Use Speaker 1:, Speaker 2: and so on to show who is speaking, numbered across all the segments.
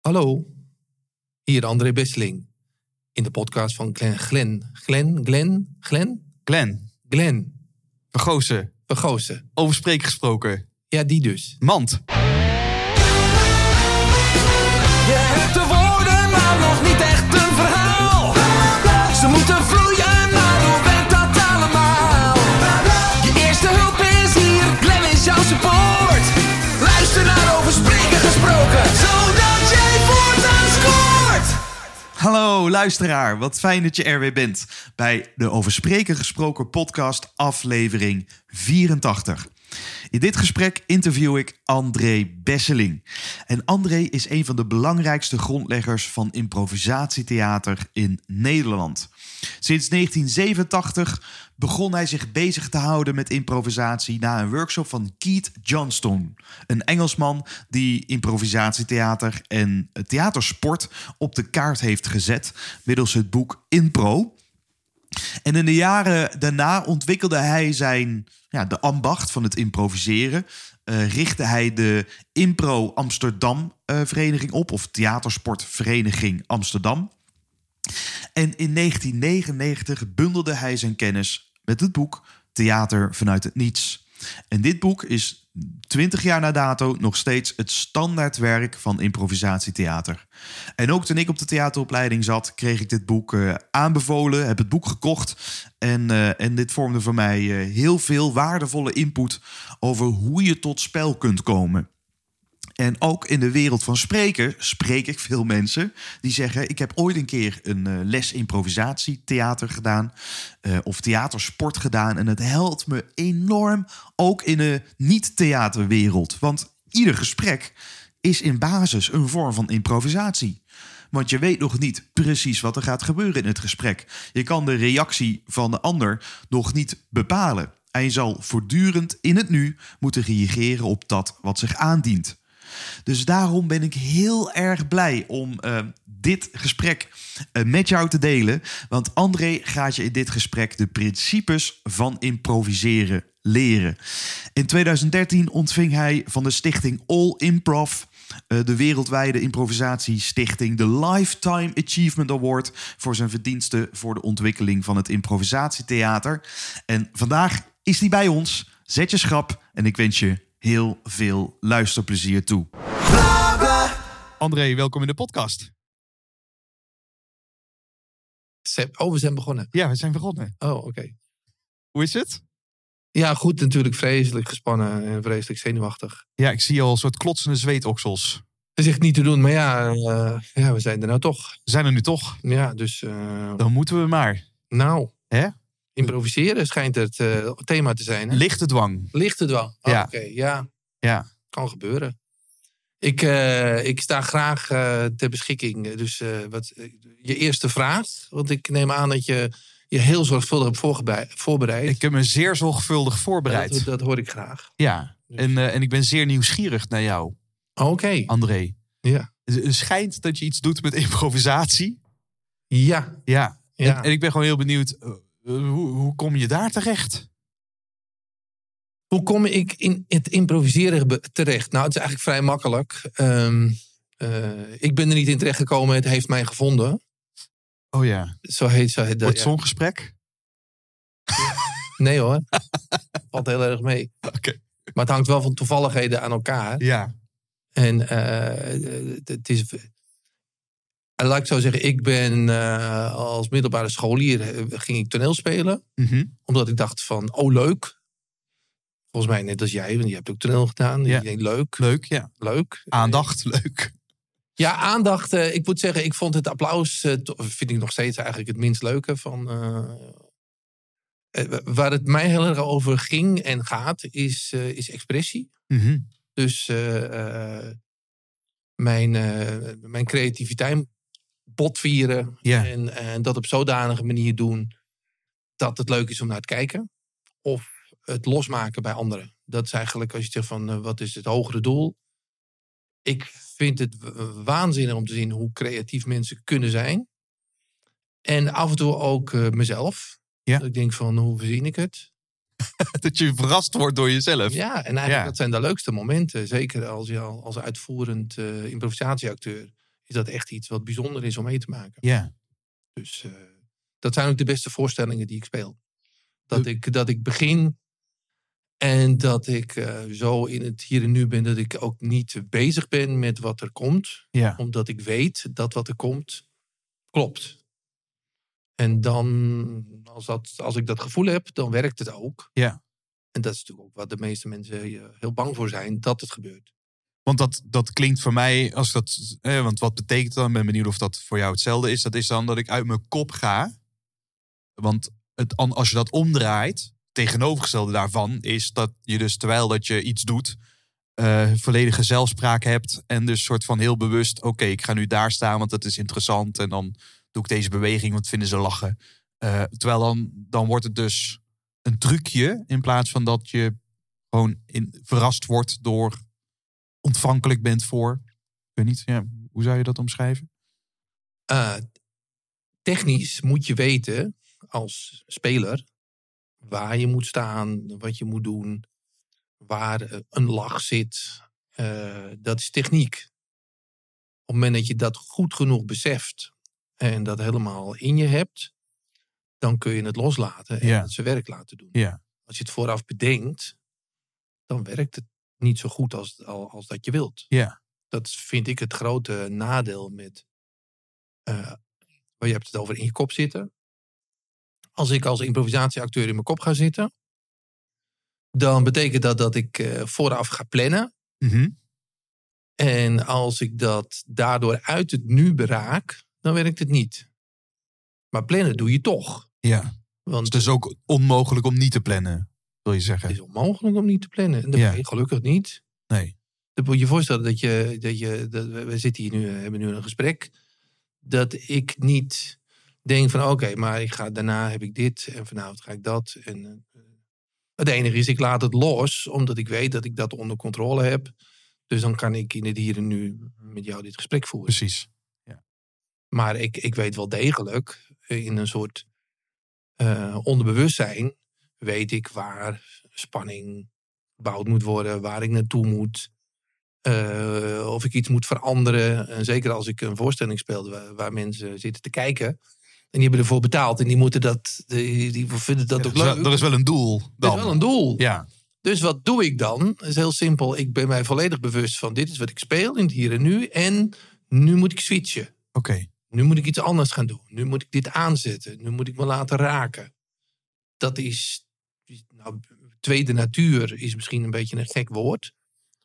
Speaker 1: Hallo, hier André Besseling. In de podcast van Glen Glen. Glen, Glen, Glen?
Speaker 2: Glenn,
Speaker 1: Glen,
Speaker 2: Vergozen,
Speaker 1: Vergozen.
Speaker 2: over spreek gesproken.
Speaker 1: Ja, die dus.
Speaker 2: Mand.
Speaker 3: Je hebt de woorden, maar nog niet echt een verhaal. Ze moeten vloeien, maar hoe werkt dat allemaal? Je eerste hulp is hier, Glenn is jouw support. Luister naar over spreken gesproken, zodat jij voortaan scoort.
Speaker 2: Hallo luisteraar, wat fijn dat je er weer bent bij de Over Spreken Gesproken podcast aflevering 84. In dit gesprek interview ik André Besseling. En André is een van de belangrijkste grondleggers van improvisatietheater in Nederland. Sinds 1987 begon hij zich bezig te houden met improvisatie na een workshop van Keith Johnston, een Engelsman die improvisatietheater en theatersport op de kaart heeft gezet middels het boek Impro. En in de jaren daarna ontwikkelde hij zijn, ja, de ambacht van het improviseren. Eh, richtte hij de Impro Amsterdam eh, Vereniging op, of Theatersportvereniging Amsterdam. En in 1999 bundelde hij zijn kennis met het boek Theater vanuit het Niets. En dit boek is 20 jaar na dato nog steeds het standaardwerk van improvisatietheater. En ook toen ik op de theateropleiding zat, kreeg ik dit boek eh, aanbevolen, heb het boek gekocht. En, eh, en dit vormde voor mij eh, heel veel waardevolle input over hoe je tot spel kunt komen. En ook in de wereld van spreken spreek ik veel mensen die zeggen: Ik heb ooit een keer een eh, les improvisatietheater gedaan eh, of theatersport gedaan. En het helpt me enorm ook in de niet-theaterwereld. Want ieder gesprek is in basis een vorm van improvisatie. Want je weet nog niet precies wat er gaat gebeuren in het gesprek. Je kan de reactie van de ander nog niet bepalen. En je zal voortdurend in het nu moeten reageren op dat wat zich aandient. Dus daarom ben ik heel erg blij om eh, dit gesprek eh, met jou te delen. Want André gaat je in dit gesprek de principes van improviseren leren. In 2013 ontving hij van de stichting All Improv. eh, de wereldwijde improvisatiestichting, de Lifetime Achievement Award voor zijn verdiensten voor de ontwikkeling van het improvisatietheater. En vandaag is die bij ons. Zet je schrap en ik wens je heel veel luisterplezier toe. André, welkom in de podcast.
Speaker 1: Ze- Oh, we zijn begonnen.
Speaker 2: Ja, we zijn begonnen.
Speaker 1: Oh, oké.
Speaker 2: Hoe is het?
Speaker 1: Ja, goed, natuurlijk vreselijk gespannen en vreselijk zenuwachtig.
Speaker 2: Ja, ik zie al een soort klotsende zweetoksels.
Speaker 1: Dat is echt niet te doen, maar ja, eh, ja we zijn er nou toch.
Speaker 2: We zijn er nu toch?
Speaker 1: Ja, dus eh,
Speaker 2: Dan moeten we maar.
Speaker 1: nou.
Speaker 2: Hè?
Speaker 1: Improviseren schijnt het eh, thema te zijn. Hè?
Speaker 2: Lichte dwang.
Speaker 1: Ligt het wel? Oh,
Speaker 2: Ja.
Speaker 1: Oké, ja.
Speaker 2: Ja.
Speaker 1: Kan gebeuren. Ik, eh, ik sta graag eh, ter beschikking. Dus eh, wat, je eerste vraag, want ik neem aan dat je je heel zorgvuldig hebt voorgebei- voorbereid.
Speaker 2: Ik heb me zeer zorgvuldig
Speaker 1: Dat,
Speaker 2: voorbereid.
Speaker 1: dat hoor ik graag.
Speaker 2: Ja,
Speaker 1: Dus-
Speaker 2: en, eh, en ik ben zeer nieuwsgierig naar jou,
Speaker 1: Oh, Oké.
Speaker 2: André.
Speaker 1: Ja.
Speaker 2: Het schijnt dat je iets doet met improvisatie.
Speaker 1: Ja.
Speaker 2: Ja.
Speaker 1: ja.
Speaker 2: En ik ben gewoon heel benieuwd, eh, hoe, hoe kom je daar terecht?
Speaker 1: Hoe kom ik in het improviseren be- terecht? Nou, het is eigenlijk vrij makkelijk. Ehm, eh, ik ben er niet in terecht gekomen. Het heeft mij gevonden.
Speaker 2: Oh ja,
Speaker 1: Zo heet, zo heet dat.
Speaker 2: wordt
Speaker 1: ja.
Speaker 2: zo'n gesprek?
Speaker 1: Nee hoor. Valt heel erg mee.
Speaker 2: Oké.
Speaker 1: Maar het hangt wel van toevalligheden aan elkaar.
Speaker 2: Ja.
Speaker 1: En eh, het- het is. En laat ik zo zeggen, ik ben eh, als middelbare scholier eh, ging ik toneel spelen.
Speaker 2: Mhm.
Speaker 1: Omdat ik dacht van, oh leuk. Volgens mij net als jij, want je hebt ook toneel gedaan.
Speaker 2: Ja.
Speaker 1: Je denkt leuk,
Speaker 2: Leuk, ja.
Speaker 1: leuk.
Speaker 2: Aandacht, leuk.
Speaker 1: Ja, aandacht. eh, ik moet zeggen, ik vond het applaus, eh, to- vind ik nog steeds eigenlijk het minst leuke van... eh, eh, wa- waar het mij heel erg over ging en gaat, is, eh, is expressie.
Speaker 2: Mhm.
Speaker 1: Dus eh, eh, mijn, eh, mijn creativiteit botvieren.
Speaker 2: Ja.
Speaker 1: En, en dat op zodanige manier doen dat het leuk is om naar te kijken. Of het losmaken bij anderen. Dat is eigenlijk als je zegt van eh, wat is het hogere doel. Ik vind het w- waanzinnig om te zien hoe creatief mensen kunnen zijn. En af en toe ook eh, mezelf.
Speaker 2: Ja.
Speaker 1: Dat ik denk van hoe verzin ik het?
Speaker 2: Dat je verrast wordt door jezelf.
Speaker 1: Ja, en eigenlijk
Speaker 2: Ja.
Speaker 1: dat zijn de leukste momenten. Zeker als je al- als uitvoerend eh, improvisatieacteur. is dat echt iets wat bijzonder is om mee te maken.
Speaker 2: Ja.
Speaker 1: Dus eh, dat zijn ook de beste voorstellingen die ik speel. Dat ik, dat ik begin en dat ik eh, zo in het hier en nu ben dat ik ook niet bezig ben met wat er komt.
Speaker 2: Ja.
Speaker 1: Omdat ik weet dat wat er komt klopt. En dan, als, dat, als ik dat gevoel heb, dan werkt het ook.
Speaker 2: Ja.
Speaker 1: En dat is natuurlijk ook wat de meeste mensen eh, heel bang voor zijn, dat het gebeurt.
Speaker 2: Want dat, dat klinkt voor mij als dat. Eh, want wat betekent dan? Ik ben benieuwd of dat voor jou hetzelfde is. Dat is dan dat ik uit mijn kop ga. Want het, an- als je dat omdraait, tegenovergestelde daarvan is dat je dus terwijl dat je iets doet, eh, volledige zelfspraak hebt. En dus soort van heel bewust, oké, ik ga nu daar staan, want dat is interessant. En dan doe ik deze beweging, want vinden ze lachen. Eh, terwijl dan, dan wordt het dus een trucje in plaats van dat je gewoon in, verrast wordt door ontvankelijk bent voor. Ik weet niet, ja, hoe zou je dat omschrijven?
Speaker 1: Eh, technisch moet je weten als speler waar je moet staan, wat je moet doen, waar eh, een lach zit. Eh, dat is techniek. Op het moment dat je dat goed genoeg beseft en dat helemaal in je hebt, dan kun je het loslaten en
Speaker 2: Ja.
Speaker 1: het zijn werk laten doen.
Speaker 2: Ja.
Speaker 1: Als je het vooraf bedenkt, dan werkt het niet zo goed als, al- als dat je wilt.
Speaker 2: Ja.
Speaker 1: Dat vind ik het grote nadeel met. eh, maar je hebt het over in je kop zitten. Als ik als improvisatieacteur in mijn kop ga zitten, dan betekent dat dat ik eh, vooraf ga plannen. Mhm. En als ik dat daardoor uit het nu beraak, dan werkt het niet. Maar plannen doe je toch.
Speaker 2: Ja. Dus
Speaker 1: Want
Speaker 2: Het is ook onmogelijk om niet te plannen, wil je
Speaker 1: het
Speaker 2: zeggen.
Speaker 1: is onmogelijk om niet te plannen. En dat
Speaker 2: Ja.
Speaker 1: ben je gelukkig niet.
Speaker 2: Nee.
Speaker 1: Dan moet je je voorstellen dat je... Dat je dat, we we zitten hier nu, eh, hebben nu een gesprek. Dat ik niet denk van... Oké, maar ik ga, daarna heb ik dit. En vanavond ga ik dat. En, eh, het enige is, ik laat het los. Omdat ik weet dat ik dat onder controle heb. Dus dan kan ik in het hier en nu met jou dit gesprek voeren.
Speaker 2: Precies.
Speaker 1: Maar ik, ik weet wel degelijk, eh, in een soort eh, onderbewustzijn, weet ik waar spanning gebouwd moet worden, waar ik naartoe moet, eh, of ik iets moet veranderen. En zeker als ik een voorstelling speel waar, waar mensen zitten te kijken. En die hebben ervoor betaald en die moeten dat, die, die vinden dat
Speaker 2: Dat
Speaker 1: ook
Speaker 2: is, dus wel,
Speaker 1: leuk.
Speaker 2: er is wel een doel
Speaker 1: dat
Speaker 2: dan.
Speaker 1: is wel een doel.
Speaker 2: Ja.
Speaker 1: Dus wat doe ik dan? Dat is heel simpel. Ik ben mij volledig bewust van dit is wat ik speel in het hier en nu. En nu moet ik switchen.
Speaker 2: Oké.
Speaker 1: Nu moet ik iets anders gaan doen. Nu moet ik dit aanzetten. Nu moet ik me laten raken. Dat is. Nou, tweede natuur is misschien een beetje een gek woord.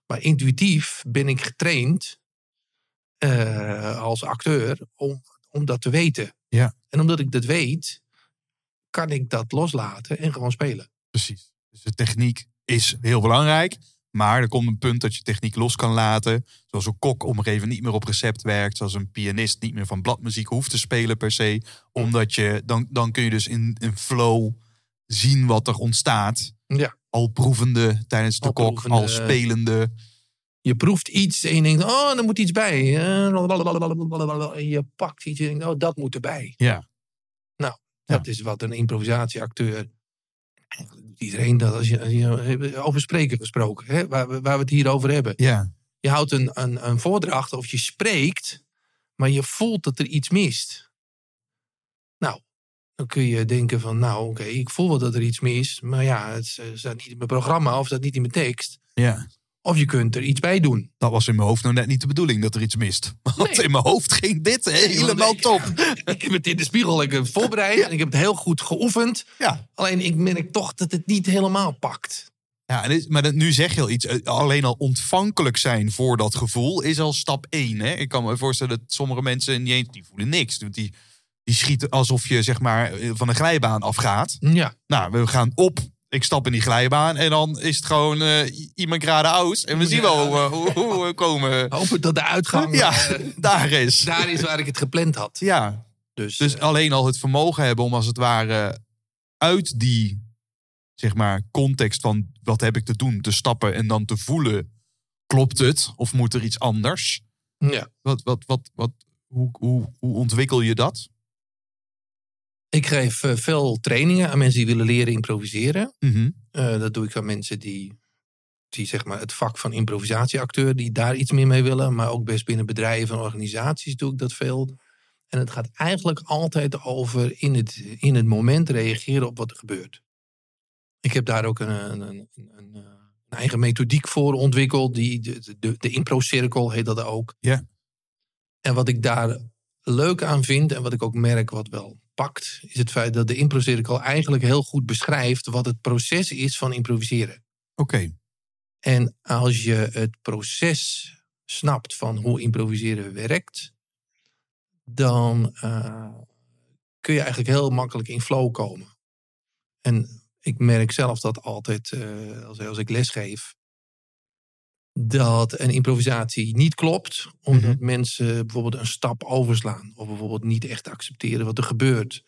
Speaker 1: Maar intuïtief ben ik getraind. eh, als acteur. Om, om dat te weten.
Speaker 2: Ja.
Speaker 1: En omdat ik dat weet. kan ik dat loslaten en gewoon spelen.
Speaker 2: Precies. Dus de techniek is heel belangrijk. Maar er komt een punt dat je techniek los kan laten. Zoals een kok om een gegeven niet meer op recept werkt. Zoals een pianist niet meer van bladmuziek hoeft te spelen per se. Omdat je, dan, dan kun je dus in een flow zien wat er ontstaat.
Speaker 1: Ja.
Speaker 2: Al proevende tijdens de
Speaker 1: Al
Speaker 2: kok,
Speaker 1: proevende.
Speaker 2: al spelende.
Speaker 1: Je proeft iets en je denkt. oh, er moet iets bij. Eh, En je pakt iets en je denkt. oh, dat moet erbij. Nou,
Speaker 2: Ja. Ja.
Speaker 1: Dat is wat een improvisatieacteur. Eigenlijk doet iedereen dat als je, als je- eh, over spreken gesproken, hè, waar, we- waar we het hier over hebben.
Speaker 2: Ja.
Speaker 1: Je houdt een, een, een voordracht of je spreekt, maar je voelt dat er iets mist. Nou, dan kun je denken van, nou oké, ik voel wel dat er iets mist, maar ja, het eh, staat niet in mijn programma of staat niet in mijn tekst.
Speaker 2: Ja.
Speaker 1: Of je kunt er iets bij doen.
Speaker 2: Dat was in mijn hoofd nou net niet de bedoeling dat er iets mist. Want
Speaker 1: Nee.
Speaker 2: in mijn hoofd ging dit helemaal
Speaker 1: ik-
Speaker 2: top.
Speaker 1: ik heb het in de spiegel ik heb het voorbereid en ik heb het heel goed geoefend.
Speaker 2: Ja.
Speaker 1: Alleen ik merk toch dat het niet helemaal pakt.
Speaker 2: ja en dit- maar dat- nu zeg je al iets. Eh, Alleen al ontvankelijk zijn voor dat gevoel is al stap één. Hè? Ik kan me voorstellen dat sommige mensen niet eens, die voelen niks. Want die, die schieten alsof je zeg maar eh, van een glijbaan afgaat.
Speaker 1: Ja,
Speaker 2: Nou, we gaan op. Ik stap in die glijbaan en dan is het gewoon eh, i- iemand graden aus. En we zien wel hoe, we- hoe, hoe we komen.
Speaker 1: hopen dat de uitgang
Speaker 2: Ja,
Speaker 1: eh,
Speaker 2: daar is.
Speaker 1: daar is waar ik het gepland had.
Speaker 2: Ja,
Speaker 1: Dus,
Speaker 2: Dus
Speaker 1: eh,
Speaker 2: alleen al het vermogen hebben om als het ware uit die zeg maar, context van wat heb ik te doen, te stappen en dan te voelen, klopt het of moet er iets anders?
Speaker 1: ja.
Speaker 2: Wat, wat, wat, wat, hoe, hoe, hoe ontwikkel je dat?
Speaker 1: Ik geef eh, veel trainingen aan mensen die willen leren improviseren.
Speaker 2: Mhm.
Speaker 1: Eh, dat doe ik aan mensen die zie zeg maar het vak van improvisatieacteur, die daar iets meer mee willen. Maar ook best binnen bedrijven en organisaties doe ik dat veel. En het gaat eigenlijk altijd over in het, in het moment reageren op wat er gebeurt. Ik heb daar ook een, een, een, een, eh, een eigen methodiek voor ontwikkeld. Die, de de, de impro-cirkel heet dat ook.
Speaker 2: Ja.
Speaker 1: En wat ik daar leuk aan vind en wat ik ook merk wat wel pakt, is het feit dat de impro-cirkel eigenlijk heel goed beschrijft wat het proces is van improviseren.
Speaker 2: Oké.
Speaker 1: En als je het proces snapt van hoe improviseren werkt, dan eh, kun je eigenlijk heel makkelijk in flow komen. En ik merk zelf dat altijd, eh, als, als ik lesgeef, dat een improvisatie niet klopt, omdat mensen bijvoorbeeld een stap overslaan, of bijvoorbeeld niet echt accepteren wat er gebeurt.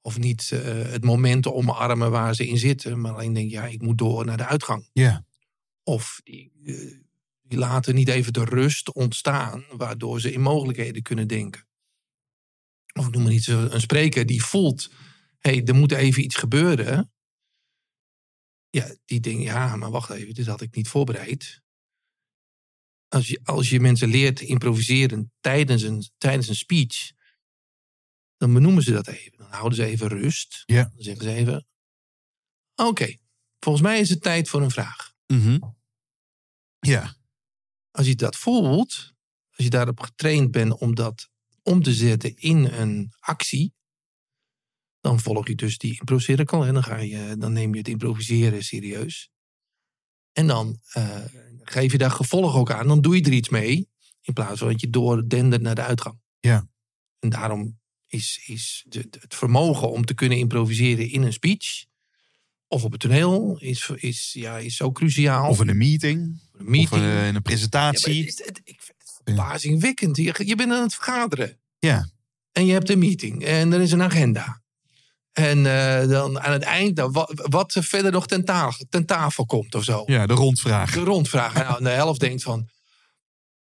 Speaker 1: Of niet eh, het moment omarmen waar ze in zitten, maar alleen denken, ja, ik moet door naar de uitgang.
Speaker 2: Ja.
Speaker 1: Of die, eh, die laten niet even de rust ontstaan, waardoor ze in mogelijkheden kunnen denken. Of ik noem maar iets, een spreker die voelt, hé, hey, er moet even iets gebeuren. Ja, die denkt, ja, maar wacht even, dit had ik niet voorbereid. Als je, als je mensen leert improviseren tijdens een, tijdens een speech, dan benoemen ze dat even. Dan houden ze even rust.
Speaker 2: Ja.
Speaker 1: Dan zeggen ze even, oké, volgens mij is het tijd voor een vraag
Speaker 2: Mhm. Ja.
Speaker 1: als je dat voelt, als je daarop getraind bent om dat om te zetten in een actie, dan volg je dus die improcirkel en dan, ga je, dan neem je het improviseren serieus. En dan eh, geef je daar gevolg ook aan, dan doe je er iets mee, in plaats van dat je doordendert naar de uitgang.
Speaker 2: Ja.
Speaker 1: En daarom is, is de- de- het vermogen om te kunnen improviseren in een speech of op het toneel is, is, ja, is zo cruciaal.
Speaker 2: Of in een meeting.
Speaker 1: een meeting.
Speaker 2: Of eh, in een
Speaker 1: Ja, maar
Speaker 2: presentatie.
Speaker 1: het is, het, ik vind het verbazingwekkend. Je, je bent aan het vergaderen.
Speaker 2: Ja.
Speaker 1: En je hebt een meeting. En er is een agenda. En eh, dan aan het eind, dan wa- wat, er verder nog ten, ta- ten tafel komt of zo.
Speaker 2: ja, de rondvraag.
Speaker 1: De rondvraag. Nou, en de helft denkt van,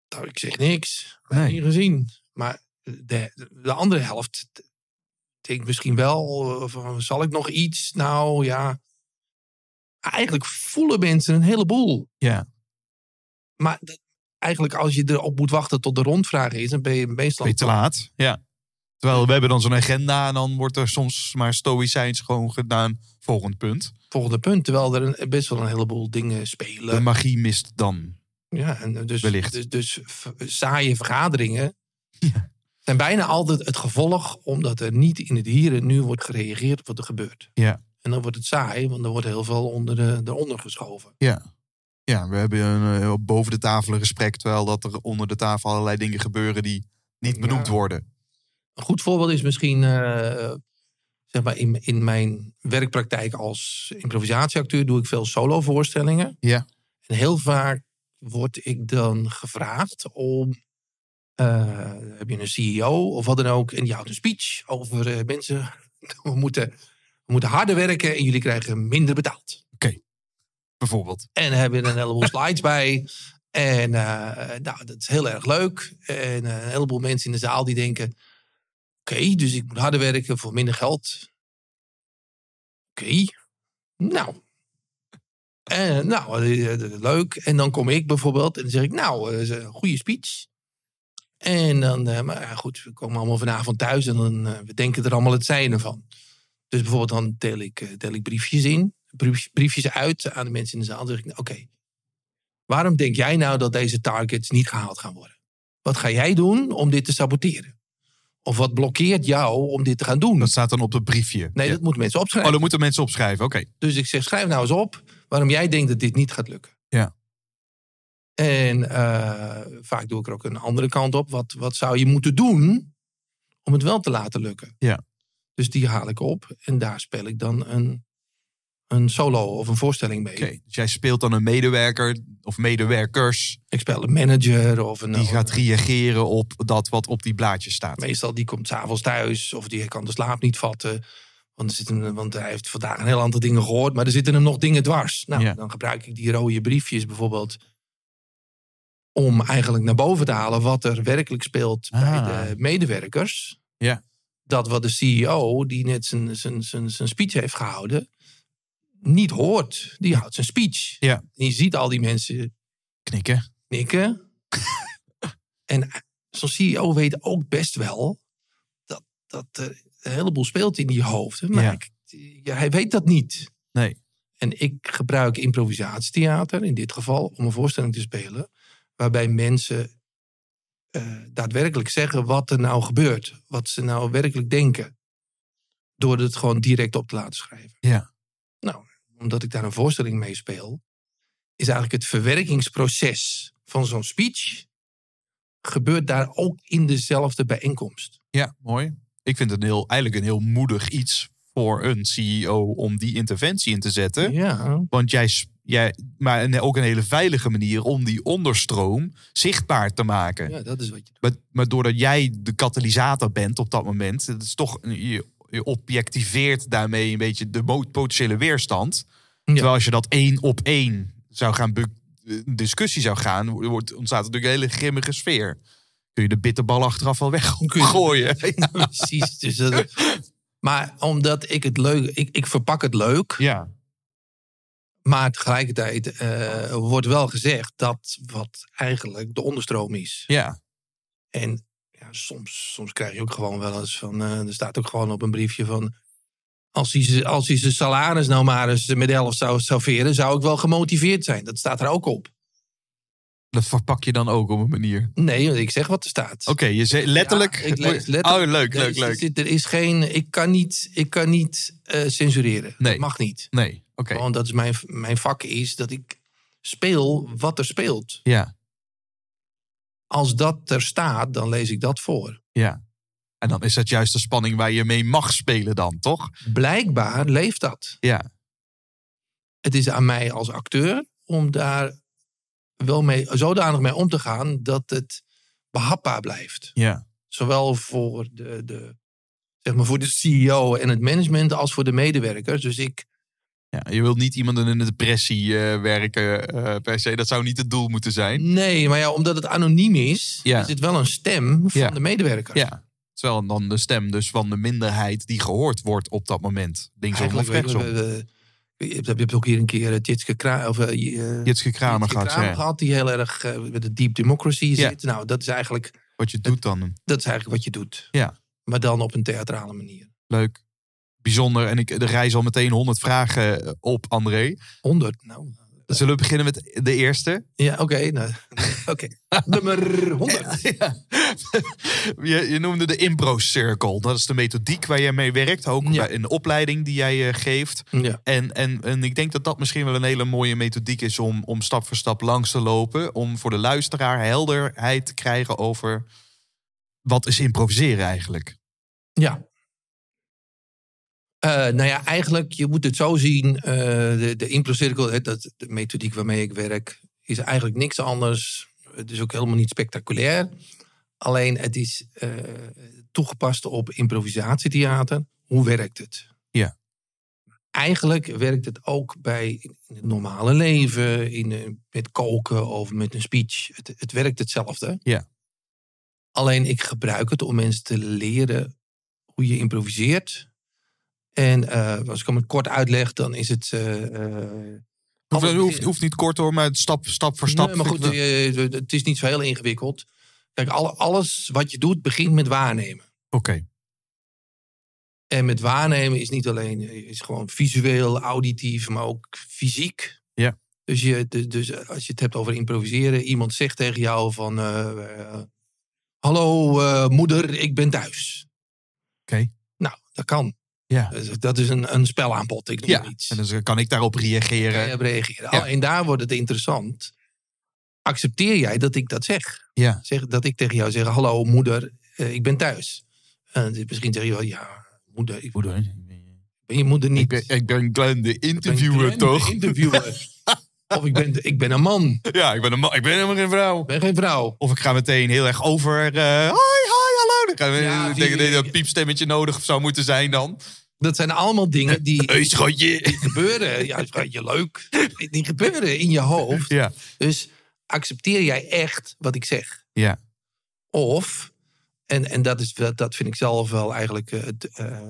Speaker 1: nou, ik zeg niks. Ik
Speaker 2: Nee.
Speaker 1: niet gezien. Maar de, de andere helft denkt misschien wel, eh, van, zal ik nog iets? Nou ja. Eigenlijk voelen mensen een heleboel.
Speaker 2: Ja.
Speaker 1: Maar dat- eigenlijk als je erop moet wachten tot de rondvraag is, dan ben je meestal...
Speaker 2: Ben je te laat? Ja. Terwijl we hebben dan zo'n agenda en dan wordt er soms maar stoïcijns gewoon gedaan. Volgend punt.
Speaker 1: volgende punt. Terwijl er een, best wel een heleboel dingen
Speaker 2: De
Speaker 1: spelen.
Speaker 2: magie mist dan.
Speaker 1: Ja, en dus,
Speaker 2: Wellicht.
Speaker 1: Dus, dus v- saaie vergaderingen zijn bijna altijd het gevolg omdat er niet in het hier en nu wordt gereageerd op wat er gebeurt.
Speaker 2: Ja.
Speaker 1: En dan wordt het saai, want er wordt heel veel onder de, eronder geschoven.
Speaker 2: Ja, we hebben een eh, boven de tafel een gesprek. Terwijl dat er onder de tafel allerlei dingen gebeuren die niet benoemd
Speaker 1: Ja.
Speaker 2: worden.
Speaker 1: Een goed voorbeeld is misschien eh, zeg maar in, in mijn werkpraktijk als improvisatieacteur doe ik veel solovoorstellingen.
Speaker 2: Ja.
Speaker 1: En heel vaak word ik dan gevraagd om. eh, heb je een CEO of wat dan ook? En die houdt een speech over eh, mensen. We moeten, we moeten harder werken en jullie krijgen minder betaald.
Speaker 2: Bijvoorbeeld.
Speaker 1: En hebben er een heleboel slides bij. En eh, nou, dat is heel erg leuk. En eh, een heleboel mensen in de zaal die denken... Oké, dus ik moet harder werken voor minder geld. Oké, nou. En, nou, eh, eh, leuk. En dan kom ik bijvoorbeeld en dan zeg ik... Nou, eh, is een goede speech. En dan, eh, maar ja, goed, we komen allemaal vanavond thuis... en dan, eh, we denken er allemaal het zijne van. Dus bijvoorbeeld dan deel ik, eh, deel ik briefjes in brief- briefjes uit aan de mensen in de zaal. Dan zeg ik, nou, oké, waarom denk jij nou dat deze targets niet gehaald gaan worden? Wat ga jij doen om dit te saboteren? Of wat blokkeert jou om dit te gaan doen?
Speaker 2: Dat staat dan op het briefje.
Speaker 1: Hm. Nee,
Speaker 2: Ja.
Speaker 1: dat moeten mensen opschrijven.
Speaker 2: Oh, dan moeten mensen opschrijven. Oké.
Speaker 1: Dus ik zeg, schrijf nou eens op waarom jij denkt dat dit niet gaat lukken.
Speaker 2: Ja.
Speaker 1: En eh, vaak doe ik er ook een andere kant op. Wat, wat zou je moeten doen om het wel te laten lukken?
Speaker 2: Ja.
Speaker 1: Dus die haal ik op en daar speel ik dan een, een solo of een voorstelling mee.
Speaker 2: Oké. Dus jij speelt dan een medewerker of medewerkers.
Speaker 1: Ik speel een manager of een...
Speaker 2: Die gaat reageren op dat wat op die blaadjes staat.
Speaker 1: Meestal die komt s'avonds thuis of die kan de slaap niet vatten. Want, er zitten, want hij heeft vandaag een heel aantal dingen gehoord, maar er zitten hem nog dingen dwars. Nou,
Speaker 2: Ja.
Speaker 1: dan gebruik ik die rode briefjes bijvoorbeeld om eigenlijk naar boven te halen wat er werkelijk speelt bij
Speaker 2: Ah.
Speaker 1: de medewerkers.
Speaker 2: Ja.
Speaker 1: E Dat wat de CEO, die net zijn, zijn, zijn, zijn speech heeft gehouden, niet hoort, die houdt zijn speech.
Speaker 2: Ja.
Speaker 1: En je ziet al die mensen
Speaker 2: Knikken.
Speaker 1: knikken. en zo'n CEO weet ook best wel dat, dat er een heleboel speelt in die hoofden. Maar
Speaker 2: Ja.
Speaker 1: ik- ja, hij weet dat niet.
Speaker 2: Nee.
Speaker 1: En ik gebruik improvisatietheater in dit geval om een voorstelling te spelen. Waarbij mensen eh, daadwerkelijk zeggen wat er nou gebeurt. Wat ze nou werkelijk denken. Door het gewoon direct op te laten schrijven.
Speaker 2: Ja.
Speaker 1: Nou, omdat ik daar een voorstelling mee speel. Is eigenlijk het verwerkingsproces van zo'n speech. Gebeurt daar ook in dezelfde bijeenkomst.
Speaker 2: Ja, mooi. Ik vind het een heel, eigenlijk een heel moedig iets voor een CEO om die interventie in te zetten.
Speaker 1: Ja.
Speaker 2: Want jij, s- jij, maar een- ook een hele veilige manier om die onderstroom zichtbaar te maken.
Speaker 1: ja, dat is wat je
Speaker 2: Maar, maar doordat jij de katalysator bent op dat moment, het is toch, een- je, je objectiveert daarmee een beetje de mo- potentiële weerstand.
Speaker 1: Ja.
Speaker 2: Terwijl als je dat één op één zou gaan, be- een discussie zou gaan, wo- wordt, ontstaat natuurlijk een hele grimmige sfeer. Kun je de bitterbal achteraf wel
Speaker 1: Kun je-
Speaker 2: weggooien.
Speaker 1: Ja, precies. Dus dat, maar omdat ik het leuk... Ik, ik verpak het leuk.
Speaker 2: Ja,
Speaker 1: Maar tegelijkertijd eh, wordt wel gezegd dat wat eigenlijk de onderstroom is.
Speaker 2: ja,
Speaker 1: En ja, soms, soms krijg je ook gewoon wel eens van... eh, er staat ook gewoon op een briefje van... Als hij, ze- als hij zijn salaris nou maar eens met 11 zou salveren... zou ik wel gemotiveerd zijn. Dat staat er ook op.
Speaker 2: dat verpak je dan ook op een manier.
Speaker 1: Nee, want ik zeg wat er staat.
Speaker 2: Oké, je zei letterlijk.
Speaker 1: Ja, ik lees letterlijk.
Speaker 2: Oh, leuk,
Speaker 1: Er
Speaker 2: leuk,
Speaker 1: is- Er,
Speaker 2: leuk.
Speaker 1: is- er is geen... Ik kan niet, ik kan niet eh, censureren.
Speaker 2: Nee.
Speaker 1: Dat mag niet.
Speaker 2: Nee, oké.
Speaker 1: Want dat is mijn, mijn vak is dat ik speel wat er speelt.
Speaker 2: Ja,
Speaker 1: Als dat er staat, dan lees ik dat voor.
Speaker 2: ja. En dan is dat juist de spanning waar je mee mag spelen dan, toch?
Speaker 1: Blijkbaar leeft dat.
Speaker 2: Ja.
Speaker 1: Het is aan mij als acteur om daar wel mee, zodanig mee om te gaan dat het behapbaar blijft.
Speaker 2: Ja.
Speaker 1: Zowel voor de, de, zeg maar voor de CEO en het management als voor de medewerkers. Dus ik,
Speaker 2: ja je wilt niet iemand in een depressie eh, werken eh, per se. Dat zou niet het doel moeten zijn.
Speaker 1: nee, maar ja, omdat het anoniem is,
Speaker 2: Ja.
Speaker 1: is het wel een stem van
Speaker 2: Ja.
Speaker 1: de medewerker.
Speaker 2: Ja. Terwijl dan de stem dus van de minderheid die gehoord wordt op dat moment. Linksom of
Speaker 1: Eigenlijk
Speaker 2: rechtsom.
Speaker 1: weten we- we- je hebt- je hebt ook hier een keer het Jitske Kra of, eh, je-
Speaker 2: Jitske Kramer
Speaker 1: Jitske
Speaker 2: gaat
Speaker 1: Kramer
Speaker 2: zeggen.
Speaker 1: gehad, die heel erg eh, met de deep democracy
Speaker 2: Ja.
Speaker 1: zit. Nou, dat is, eigenlijk,
Speaker 2: Wat je doet dan.
Speaker 1: dat is eigenlijk wat je doet.
Speaker 2: Ja.
Speaker 1: Maar dan op een theatrale manier.
Speaker 2: Leuk. Bijzonder. En ik er rijzen al meteen honderd vragen op, André.
Speaker 1: 100, nou.
Speaker 2: Zullen we beginnen met de eerste?
Speaker 1: Ja, oké. nou, oké. Nummer 100.
Speaker 2: Ja. je, je noemde de impro-cirkel. Dat is de methodiek waar jij mee werkt. Ook
Speaker 1: Ja.
Speaker 2: bij- in de opleiding die jij eh, geeft.
Speaker 1: Ja.
Speaker 2: En, en, en ik denk dat dat misschien wel een hele mooie methodiek is om, om stap voor stap langs te lopen. Om voor de luisteraar helderheid te krijgen over wat is improviseren eigenlijk.
Speaker 1: ja. Eh, nou ja, eigenlijk, je moet het zo zien. eh, de, de improcirkel, hè, dat, de methodiek waarmee ik werk, is eigenlijk niks anders. Het is ook helemaal niet spectaculair. Alleen het is eh, toegepast op improvisatietheater. Hoe werkt het?
Speaker 2: Ja.
Speaker 1: Eigenlijk werkt het ook bij in het normale leven, in, eh, met koken of met een speech. Het, het werkt hetzelfde.
Speaker 2: Ja.
Speaker 1: Alleen ik gebruik het om mensen te leren hoe je improviseert. En eh, als ik hem het kort uitleg, dan is het. eh, eh,
Speaker 2: Hoeft,
Speaker 1: alles-
Speaker 2: hoeft, hoeft niet kort hoor, maar het stap, stap voor stap.
Speaker 1: Nee, maar goed,
Speaker 2: vind ik
Speaker 1: eh, het is niet zo heel ingewikkeld. Kijk, alle- alles wat je doet begint met waarnemen.
Speaker 2: wel- Oké,
Speaker 1: eh, En met waarnemen is niet alleen eh, is gewoon visueel, auditief, maar ook fysiek.
Speaker 2: Ja.
Speaker 1: Dus, je, dus- dus als je het hebt over improviseren, iemand zegt tegen jou van... eh, eh, Hallo eh, moeder, ik ben thuis.
Speaker 2: Oké.
Speaker 1: Nou, dat kan.
Speaker 2: Ja.
Speaker 1: Dus Dat is een, een spelaanbod, ik noem
Speaker 2: Ja,
Speaker 1: iets.
Speaker 2: en dan kan ik daarop reageren.
Speaker 1: Kan je op eh, reageren.
Speaker 2: Ja.
Speaker 1: Alleen daar wordt het interessant. Accepteer jij dat ik dat zeg?
Speaker 2: Ja.
Speaker 1: zeg dat ik tegen jou zeg, hallo moeder, eh, ik ben thuis. En misschien zeg je wel, ja, moeder, ik
Speaker 2: Moeder,
Speaker 1: ben je moeder niet.
Speaker 2: ik ben, ik ben Glenn de
Speaker 1: Ik ben
Speaker 2: interviewer
Speaker 1: Glenn,
Speaker 2: toch?
Speaker 1: de Interviewer. of ik ben, ik ben een man, ik
Speaker 2: Ja, ik ben, een man, ik ben helemaal geen vrouw.
Speaker 1: ben geen vrouw.
Speaker 2: Of ik ga meteen heel erg over. eh, hoi, hoi, hallo. Dan gaan we
Speaker 1: Ja,
Speaker 2: ik
Speaker 1: die-
Speaker 2: denk dat er een piepstemmetje nodig zou moeten zijn dan.
Speaker 1: Dat zijn allemaal dingen die
Speaker 2: Hé, schatje.
Speaker 1: gebeuren. Ja, dat is je leuk. Die gebeuren in je hoofd.
Speaker 2: Ja.
Speaker 1: Dus accepteer jij echt wat ik zeg?
Speaker 2: Ja.
Speaker 1: Of, en, en dat, is, wel- dat vind ik zelf wel eigenlijk eh, het eh,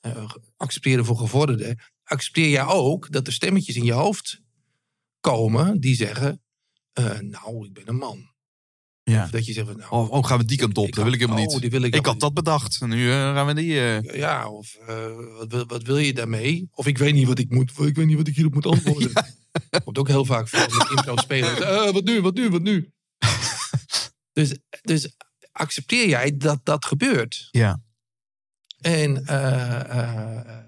Speaker 1: eh, accepteren voor gevorderden. accepteer jij ook dat er stemmetjes in je hoofd komen die zeggen: eh, Nou, ik ben een man.
Speaker 2: Ja.
Speaker 1: Of dat je zegt: van, Nou,
Speaker 2: Oh, oh, gaan we die kant op? Dat wil ik helemaal
Speaker 1: oh,
Speaker 2: niet.
Speaker 1: die wil ik
Speaker 2: Ik had
Speaker 1: helemaal
Speaker 2: dat bedacht. Nu eh, gaan we die... eh,
Speaker 1: niet. Ja, of eh, wat, wil, wat wil je daarmee? Of ik weet niet wat ik moet, ik weet niet wat ik hierop moet antwoorden. Komt ook heel vaak voor met impro-spelers. Eh, wat nu, wat nu, wat nu? dus, dus accepteer jij dat dat gebeurt?
Speaker 2: Ja.
Speaker 1: En eh, eh,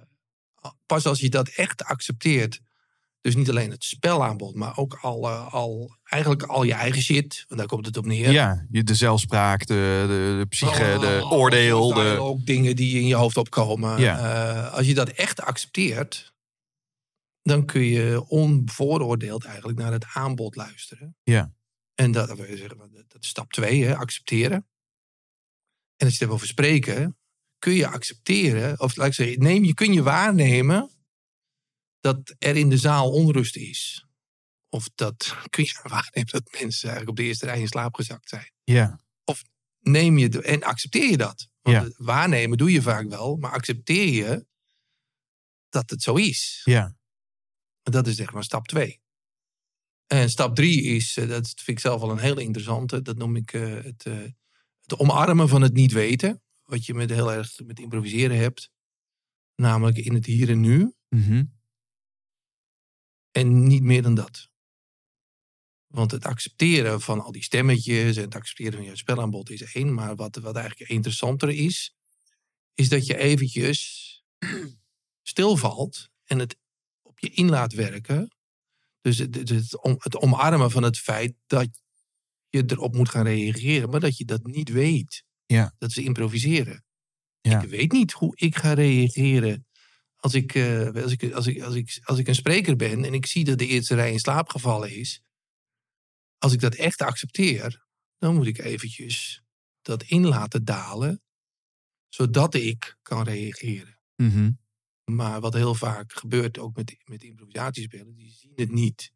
Speaker 1: pas als je dat echt accepteert, dus niet alleen het spelaanbod, maar ook al, eh, al eigenlijk al je eigen shit, want daar komt het op neer.
Speaker 2: Ja, je- de zelfspraak, de, de, de psyche, de
Speaker 1: Oh,
Speaker 2: oordeel.
Speaker 1: daar
Speaker 2: De...
Speaker 1: ook dingen die in je hoofd opkomen.
Speaker 2: Ja.
Speaker 1: Eh, als je dat echt accepteert, dan kun je onvooroordeeld eigenlijk naar het aanbod luisteren.
Speaker 2: Ja.
Speaker 1: En dat, dat wil je zeggen, dat is stap twee, hè, accepteren. En als je het hebt over spreken, kun je accepteren, of laat ik zeggen, neem, je kun je waarnemen dat er in de zaal onrust is. Of dat kun je waarnemen dat mensen eigenlijk op de eerste rij in slaap gezakt zijn
Speaker 2: Ja.
Speaker 1: neem je de- en accepteer je dat. Want
Speaker 2: Ja.
Speaker 1: het waarnemen doe je vaak wel, maar accepteer je dat het zo is.
Speaker 2: Ja.
Speaker 1: Dat is zeg maar stap twee. En stap drie is, eh, dat vind ik zelf wel een heel interessante, dat noem ik eh, het, eh, het omarmen van het niet weten. Wat je met heel erg met improviseren hebt. Namelijk in het hier en nu
Speaker 2: Mhm.
Speaker 1: en niet meer dan dat. Want het accepteren van al die stemmetjes en het accepteren van je spelaanbod is één. Maar wat, wat eigenlijk interessanter is, is dat je eventjes stilvalt en het op je in laat werken. Dus het, het, het om- het omarmen van het feit dat je erop moet gaan reageren, maar dat je dat niet weet.
Speaker 2: Ja.
Speaker 1: Dat is improviseren.
Speaker 2: Ja.
Speaker 1: Ik weet niet hoe ik ga reageren als ik, eh, als, ik, als, ik, als, ik, als ik een spreker ben en ik zie dat de eerste rij in slaap gevallen is. Als ik dat echt accepteer, dan moet ik eventjes dat in laten dalen, zodat ik kan reageren.
Speaker 2: Mhm.
Speaker 1: Maar wat heel vaak gebeurt, ook met, met improvisatiespelen, die zien het niet.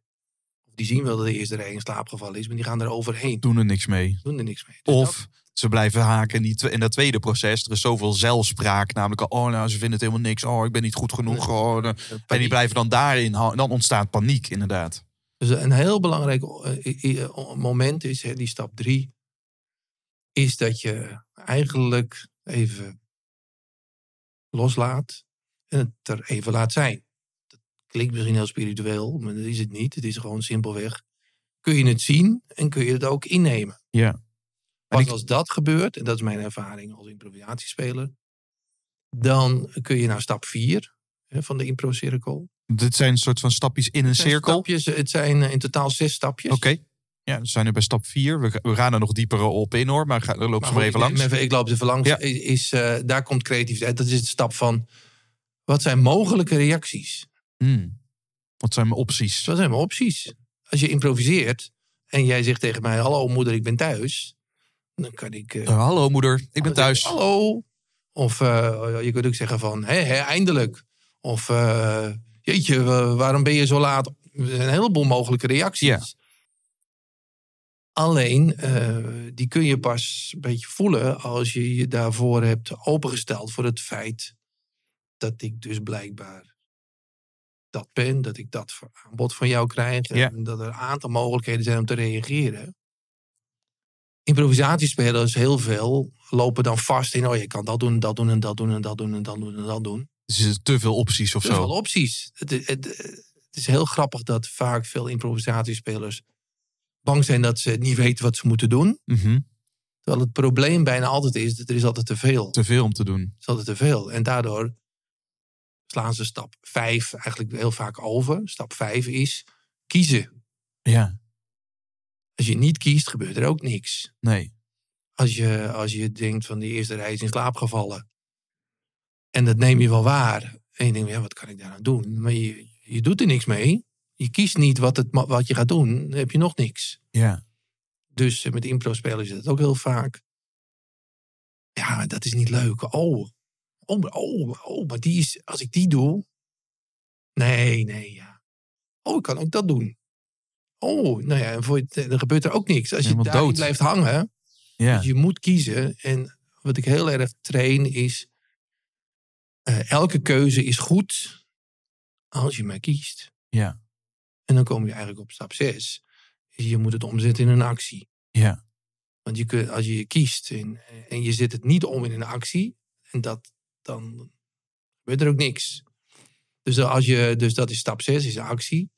Speaker 1: Of die zien wel dat de eerste rij in slaap gevallen is, maar die gaan er overheen.
Speaker 2: Doen er niks mee.
Speaker 1: Doen er niks mee. Dus dat-
Speaker 2: Of ze blijven haken in, die twe- in dat tweede proces. Er is zoveel zelfspraak. Namelijk, al, oh nou, ze vinden het helemaal niks. Oh, ik ben niet goed genoeg. Oh, de-
Speaker 1: dat eh,
Speaker 2: En die
Speaker 1: paniek.
Speaker 2: blijven dan daarin hangen. Dan ontstaat paniek, inderdaad.
Speaker 1: Dus een heel belangrijk eh, eh, eh, moment is, hè, die stap drie, is dat je eigenlijk even loslaat en het er even laat zijn. Dat klinkt misschien heel spiritueel, maar dat is het niet. Het is gewoon simpelweg, kun je het zien en kun je het ook innemen.
Speaker 2: Ja.
Speaker 1: Pas
Speaker 2: ik-
Speaker 1: als dat gebeurt, en dat is mijn ervaring als improvisatiespeler, dan kun je naar stap vier hè, van de impro-cirkel.
Speaker 2: Dit zijn een soort van stapjes in een
Speaker 1: Het zijn
Speaker 2: cirkel. Oké.
Speaker 1: Stapjes, het zijn eh, in totaal zes stapjes.
Speaker 2: Ja, we zijn nu bij stap 4. We, we gaan er nog dieper op in hoor. Maar ga, loop ze
Speaker 1: Maar
Speaker 2: maar
Speaker 1: goed,
Speaker 2: even
Speaker 1: ik-
Speaker 2: langs.
Speaker 1: Even, ik loop even langs.
Speaker 2: Ja.
Speaker 1: Is, is, eh, daar komt creativiteit. Dat is de stap van. Wat zijn mogelijke reacties? Dus
Speaker 2: Hmm. Wat zijn mijn opties?
Speaker 1: Wat zijn mijn opties? Als je improviseert en jij zegt tegen mij: Hallo moeder, ik ben thuis. Dan kan ik. eh,
Speaker 2: Eh, hallo moeder, ik ben
Speaker 1: Oh.
Speaker 2: thuis.
Speaker 1: Hallo. Of eh, je kunt ook zeggen: van, hé, hé, eindelijk. Of eh, jeetje, wa- waarom ben je zo laat? Er zijn een heleboel mogelijke reacties.
Speaker 2: Ja.
Speaker 1: Alleen, eh, die kun je pas een beetje voelen als je je daarvoor hebt opengesteld voor het feit dat ik dus blijkbaar dat ben, dat ik dat voor- aanbod van jou krijg en
Speaker 2: Ja.
Speaker 1: dat er een aantal mogelijkheden zijn om te reageren. Improvisatiespelers heel veel lopen dan vast in, oh je kan dat doen, dat doen en dat doen en dat doen en dat doen en dat doen.
Speaker 2: Dus er te veel opties of
Speaker 1: Er zijn
Speaker 2: zo.
Speaker 1: wel opties. Het, het, het is heel grappig dat vaak veel improvisatiespelers bang zijn dat ze niet weten wat ze moeten doen.
Speaker 2: Mhm.
Speaker 1: Terwijl het probleem bijna altijd is dat er is altijd te veel. Er
Speaker 2: Te veel om te doen.
Speaker 1: is altijd te veel. En daardoor slaan ze stap 5 eigenlijk heel vaak over. Stap 5 is kiezen.
Speaker 2: Ja,
Speaker 1: Als je niet kiest, gebeurt er ook niks.
Speaker 2: nee.
Speaker 1: Als je, als je denkt van die eerste reis in slaap gevallen. En dat neem je wel waar. En je denkt, ja, wat kan ik daaraan doen? Maar je, je doet er niks mee. Je kiest niet wat, het, ma- wat je gaat doen. Dan heb je nog niks.
Speaker 2: Ja.
Speaker 1: Dus eh, met impro-spelen is dat ook heel vaak. Ja, maar dat is niet leuk. Oh, oh, oh, oh, maar die is, als ik die doe. Nee, nee, ja. Oh, ik kan ook dat doen. Oh, nou ja, en voor, je het- dan gebeurt er ook niks. Als je
Speaker 2: Helemaal
Speaker 1: daarin
Speaker 2: dood.
Speaker 1: blijft hangen,
Speaker 2: Ja.
Speaker 1: dus je moet kiezen. En wat ik heel erg train is. eh, elke keuze is goed. Als je maar kiest.
Speaker 2: Ja.
Speaker 1: En dan kom je eigenlijk op stap 6. Je moet het omzetten in een actie.
Speaker 2: Ja.
Speaker 1: Want je kun- als je kiest en, en je zet het niet om in een actie, en dat, dan gebeurt er ook niks. Dus, als je, dus dat is stap 6, is een actie.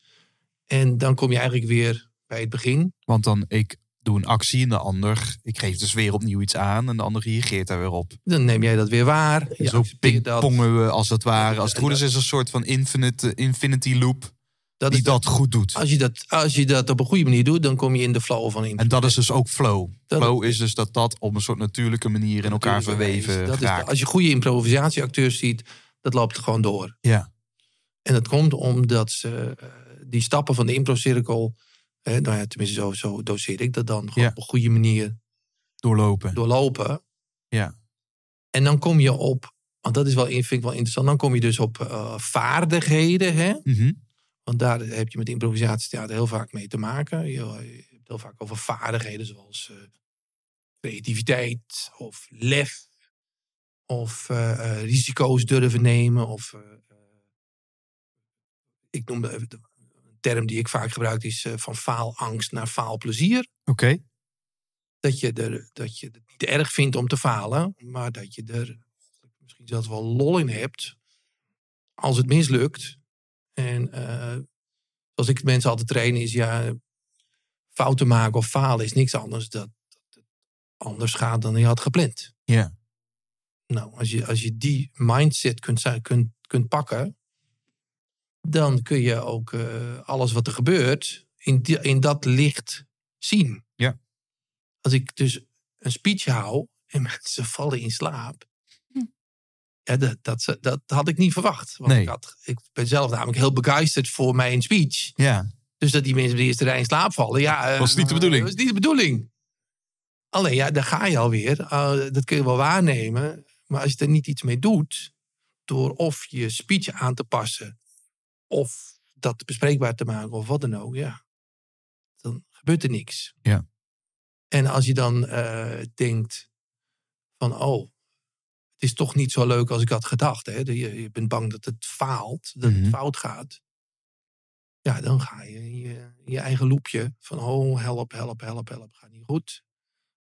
Speaker 1: En dan kom je eigenlijk weer bij het begin.
Speaker 2: Want dan ik doe een actie en de ander, ik geef dus weer opnieuw iets aan en de ander reageert daar weer op.
Speaker 1: Dan neem jij dat weer waar. Je
Speaker 2: zo
Speaker 1: accepteert dat.
Speaker 2: pingpongen we als het ware. Als het
Speaker 1: Ja,
Speaker 2: goed is, is er een soort van infinite, infinity loop
Speaker 1: dat
Speaker 2: die
Speaker 1: is,
Speaker 2: dat goed doet.
Speaker 1: als, je dat, als je dat op een goede manier doet, dan kom je in de flow van
Speaker 2: En
Speaker 1: impact.
Speaker 2: dat is dus ook flow.
Speaker 1: Dat-
Speaker 2: flow is dus dat dat op een soort natuurlijke manier in elkaar verweven
Speaker 1: Dus Dat is-
Speaker 2: raakt.
Speaker 1: als je goede improvisatieacteurs ziet, dat loopt gewoon door.
Speaker 2: Ja.
Speaker 1: En dat komt omdat ze eh, die stappen van de improcirkel, eh, nou ja, tenminste zo, zo doseer ik dat dan, gewoon
Speaker 2: Ja.
Speaker 1: op een goede manier
Speaker 2: Doorlopen.
Speaker 1: doorlopen.
Speaker 2: Ja.
Speaker 1: En dan kom je op, want dat is wel, vind ik wel interessant, dan kom je dus op eh, vaardigheden. Hè?
Speaker 2: Mhm.
Speaker 1: Want daar heb je met improvisatietheater heel vaak mee te maken. Je, eh, je hebt heel vaak over vaardigheden zoals eh, creativiteit of lef. Of eh, eh, risico's durven nemen. Of, eh, eh, ik noem de, de- een term die ik vaak gebruik is eh, van faalangst naar faalplezier.
Speaker 2: Oké.
Speaker 1: Dat je, er, dat je het niet erg vindt om te falen. Maar dat je er misschien zelfs wel lol in hebt. Als het mislukt. En eh, zoals ik mensen altijd train is ja, fouten maken of falen is niks anders dat, dat het anders gaat dan je had gepland.
Speaker 2: Ja.
Speaker 1: Nou, als je, als je die mindset kunt, zijn- kunt, kunt pakken, dan kun je ook eh, alles wat er gebeurt in, die- in dat licht zien.
Speaker 2: Ja.
Speaker 1: Als ik dus een speech hou en mensen vallen in slaap. Ja, dat, dat, dat had ik niet verwacht. Want
Speaker 2: Nee.
Speaker 1: ik, had, ik ben zelf namelijk heel begeisterd voor mijn speech.
Speaker 2: Ja.
Speaker 1: Dus dat die mensen op de eerste rij in slaap vallen. Ja, eh,
Speaker 2: Was niet de bedoeling.
Speaker 1: Was niet de bedoeling. Alleen ja, daar ga je alweer. Eh, dat kun je wel waarnemen. Maar als je er niet iets mee doet. Door of je speech aan te passen. Of dat bespreekbaar te maken. Of wat dan ook. Ja. Dan gebeurt er niks.
Speaker 2: Ja.
Speaker 1: En als je dan eh, denkt. Van oh. Het is toch niet zo leuk als ik had gedacht. Hè? Je, je bent bang dat het faalt. Dat
Speaker 2: Mhm.
Speaker 1: het fout gaat ja, dan ga je in je, in je eigen loopje van oh, help, help, help, help, gaat niet goed.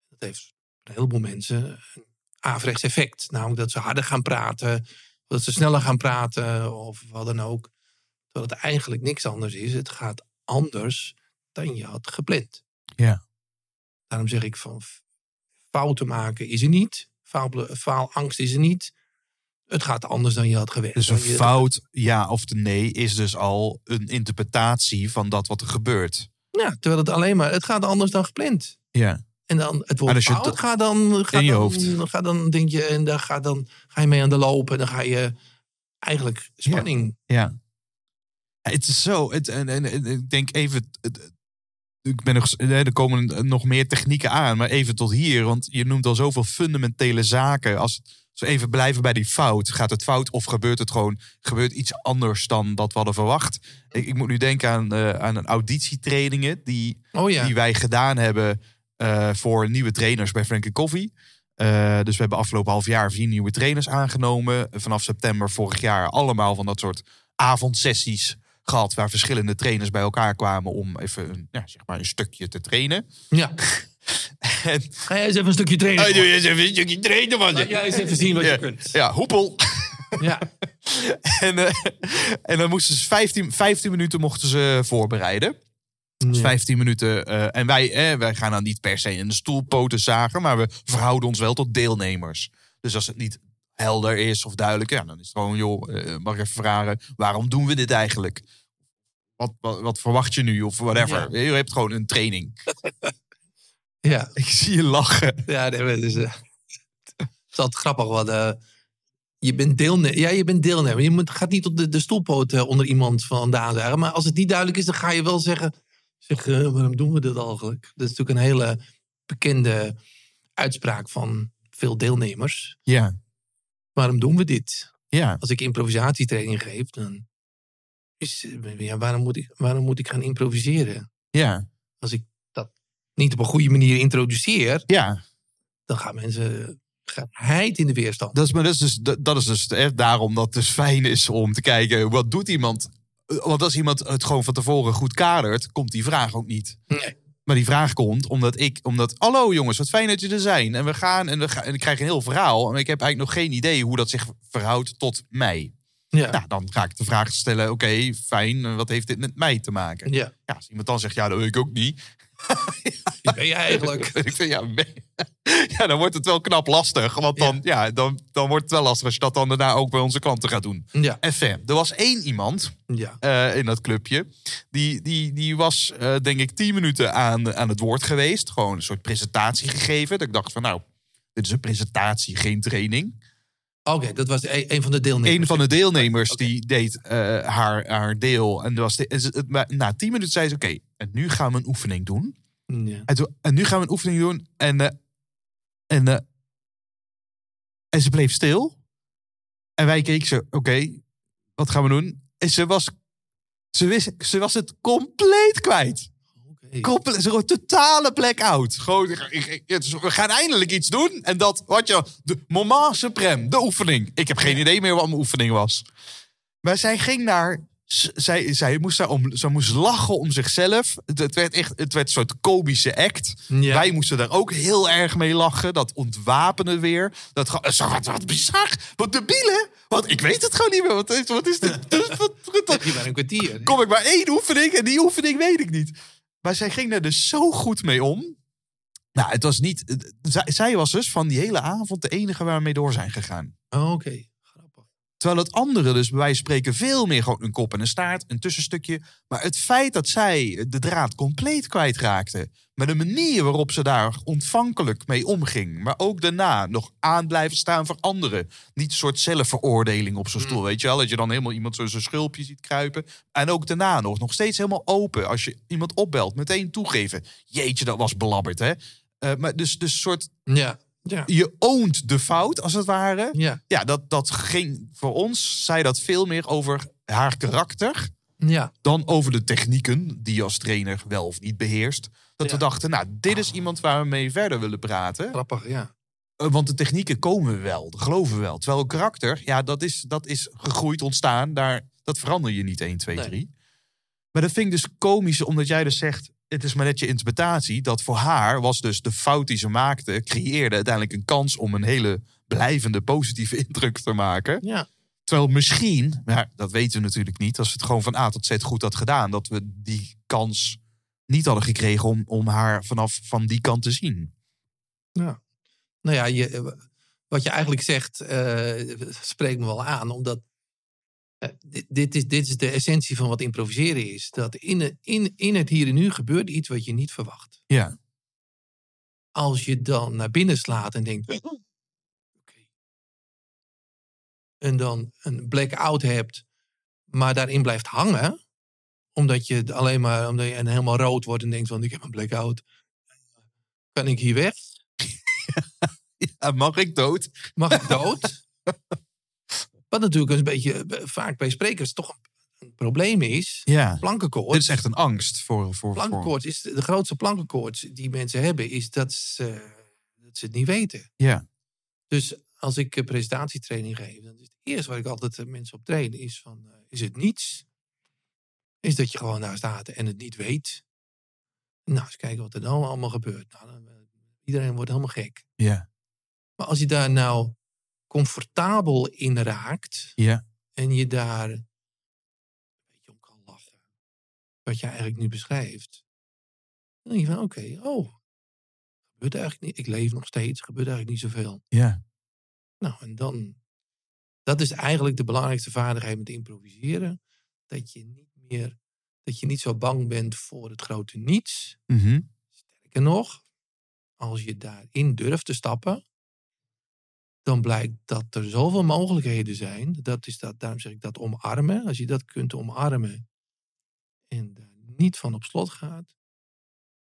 Speaker 1: Dat heeft voor een heleboel mensen een averechts effect. Namelijk dat ze harder gaan praten, dat ze sneller gaan praten of wat dan ook. Terwijl het eigenlijk niks anders is. Het gaat anders dan je had gepland.
Speaker 2: Ja.
Speaker 1: Daarom zeg ik van f- fouten maken is er niet. Faal, faalangst is er niet. Het gaat anders dan je had gewenst.
Speaker 2: Dus een
Speaker 1: Dan je-
Speaker 2: fout, ja of de nee, is dus al een interpretatie van dat wat er gebeurt.
Speaker 1: Ja, terwijl het alleen maar, het gaat anders dan gepland.
Speaker 2: Ja.
Speaker 1: En dan het
Speaker 2: Maar
Speaker 1: woord
Speaker 2: als Ah, dus je
Speaker 1: fout
Speaker 2: dat-
Speaker 1: gaat dan... Gaat
Speaker 2: in je
Speaker 1: dan,
Speaker 2: hoofd.
Speaker 1: Gaat dan, denk je, en daar gaat dan ga je mee aan de loop. En dan ga je eigenlijk spanning...
Speaker 2: Ja. Het is zo. Het, en, en, en ik denk even. het- ik ben nog, eh, er komen nog meer technieken aan, maar even tot hier. Want je noemt al zoveel fundamentele zaken. Als, als we even blijven bij die fout. Gaat het fout of gebeurt het gewoon gebeurt iets anders dan dat we hadden verwacht? Ik, ik moet nu denken aan, eh, aan een auditietrainingen die
Speaker 1: Oh ja,
Speaker 2: die wij gedaan hebben eh, voor nieuwe trainers bij Frankie Coffee. Eh, dus we hebben afgelopen half jaar vier nieuwe trainers aangenomen. Vanaf september vorig jaar allemaal van dat soort avondsessies gehad. Waar verschillende trainers bij elkaar kwamen om even een, ja, zeg maar een stukje te trainen.
Speaker 1: ja.
Speaker 2: En,
Speaker 1: Ga jij eens even een stukje trainen.
Speaker 2: doe eens Oh, even een stukje trainen van
Speaker 1: Laat jij eens even zien wat
Speaker 2: Ja.
Speaker 1: je kunt. Ja.
Speaker 2: Ja, hoepel. En, eh, en dan moesten ze 15, 15 minuten mochten ze voorbereiden. Dus 15 minuten. eh, en wij, eh, wij gaan dan niet per se in de stoelpoten zagen, maar we verhouden ons wel tot deelnemers. Dus als het niet helder is of duidelijk, ja, dan is het gewoon, joh, eh, mag ik even vragen, waarom doen we dit eigenlijk? Wat, wat, wat verwacht je nu of whatever? Je hebt gewoon een training.
Speaker 1: Ja,
Speaker 2: Ik zie je lachen.
Speaker 1: ja nee, maar het is, eh, het is altijd grappig. Want, eh, je bent deelnemer. Ja, je bent deelnemer. Je moet, gaat niet op de, de stoelpoot eh, onder iemand vandaan zeggen. Maar als het niet duidelijk is, dan ga je wel zeggen... Zeg, eh, waarom doen we dit eigenlijk? Dat is natuurlijk een hele bekende uitspraak van veel deelnemers.
Speaker 2: Ja,
Speaker 1: waarom doen we dit?
Speaker 2: ja,
Speaker 1: Als ik improvisatietraining geef, dan is eh, ja, waarom, moet ik, waarom moet ik gaan improviseren?
Speaker 2: ja,
Speaker 1: Als ik dat niet op een goede manier introduceer,
Speaker 2: ja.
Speaker 1: dan gaan mensen gaan heid in de weerstand.
Speaker 2: dus Dat is, maar dat is dus, dat, dat is dus hè, daarom dat het dus fijn is om te kijken wat doet iemand Want als iemand het gewoon van tevoren goed kadert, komt die vraag ook niet.
Speaker 1: Nee.
Speaker 2: Maar die vraag komt omdat ik, omdat, hallo jongens, wat fijn dat je er zijn. En we gaan en, we gaan, en ik krijg een heel verhaal. En ik heb eigenlijk nog geen idee hoe dat zich verhoudt tot mij.
Speaker 1: Ja.
Speaker 2: Nou, dan ga ik de vraag stellen, oké, fijn, eh, wat heeft dit met mij te maken?
Speaker 1: ja.
Speaker 2: Ja, als iemand dan zegt, ja, dat weet ik ook niet.
Speaker 1: Wie ben je eigenlijk?
Speaker 2: ik vind, ja, ben- ja, dan wordt het wel knap lastig. Want dan, ja. dan, dan wordt het wel lastig als je dat dan daarna ook bij onze klanten gaat doen.
Speaker 1: Ja.
Speaker 2: Enfin, er was één iemand
Speaker 1: Ja.
Speaker 2: eh, in dat clubje. Die, die, die was, eh, denk ik, tien minuten aan, aan het woord geweest. Gewoon een soort presentatie gegeven. Dat ik dacht van, nou, dit is een presentatie, geen training.
Speaker 1: Oké, dat was e- een van de deelnemers.
Speaker 2: Een van de deelnemers
Speaker 1: Oké.
Speaker 2: die deed eh, haar, haar deel. En, er was de- en ze- het- maar na tien minuten zei ze, oké, en nu gaan we een oefening doen.
Speaker 1: Ja.
Speaker 2: En, toen- en nu gaan we een oefening doen. En, eh, en, eh, en ze bleef stil. En wij keken ze, oké, wat gaan we doen? En ze was, ze, wist, ze was het compleet kwijt.
Speaker 1: Oké.
Speaker 2: Komple- ze een totale blackout. Gewoon, ik- ik- ik- het is- we gaan eindelijk iets doen. En dat, wat je, de moment suprême, de oefening. Ik heb geen idee meer wat mijn oefening was. Maar zij ging naar, z- zij, zij, moest, daar om, zij moest lachen om zichzelf. Het, het werd echt, het werd een soort komische act.
Speaker 1: Ja.
Speaker 2: Wij moesten daar ook heel erg mee lachen. Dat ontwapenen weer. Dat, ge- zo, wat, wat bizar, wat debielen. Want ik weet het gewoon niet meer. Wat is, wat is dit? Wat, wat, wat-
Speaker 1: Je bent een kwartier.
Speaker 2: kom ik maar één oefening en die oefening weet ik niet. Maar zij ging daar dus zo goed mee om. Nou, het was niet. het- zij, zij was dus van die hele avond de enige waar we mee door zijn gegaan.
Speaker 1: Oh, Oké. Grappig.
Speaker 2: Terwijl het andere dus bij wijze van spreken veel meer gewoon een kop en een staart, een tussenstukje. Maar het feit dat zij de draad compleet kwijtraakte. Maar de manier waarop ze daar ontvankelijk mee omging. Maar ook daarna nog aan blijven staan voor anderen. Niet een soort zelfveroordeling op zo'n stoel, weet je wel. Dat je dan helemaal iemand zo'n zo'n schulpje ziet kruipen. En ook daarna nog, nog steeds helemaal open. Als je iemand opbelt, meteen toegeven. Jeetje, dat was belabberd, hè. Eh, maar dus, dus soort,
Speaker 1: Ja. Ja.
Speaker 2: je oont de fout, als het ware
Speaker 1: Ja.
Speaker 2: ja, dat, dat ging voor ons, zei dat veel meer over haar karakter
Speaker 1: Ja.
Speaker 2: dan over de technieken die je als trainer wel of niet beheerst. Dat
Speaker 1: Ja.
Speaker 2: we dachten, nou, dit is iemand waar we mee verder willen praten.
Speaker 1: Grappig, ja.
Speaker 2: Eh, Want de technieken komen we wel, dat geloven we wel. Terwijl het karakter, ja, dat is, dat is gegroeid, ontstaan. Daar, dat verander je niet 1, 2,
Speaker 1: Nee.
Speaker 2: 3. Maar dat vind ik dus komisch, omdat jij dus zegt... het is maar net je interpretatie. Dat voor haar was dus de fout die ze maakte... creëerde uiteindelijk een kans om een hele blijvende positieve indruk te maken.
Speaker 1: Ja.
Speaker 2: Terwijl misschien, maar dat weten we natuurlijk niet... als we het gewoon van A tot Z goed had gedaan... dat we die kans niet hadden gekregen om, om haar vanaf van die kant te zien.
Speaker 1: Nou ja, je, wat je eigenlijk zegt eh, spreekt me wel aan, omdat eh, dit, dit, is, dit is de essentie van wat improviseren is. Dat in, in, in het hier en nu gebeurt iets wat je niet verwacht.
Speaker 2: Ja.
Speaker 1: Als je dan naar binnen slaat en denkt. "Oké." En dan een blackout hebt, maar daarin blijft hangen, omdat je het alleen maar omdat je en helemaal rood wordt en denkt van ik heb een blackout. Kan ik hier weg?
Speaker 2: Ja, mag ik dood?
Speaker 1: mag ik dood? Wat natuurlijk een beetje eh, vaak bij sprekers toch een, een probleem is.
Speaker 2: Ja.
Speaker 1: Plankenkoorts.
Speaker 2: Dit is echt een angst voor... voor, voor
Speaker 1: plankenkoorts is de, de grootste plankenkoorts die mensen hebben, is dat ze, dat ze het niet weten.
Speaker 2: Ja.
Speaker 1: Dus als ik eh, presentatietraining geef, dan is het eerste waar ik altijd eh, mensen op train, is van, eh, is het niets? Is dat je gewoon daar staat en het niet weet? Nou, eens kijken wat er dan allemaal gebeurt. Nou, dan, eh, iedereen wordt helemaal gek.
Speaker 2: Ja.
Speaker 1: Maar als je daar nou comfortabel in raakt,
Speaker 2: Ja.
Speaker 1: en je daar een beetje om kan lachen, wat je eigenlijk nu beschrijft, dan denk je van, oké, oh, gebeurt eigenlijk niet. Ik leef nog steeds, gebeurt eigenlijk niet zoveel.
Speaker 2: Ja.
Speaker 1: Nou, en dan, dat is eigenlijk de belangrijkste vaardigheid met improviseren. Dat je niet meer, dat je niet zo bang bent voor het grote niets.
Speaker 2: Mhm.
Speaker 1: Sterker nog, als je daarin durft te stappen, dan blijkt dat er zoveel mogelijkheden zijn. Dat is dat, daarom zeg ik dat omarmen. Als je dat kunt omarmen en daar niet van op slot gaat,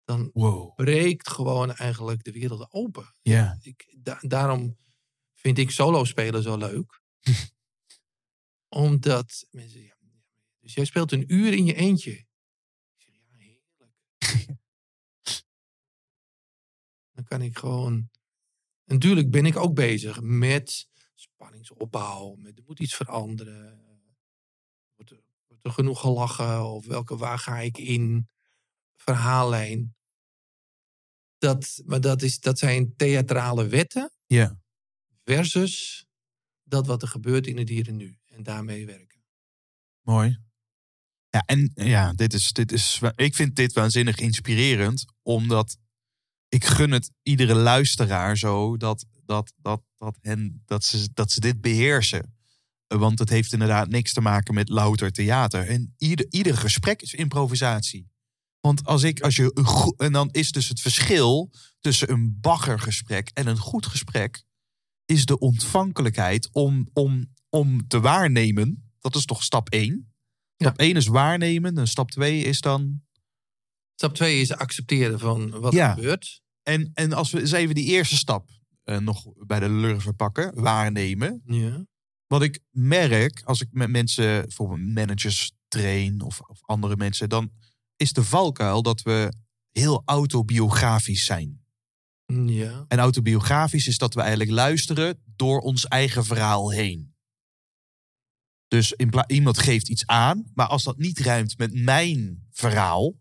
Speaker 1: dan
Speaker 2: Wow.
Speaker 1: breekt gewoon eigenlijk de wereld open.
Speaker 2: Ja.
Speaker 1: Ik, da- daarom vind ik solo spelen zo leuk. Omdat mensen zeggen, ja, dus jij speelt een uur in je eentje. Ik zeg, ja, heerlijk. Dan kan ik gewoon... Natuurlijk ben ik ook bezig met spanningsopbouw. Met, er moet iets veranderen. Er wordt, er wordt er genoeg gelachen? Of welke, waar ga ik in? Verhaallijn. Dat, maar dat, is, dat zijn theatrale wetten.
Speaker 2: Ja.
Speaker 1: Versus dat wat er gebeurt in de dieren nu. En daarmee werken.
Speaker 2: Mooi. Ja, en ja, dit is, dit is, wa- ik vind dit waanzinnig inspirerend, omdat ik gun het iedere luisteraar zo dat, dat, dat, dat, hen, dat, ze, dat ze dit beheersen. Eh, Want het heeft inderdaad niks te maken met louter theater. En ieder, ieder gesprek is improvisatie. Want als ik, als je, een go- en dan is dus het verschil tussen een baggergesprek en een goed gesprek, is de ontvankelijkheid om, om, om te waarnemen. Dat is toch stap één? Stap 1 is waarnemen. En stap 2 is dan.
Speaker 1: Stap twee is accepteren van wat
Speaker 2: Ja.
Speaker 1: er gebeurt.
Speaker 2: En, en als we eens even die eerste stap eh, nog bij de lurven pakken, waarnemen.
Speaker 1: Ja.
Speaker 2: Wat ik merk als ik met mensen, bijvoorbeeld managers train of, of andere mensen, dan is de valkuil dat we heel autobiografisch zijn.
Speaker 1: Ja.
Speaker 2: En autobiografisch is dat we eigenlijk luisteren door ons eigen verhaal heen. Dus in pla- iemand geeft iets aan, maar als dat niet ruimt met mijn verhaal,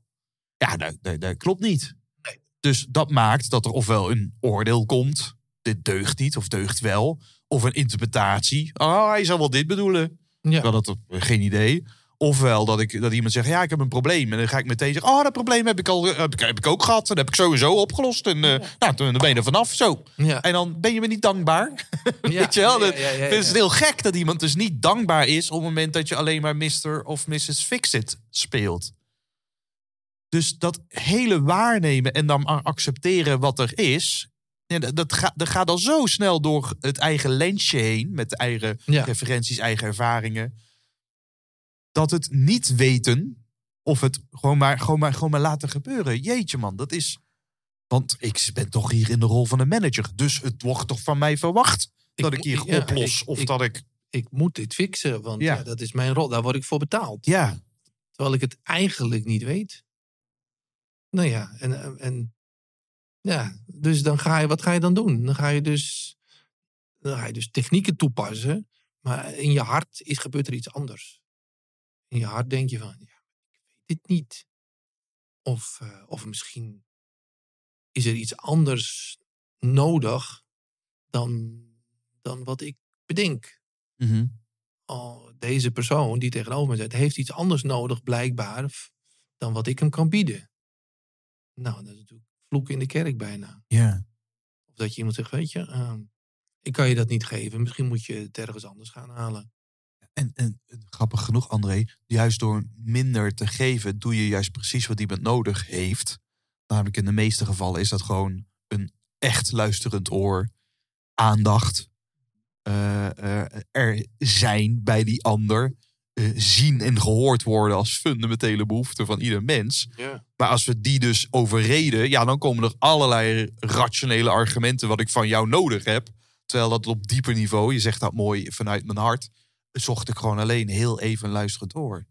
Speaker 2: ja, dat, dat, dat klopt niet. Dus dat maakt dat er ofwel een oordeel komt, dit deugt niet of deugt wel, of een interpretatie, oh, hij zal wel dit bedoelen.
Speaker 1: Ja.
Speaker 2: Ik had dat op- geen idee. Ofwel dat, ik, dat iemand zegt, ja, ik heb een probleem. En dan ga ik meteen zeggen, oh, dat probleem heb ik, al, heb ik, heb ik ook gehad. Dat heb ik sowieso opgelost. En eh, nou, toen dan ben je er vanaf, zo.
Speaker 1: Ja.
Speaker 2: En dan ben je me niet dankbaar.
Speaker 1: Ja.
Speaker 2: Weet je wel?
Speaker 1: Ja,
Speaker 2: Dat-
Speaker 1: ja, ja, ja,
Speaker 2: Het is heel gek dat iemand dus niet dankbaar is... op het moment dat je alleen maar Mr. of Mrs. Fixit speelt. Dus dat hele waarnemen en dan a- accepteren wat er is... ja, dat, dat, gaat, dat gaat al zo snel door het eigen lensje heen... met de eigen
Speaker 1: Ja.
Speaker 2: referenties, eigen ervaringen. Dat het niet weten of het gewoon maar, gewoon, maar, gewoon maar laten gebeuren. Jeetje man, dat is... Want ik ben toch hier in de rol van een manager. Dus het wordt toch van mij verwacht dat ik
Speaker 1: mo-
Speaker 2: hier
Speaker 1: ja,
Speaker 2: oplos.
Speaker 1: ik-
Speaker 2: of
Speaker 1: ik-
Speaker 2: dat ik...
Speaker 1: ik moet dit fixen, want
Speaker 2: Ja.
Speaker 1: ja. dat is mijn rol. Daar word ik voor betaald.
Speaker 2: Ja,
Speaker 1: Terwijl ik het eigenlijk niet weet. Nou ja, en, en ja, dus dan ga je, wat ga je dan doen? Dan ga je dus, dan ga je dus technieken toepassen, maar in je hart is, gebeurt er iets anders. In je hart denk je van, ja, ik weet dit niet. Of, eh, of misschien is er iets anders nodig dan, dan wat ik bedenk
Speaker 2: Mhm.
Speaker 1: oh, deze persoon die tegenover me zit, heeft iets anders nodig blijkbaar f- dan wat ik hem kan bieden. Nou, dat is natuurlijk vloek in de kerk bijna.
Speaker 2: ja.
Speaker 1: Of dat je iemand zegt, weet je, ehm, ik kan je dat niet geven, misschien moet je het ergens anders gaan halen.
Speaker 2: En, en, en grappig genoeg, André, juist door minder te geven, doe je juist precies wat iemand nodig heeft. Namelijk in de meeste gevallen is dat gewoon een echt luisterend oor, aandacht, eh, eh, er zijn bij die ander, eh, zien en gehoord worden als fundamentele behoefte van ieder mens.
Speaker 1: Ja.
Speaker 2: Maar als we die dus overreden, ja, dan komen er allerlei rationele argumenten wat ik van jou nodig heb. Terwijl dat op dieper niveau, je zegt dat mooi vanuit mijn hart, zocht ik gewoon alleen heel even een luisterend oor.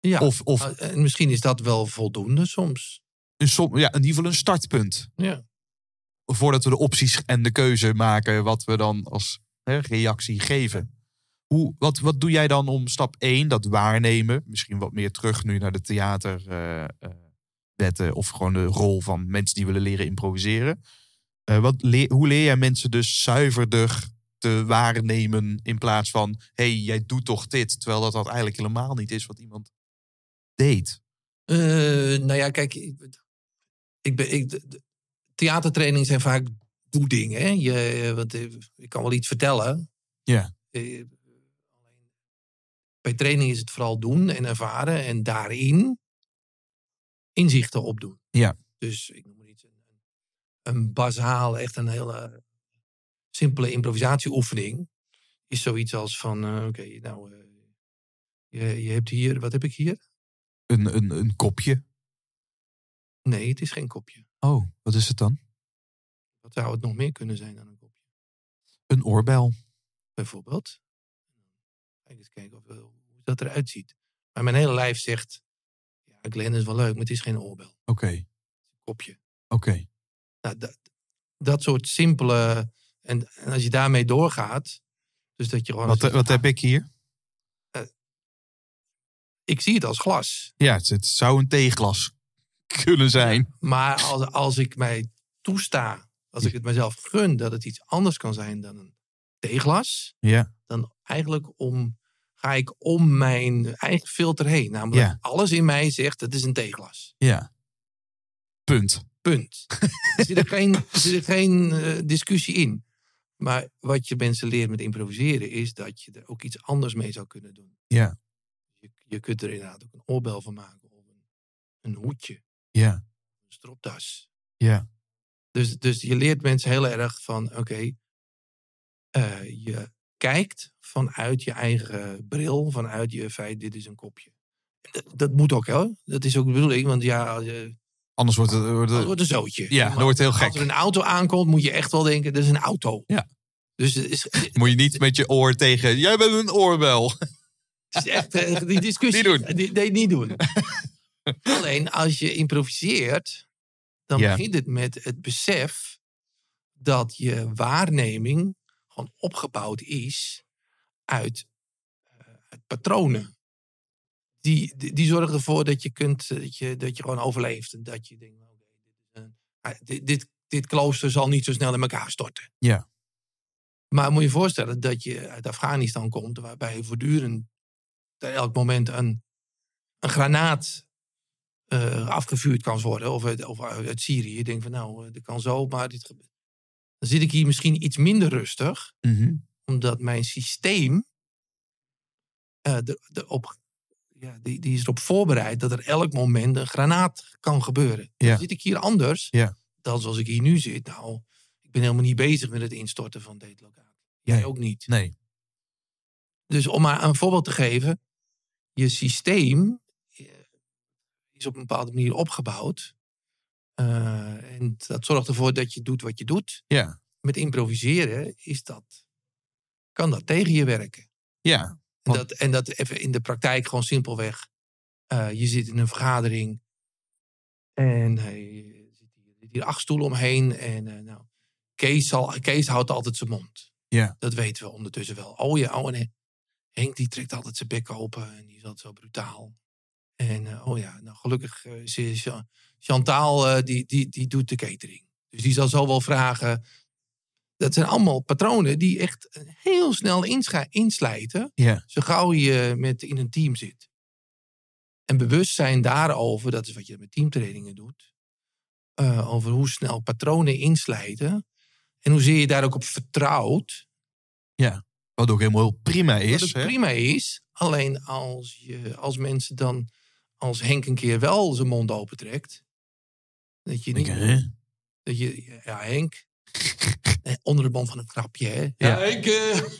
Speaker 1: ja.
Speaker 2: Of, of
Speaker 1: Ah, en misschien is dat wel voldoende soms.
Speaker 2: een som, ja, in ieder geval een startpunt.
Speaker 1: Ja.
Speaker 2: Voordat we de opties en de keuze maken wat we dan als hè, reactie geven. Hoe, wat, wat doe jij dan om stap 1, dat waarnemen, misschien wat meer terug nu naar de theaterwetten of gewoon de rol van mensen die willen leren improviseren. Eh, wat leer- hoe leer jij mensen dus zuiverder te waarnemen in plaats van hey, jij doet toch dit, terwijl dat, dat eigenlijk helemaal niet is wat iemand deed.
Speaker 1: Eh, nou ja, kijk, ik, ik ben, ik, de- de- theatertrainingen zijn vaak doedingen. Hè? Je, eh, want, eh, ik kan wel iets vertellen.
Speaker 2: Ja.
Speaker 1: Eh, bij training is het vooral doen en ervaren en daarin inzichten opdoen.
Speaker 2: Ja.
Speaker 1: Dus ik noem maar iets. Een, een bazaal, echt een hele simpele improvisatieoefening is zoiets als van, eh, oké, nou, eh, je, je hebt hier, wat heb ik hier?
Speaker 2: Een, een, een kopje.
Speaker 1: Nee, het is geen kopje.
Speaker 2: Oh, wat is het dan?
Speaker 1: Wat zou het nog meer kunnen zijn dan een kopje?
Speaker 2: Een oorbel.
Speaker 1: Bijvoorbeeld. Kijk eens kijken of, eh, hoe dat eruit ziet. Maar mijn hele lijf zegt, ja, Glenn is wel leuk, maar het is geen oorbel. Het
Speaker 2: Oké,
Speaker 1: is een kopje.
Speaker 2: oké.
Speaker 1: Nou, dat, dat soort simpele... En, en als je daarmee doorgaat, dus dat je gewoon...
Speaker 2: eh, Wat,
Speaker 1: zegt,
Speaker 2: wat
Speaker 1: ah,
Speaker 2: heb ik hier?
Speaker 1: ik zie het als glas.
Speaker 2: Ja, het, het zou een theeglas kunnen zijn.
Speaker 1: Maar als, als ik mij toesta, als ik het mezelf gun dat het iets anders kan zijn dan een theeglas,
Speaker 2: Ja.
Speaker 1: dan eigenlijk om, ga ik om mijn eigen filter heen. Namelijk,
Speaker 2: Ja.
Speaker 1: alles in mij zegt het is een theeglas.
Speaker 2: Ja. Punt.
Speaker 1: Punt. er zit er geen, er zit er geen eh, discussie in. Maar wat je mensen leert met improviseren is dat je er ook iets anders mee zou kunnen doen.
Speaker 2: Ja.
Speaker 1: Je, je kunt er inderdaad ook een oorbel van maken. Of een, een hoedje, een
Speaker 2: Ja.
Speaker 1: stropdas.
Speaker 2: Ja.
Speaker 1: Dus, dus je leert mensen heel erg van, oké, eh, je kijkt vanuit je eigen bril, vanuit je feit, dit is een kopje. Dat, dat moet ook, hè? Dat is ook de bedoeling, want ja, eh,
Speaker 2: Anders wordt het... wordt het-
Speaker 1: het wordt een zootje.
Speaker 2: ja,
Speaker 1: Maar
Speaker 2: dat wordt heel gek.
Speaker 1: Als er een auto aankomt, moet je echt wel denken, dit is een auto.
Speaker 2: Ja.
Speaker 1: Dus het is, het
Speaker 2: Moet je niet met je oor tegen... Jij bent een oorbel.
Speaker 1: is echt, eh, die discussie,
Speaker 2: Niet doen.
Speaker 1: Die, die niet doen. Alleen als je improviseert, dan
Speaker 2: Ja.
Speaker 1: begint het met het besef dat je waarneming gewoon opgebouwd is uit, eh, uit patronen. Die, die, die zorgen ervoor dat je, kunt, eh, dat, je, dat je gewoon overleeft. En dat je denkt, nou, oké, dit, is een- ah, dit, dit, dit klooster zal niet zo snel in elkaar storten.
Speaker 2: Ja.
Speaker 1: Maar moet je je voorstellen dat je uit Afghanistan komt, waarbij je voortdurend ter elk moment een, een granaat eh, afgevuurd kan worden. Of uit, of uit Syrië. Je denkt van nou, eh, dat kan zo, maar dit gebe- Dan zit ik hier misschien iets minder rustig. Omdat mijn systeem eh, de, de op, ja, die, die is erop voorbereid dat er elk moment een granaat kan gebeuren.
Speaker 2: Ja.
Speaker 1: Dan zit ik hier anders
Speaker 2: Ja.
Speaker 1: dan zoals ik hier nu zit. Nou, ik ben helemaal niet bezig met het instorten van deze locatie. Jij
Speaker 2: Nee.
Speaker 1: ook niet.
Speaker 2: Nee.
Speaker 1: Dus om maar een voorbeeld te geven. Je systeem eh, is op een bepaalde manier opgebouwd. Eh, en dat zorgt ervoor dat je doet wat je doet.
Speaker 2: Ja.
Speaker 1: Met improviseren is dat, kan dat tegen je werken.
Speaker 2: Ja.
Speaker 1: En
Speaker 2: Want-
Speaker 1: dat, en dat even in de praktijk gewoon simpelweg. eh, je zit in een vergadering. En eh, je zit hier- er zitten hier acht stoelen omheen. En eh, nou, Kees, zal, Kees houdt altijd zijn mond.
Speaker 2: Ja.
Speaker 1: Dat weten we ondertussen wel. Oh ja, oh en Hen- Henk die trekt altijd zijn bek open. En die is altijd zo brutaal. En eh, oh ja, nou gelukkig eh, is is Cha- Chantaal eh, die, die, die doet de catering. Dus die zal zo wel vragen. Dat zijn allemaal patronen die echt eh, heel snel inscha- inslijten zo gauw je eh, met, in een team zit. En bewustzijn daarover, dat is wat je met teamtrainingen doet. eh, over hoe snel patronen inslijten. En hoezeer je daar ook op vertrouwt.
Speaker 2: Wat ook helemaal prima is.
Speaker 1: dat het
Speaker 2: hè?
Speaker 1: prima is. Alleen als, je, als mensen dan, als Henk een keer wel zijn mond opentrekt. Dat je
Speaker 2: Denk
Speaker 1: niet.
Speaker 2: je, hè?
Speaker 1: Dat je, ja, Henk. Eh, Onder de band van het grapje, hè? Ja,
Speaker 2: Ja.
Speaker 1: Henk. eh,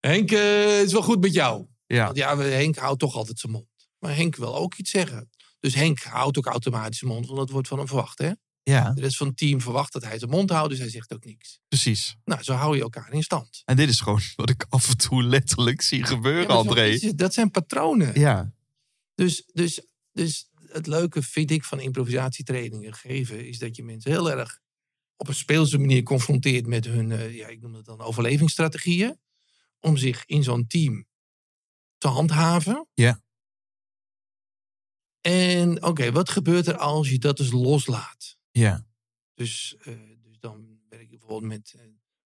Speaker 1: Henk, eh, het is wel goed met jou.
Speaker 2: Ja.
Speaker 1: Want ja, we- Henk houdt toch altijd zijn mond. Maar Henk wil ook iets zeggen. Dus Henk houdt ook automatisch zijn mond, want dat wordt van hem verwacht. Hè?
Speaker 2: Ja,
Speaker 1: De rest van het team verwacht dat hij zijn mond houdt, dus hij zegt ook niks.
Speaker 2: precies.
Speaker 1: Nou, zo hou je elkaar in stand.
Speaker 2: En dit is gewoon wat ik af en toe letterlijk zie
Speaker 1: Ja,
Speaker 2: gebeuren,
Speaker 1: maar zo is
Speaker 2: André.
Speaker 1: het. dat zijn patronen.
Speaker 2: Ja.
Speaker 1: Dus, dus, dus het leuke vind ik van improvisatietrainingen geven, is dat je mensen heel erg op een speelse manier confronteert met hun, eh, ja, ik noem dat dan overlevingsstrategieën, om zich in zo'n team te handhaven.
Speaker 2: Ja.
Speaker 1: En oké, wat gebeurt er als je dat dus loslaat?
Speaker 2: Ja.
Speaker 1: Dus, eh, dus dan werk ik bijvoorbeeld met, eh,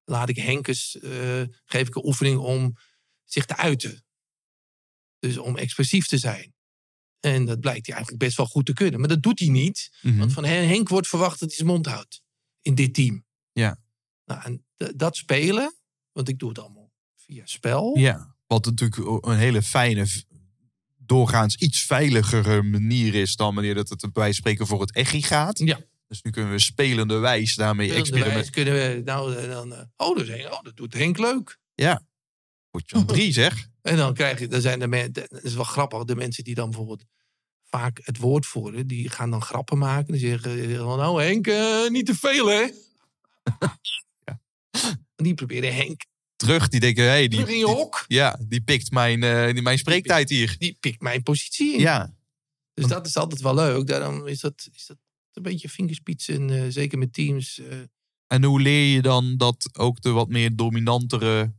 Speaker 1: laat ik Henkes, eh, geef ik een oefening om zich te uiten. Dus om expressief te zijn. En dat blijkt hij eigenlijk best wel goed te kunnen. Maar dat doet hij niet.
Speaker 2: Mhm.
Speaker 1: Want van Hen- Henk wordt verwacht dat hij zijn mond houdt. In dit team.
Speaker 2: Ja.
Speaker 1: Nou, en d- dat spelen, want ik doe het allemaal via spel.
Speaker 2: Ja, wat natuurlijk een hele fijne, v- doorgaans iets veiligere manier is dan wanneer dat het bij wijze van spreken voor het echi gaat.
Speaker 1: Ja.
Speaker 2: Dus nu kunnen we spelende wijs daarmee
Speaker 1: Experimenteel
Speaker 2: experimenteren.
Speaker 1: kunnen we nou eh, dan. eh, Oh, dat, is Henk- oh, dat doet Henk leuk.
Speaker 2: Potje van drie zeg.
Speaker 1: En dan krijg je, dan zijn de men- dat is wel grappig, de mensen die dan bijvoorbeeld vaak het woord voeren, die gaan dan grappen maken. Die zeggen, eh, van, nou Henk, eh, niet te veel hè. Die proberen Henk
Speaker 2: Terug, die denken, hé, hey, die,
Speaker 1: terug in je
Speaker 2: die,
Speaker 1: hok.
Speaker 2: ja, die pikt mijn, eh, die- mijn spreektijd hier.
Speaker 1: Die pikt mijn positie in.
Speaker 2: Ja,
Speaker 1: Dus dat is altijd wel leuk. Daarom is dat, is dat een beetje vingerspitsen, eh, zeker met teams. eh.
Speaker 2: en hoe leer je dan dat ook de wat meer dominantere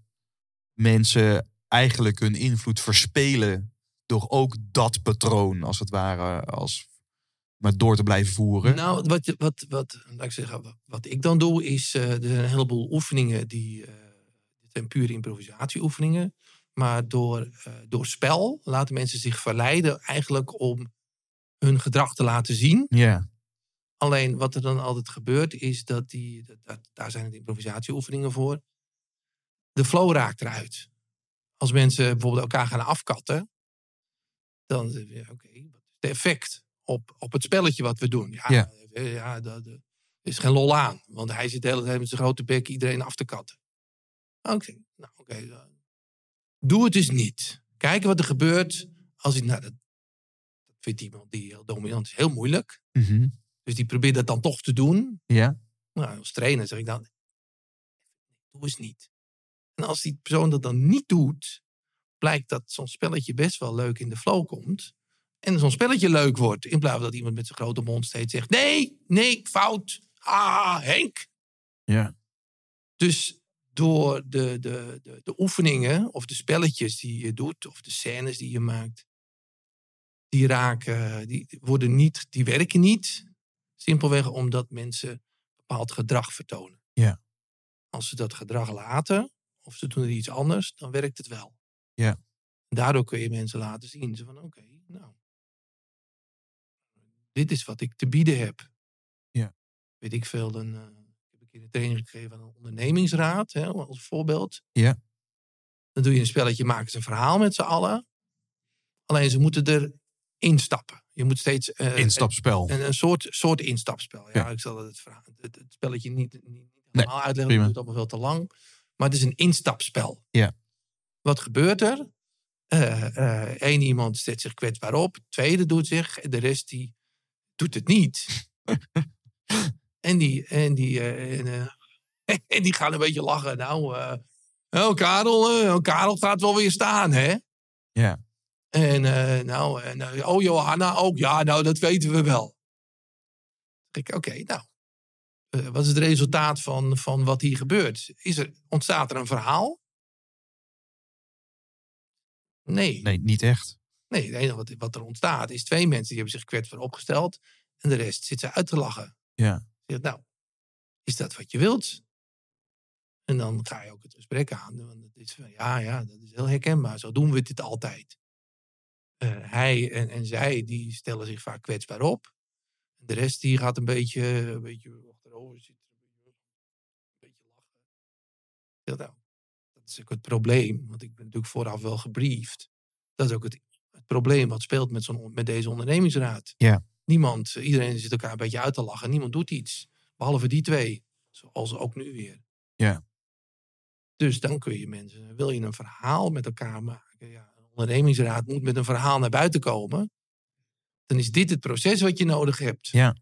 Speaker 2: mensen eigenlijk hun invloed verspelen door ook dat patroon, als het ware, als, maar door te blijven voeren.
Speaker 1: Nou, wat, wat, wat, laat ik zeggen, wat, wat ik dan doe is, eh, er zijn een heleboel oefeningen die, eh het zijn pure improvisatieoefeningen. Maar door, eh, door spel laten mensen zich verleiden eigenlijk om hun gedrag te laten zien.
Speaker 2: ja.
Speaker 1: Alleen wat er dan altijd gebeurt is dat die, dat- dat- daar zijn het improvisatieoefeningen voor, de flow raakt eruit. Als mensen bijvoorbeeld elkaar gaan afkatten, dan zeg je, ja, oké, wat is de effect op, op het spelletje wat we doen? Ja,
Speaker 2: Ja.
Speaker 1: eh, ja dat, eh, is geen lol aan, want hij zit de hele tijd met zijn grote bek iedereen af te katten. Oké, nou oké. dan- Doe het dus niet. Kijken wat er gebeurt als je, nou dat, dat vindt iemand die heel dominant is, heel moeilijk.
Speaker 2: Mhm.
Speaker 1: Dus die probeert dat dan toch te doen.
Speaker 2: Ja.
Speaker 1: Nou, als trainer zeg ik dan, doe eens niet. En als die persoon dat dan niet doet, blijkt dat zo'n spelletje best wel leuk in de flow komt. En zo'n spelletje leuk wordt, in plaats van dat iemand met zijn grote mond steeds zegt, nee, nee, fout, ah, Henk.
Speaker 2: Ja.
Speaker 1: Dus door de, de, de, de oefeningen of de spelletjes die je doet, of de scènes die je maakt, die raken, die worden niet, die werken niet. Simpelweg omdat mensen bepaald gedrag vertonen.
Speaker 2: Ja.
Speaker 1: Als ze dat gedrag laten, of ze doen er iets anders, dan werkt het wel.
Speaker 2: Ja.
Speaker 1: En daardoor kun je mensen laten zien. Ze van, oké, nou. Dit is wat ik te bieden heb.
Speaker 2: Ja.
Speaker 1: Weet ik veel, dan eh, ik heb ik een training gegeven aan een ondernemingsraad, hè, als voorbeeld.
Speaker 2: Ja.
Speaker 1: Dan doe je een spelletje, maken ze een verhaal met z'n allen. Alleen ze moeten er instappen. Je moet steeds eh,
Speaker 2: Instapspel.
Speaker 1: een, een soort, soort instapspel. Ja,
Speaker 2: Ja.
Speaker 1: Ik zal het, verhaal- het, het spelletje niet, niet, niet
Speaker 2: Nee,
Speaker 1: helemaal uitleggen.
Speaker 2: prima.
Speaker 1: Dat duurt allemaal veel te lang. Maar het is een instapspel.
Speaker 2: Ja.
Speaker 1: Wat gebeurt er? Eén iemand zet zich kwetsbaar op. Tweede doet zich. en De rest die doet het niet. en, die, en, die, eh, en, eh, en die gaan een beetje lachen. Nou, eh, oh, Karel, eh, oh, Karel gaat wel weer staan, hè?
Speaker 2: Ja.
Speaker 1: En eh, nou, en, eh, oh Johanna ook. Ja, nou, dat weten we wel. Zeg ik, oké, nou. eh, wat is het resultaat van, van wat hier gebeurt? Is er, ontstaat er een verhaal? Nee.
Speaker 2: Nee, niet echt.
Speaker 1: Nee, het enige wat, wat er ontstaat is twee mensen die hebben zich kwetsbaar opgesteld. En de rest zit ze uit te lachen.
Speaker 2: Ja.
Speaker 1: Zegt, nou, is dat wat je wilt? En dan ga je ook het gesprek aan. Want het is van, ja, ja, dat is heel herkenbaar. Zo doen we dit altijd. Eh, hij en, en zij, die stellen zich vaak kwetsbaar op. De rest, die gaat een beetje, een beetje achterover zitten. Een beetje lachen. Zegt, nou, dat is ook het probleem. Want ik ben natuurlijk vooraf wel gebriefd. Dat is ook het, het probleem wat speelt met, zo'n, met deze ondernemingsraad.
Speaker 2: Ja.
Speaker 1: Niemand, iedereen zit elkaar een beetje uit te lachen. Niemand doet iets. Behalve die twee. Zoals ook nu weer.
Speaker 2: Ja.
Speaker 1: Dus dan kun je mensen, wil je een verhaal met elkaar maken? Ja, een ondernemingsraad moet met een verhaal naar buiten komen. Dan is dit het proces wat je nodig hebt.
Speaker 2: Ja.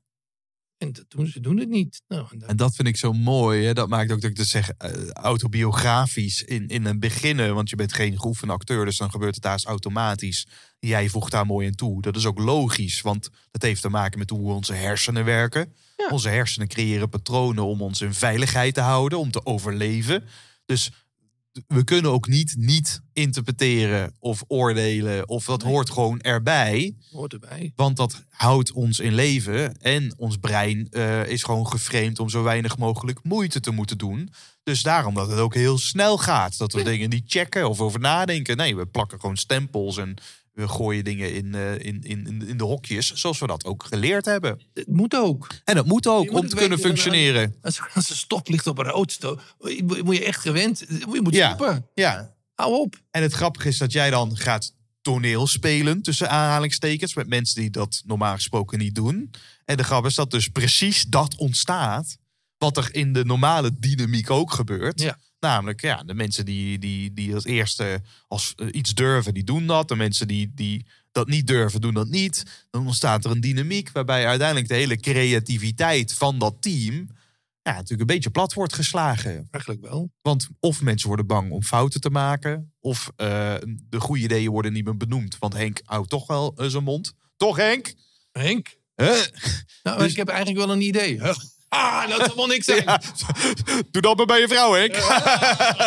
Speaker 1: En dat doen ze doen het niet. Nou, en dan-
Speaker 2: En dat vind ik zo mooi. Hè? Dat maakt ook dat ik dat zeg eh, autobiografisch in, in een beginnen. Want je bent geen geoefende acteur, dus dan gebeurt het haast automatisch. Jij voegt daar mooi aan toe. Dat is ook logisch, want dat heeft te maken met hoe onze hersenen werken.
Speaker 1: Ja.
Speaker 2: Onze hersenen creëren patronen om ons in veiligheid te houden, om te overleven. Dus we kunnen ook niet niet interpreteren of oordelen. Of dat
Speaker 1: Nee.
Speaker 2: hoort gewoon erbij.
Speaker 1: hoort erbij.
Speaker 2: Want dat houdt ons in leven. En ons brein eh, is gewoon geframed om zo weinig mogelijk moeite te moeten doen. Dus daarom dat het ook heel snel gaat. Dat we dingen niet checken of over nadenken. Nee, we plakken gewoon stempels en we gooien dingen in, eh, in, in, in- in de hokjes. Zoals we dat ook geleerd hebben.
Speaker 1: Het moet ook.
Speaker 2: En dat moet
Speaker 1: Je
Speaker 2: ook
Speaker 1: moet
Speaker 2: om
Speaker 1: het
Speaker 2: te kunnen
Speaker 1: weten,
Speaker 2: functioneren.
Speaker 1: Als, als een stoplicht op rood sto- moet moet je echt gewend. Je moet
Speaker 2: Ja.
Speaker 1: stoppen.
Speaker 2: Ja.
Speaker 1: Hou op.
Speaker 2: En het grappige is dat jij dan gaat toneelspelen tussen aanhalingstekens met mensen die dat normaal gesproken niet doen. En de grap is dat dus precies dat ontstaat wat er in de normale dynamiek ook gebeurt.
Speaker 1: Ja.
Speaker 2: Namelijk, ja, de mensen die, die, die als eerste als eh, iets durven, die doen dat. De mensen die, die dat niet durven, doen dat niet. Dan ontstaat er een dynamiek waarbij uiteindelijk de hele creativiteit van dat team ja, natuurlijk een beetje plat wordt geslagen.
Speaker 1: Eigenlijk wel.
Speaker 2: Want of mensen worden bang om fouten te maken, of eh, de goede ideeën worden niet meer benoemd. Want Henk houdt toch wel eh, zijn mond. Toch, Henk?
Speaker 1: Henk?
Speaker 2: Huh?
Speaker 1: Nou,
Speaker 2: Dus-
Speaker 1: ik heb eigenlijk wel een idee. Huh? Ah, dat zal wel niks zijn.
Speaker 2: Ja. Doe dat maar bij je vrouw, Henk.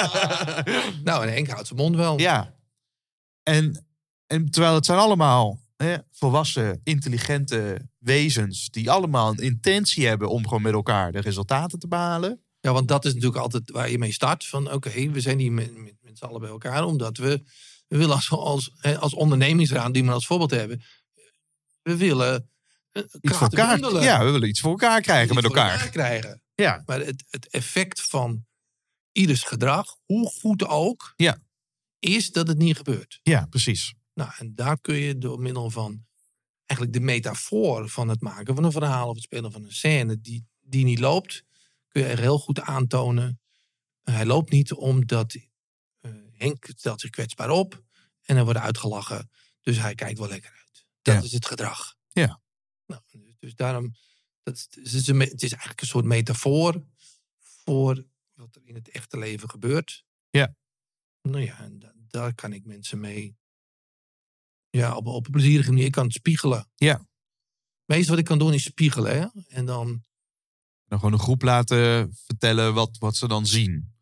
Speaker 1: Nou, en Henk houdt zijn mond wel.
Speaker 2: ja. En En terwijl het zijn allemaal hè, volwassen, intelligente wezens. die allemaal een intentie hebben om gewoon met elkaar de resultaten te behalen.
Speaker 1: Ja, want dat is natuurlijk altijd waar je mee start. Van oké, we zijn hier met, met, met z'n allen bij elkaar. Omdat we, we willen als, als, hè, als ondernemingsraad, die we als voorbeeld hebben. We willen eh,
Speaker 2: Iets voor
Speaker 1: krachten
Speaker 2: elkaar,
Speaker 1: bundelen.
Speaker 2: ja, we willen iets voor elkaar krijgen met
Speaker 1: Iets voor
Speaker 2: elkaar.
Speaker 1: krijgen.
Speaker 2: Ja.
Speaker 1: Maar het, het effect van ieders gedrag, hoe goed ook,
Speaker 2: Ja.
Speaker 1: is dat het niet gebeurt.
Speaker 2: Ja, precies.
Speaker 1: Nou, en daar kun je door middel van eigenlijk de metafoor van het maken van een verhaal of het spelen van een scène die, die niet loopt, kun je er heel goed aantonen. eh, Hij loopt niet omdat eh, Henk stelt zich kwetsbaar op en hij wordt uitgelachen. Dus hij kijkt wel lekker uit. Dat
Speaker 2: Ja.
Speaker 1: is het gedrag.
Speaker 2: Ja.
Speaker 1: Nou, dus daarom, dat is, het, is een, me- het is eigenlijk een soort metafoor voor wat er in het echte leven gebeurt.
Speaker 2: Ja.
Speaker 1: Nou ja, en da- daar kan ik mensen mee ja, op, op een plezierige manier. Ik kan het spiegelen.
Speaker 2: Ja.
Speaker 1: Het meeste wat ik kan doen is spiegelen. Hè? En dan
Speaker 2: Dan gewoon een groep laten vertellen wat, wat ze dan zien.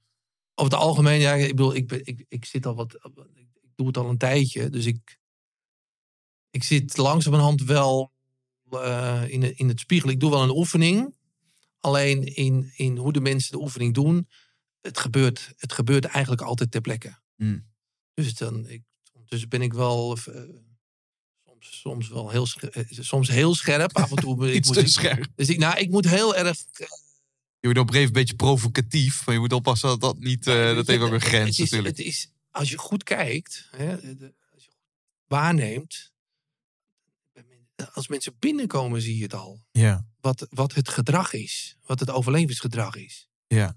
Speaker 1: over het algemeen, ja, ik bedoel, ik, ben- ik, ik zit al wat, ik doe het al een tijdje, dus ik, ik zit langzamerhand wel eh, in, het- in het spiegelen. Ik doe wel een oefening, alleen in, in hoe de mensen de oefening doen, het gebeurt, het gebeurt eigenlijk altijd ter plekke.
Speaker 2: Hmm.
Speaker 1: Dus dan, ik, ondertussen ben ik wel eh, soms, soms wel heel, sche- eh, soms heel scherp, af en toe ben ik-
Speaker 2: Iets
Speaker 1: moet
Speaker 2: te
Speaker 1: ik-
Speaker 2: scherp.
Speaker 1: Dus ik, nou, ik moet heel erg.
Speaker 2: Je wordt op een gegeven moment een beetje provocatief. Maar je moet oppassen dat dat niet... eh, dat heeft ook een grens
Speaker 1: het is,
Speaker 2: natuurlijk.
Speaker 1: Het is, als je goed kijkt, hè, de- als je goed waarneemt. Als mensen binnenkomen, zie je het al.
Speaker 2: Ja.
Speaker 1: Wat, wat het gedrag is. Wat het overlevingsgedrag is.
Speaker 2: Ja.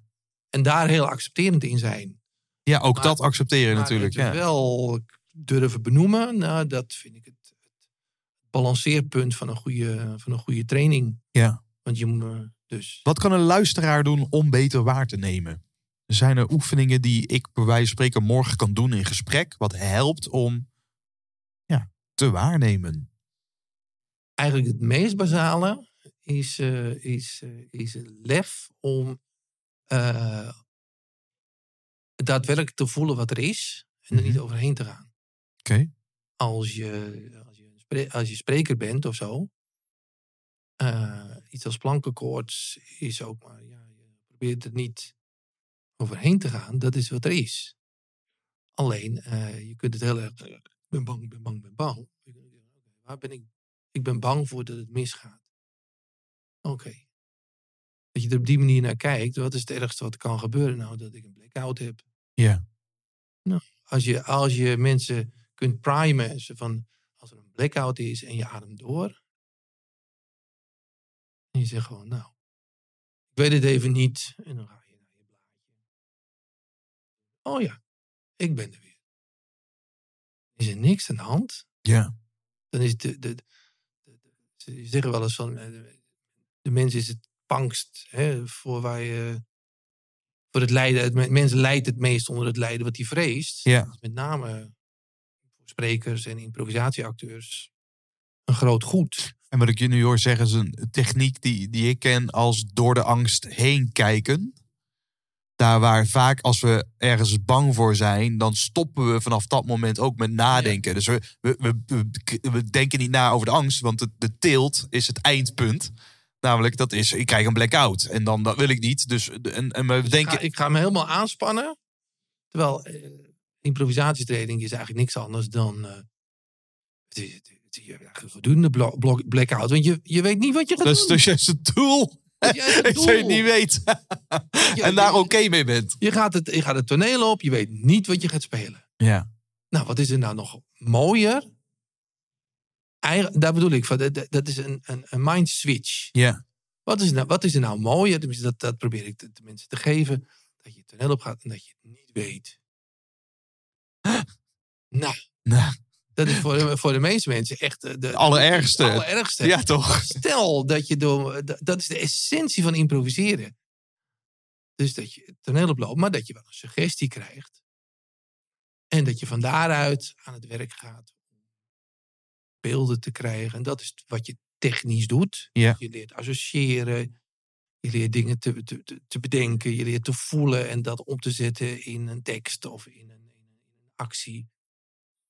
Speaker 1: En daar heel accepterend in zijn.
Speaker 2: ja, ook
Speaker 1: Maar-
Speaker 2: dat accepteren
Speaker 1: Maar
Speaker 2: natuurlijk.
Speaker 1: het
Speaker 2: Ja.
Speaker 1: wel durven benoemen, nou, dat vind ik het, het balanceerpunt van een goede, van een goede training.
Speaker 2: Ja.
Speaker 1: Want je moet. eh, Dus.
Speaker 2: Wat kan een luisteraar doen om beter waar te nemen? Zijn er oefeningen die ik bij wijze van spreken morgen kan doen in gesprek? Wat helpt om ja, te waarnemen?
Speaker 1: eigenlijk het meest basale is, eh, is, eh, is het lef om eh, daadwerkelijk te voelen wat er is en er
Speaker 2: Mhm.
Speaker 1: niet overheen te gaan.
Speaker 2: Oké.
Speaker 1: Als, je, als, je, een spre- als je spreker bent of zo, eh, iets als plankenkoorts is ook maar, ja, je probeert er niet overheen te gaan, dat is wat er is. Alleen, eh, je kunt het heel erg, eh, ik ben bang, ik ben bang, ik ben bang. Waar ben ik ik ben bang voor dat het misgaat. Oké. Dat je er op die manier naar kijkt. Wat is het ergste wat kan gebeuren? Nou, dat ik een blackout heb.
Speaker 2: Ja.
Speaker 1: Nou, als je, als je mensen kunt primen. ze Van, als er een blackout is en je ademt door. En je zegt gewoon, nou. Ik weet het even niet. En dan ga je naar je blaadje. Oh ja, ik ben er weer. Is er niks aan de hand?
Speaker 2: Ja.
Speaker 1: dan is de, de, de- de- ze zeggen wel eens van eh, de, de mens is het pangst hè, voor waar je voor het lijden. Het, me- mens lijdt het meest onder het lijden wat hij vreest.
Speaker 2: Ja.
Speaker 1: Dat is met name voor sprekers en improvisatieacteurs een groot goed. Dus
Speaker 2: En wat ik je nu hoor zeggen is een techniek die, die ik ken als door de angst heen kijken. Daar waar vaak als we ergens bang voor zijn, dan stoppen we vanaf dat moment ook met nadenken. Dus we, we, we, we- we denken niet na over de angst, want de, de tilt is het eindpunt. Namelijk, dat is, ik krijg een blackout. En dan, dat wil ik niet. Dus, en, en we
Speaker 1: Ik ga,
Speaker 2: denken,
Speaker 1: ik ga me helemaal aanspannen. Terwijl eh, improvisatietraining is eigenlijk niks anders dan. eh het is, het is eigenlijk een voortdurende blo- blok- blackout. Want je, je weet niet wat je gaat
Speaker 2: dat is
Speaker 1: doen.
Speaker 2: dus juist het doel.
Speaker 1: Dat is juist het
Speaker 2: Ik zou het
Speaker 1: doel.
Speaker 2: niet weten.
Speaker 1: Ja,
Speaker 2: En daar
Speaker 1: je-
Speaker 2: oké mee bent.
Speaker 1: Je gaat, het, je gaat het toneel op, je weet niet wat je gaat spelen.
Speaker 2: Ja.
Speaker 1: Nou, wat is er nou nog mooier? Eigen- daar bedoel ik van, dat- dat- dat is een, een, een mind switch.
Speaker 2: Ja.
Speaker 1: Wat is, nou, wat is er nou mooier? Tenminste, dat, dat probeer ik de, de mensen te geven. Dat je het toneel op gaat en dat je het niet weet. nou,
Speaker 2: Nou.
Speaker 1: dat is voor, de- voor de meeste mensen echt eh, de,
Speaker 2: Het allerergste.
Speaker 1: het allerergste.
Speaker 2: Ja, toch?
Speaker 1: Stel dat je door. dat- Dat is de essentie van improviseren. Dus dat je het toneel oploopt, maar dat je wel een suggestie krijgt. En dat je van daaruit aan het werk gaat. Beelden te krijgen. En dat is wat je technisch doet. Dus
Speaker 2: Ja.
Speaker 1: Je leert associëren. Je leert dingen te, te, te- te bedenken. Je leert te voelen en dat om te zetten in een tekst of in een, in een actie.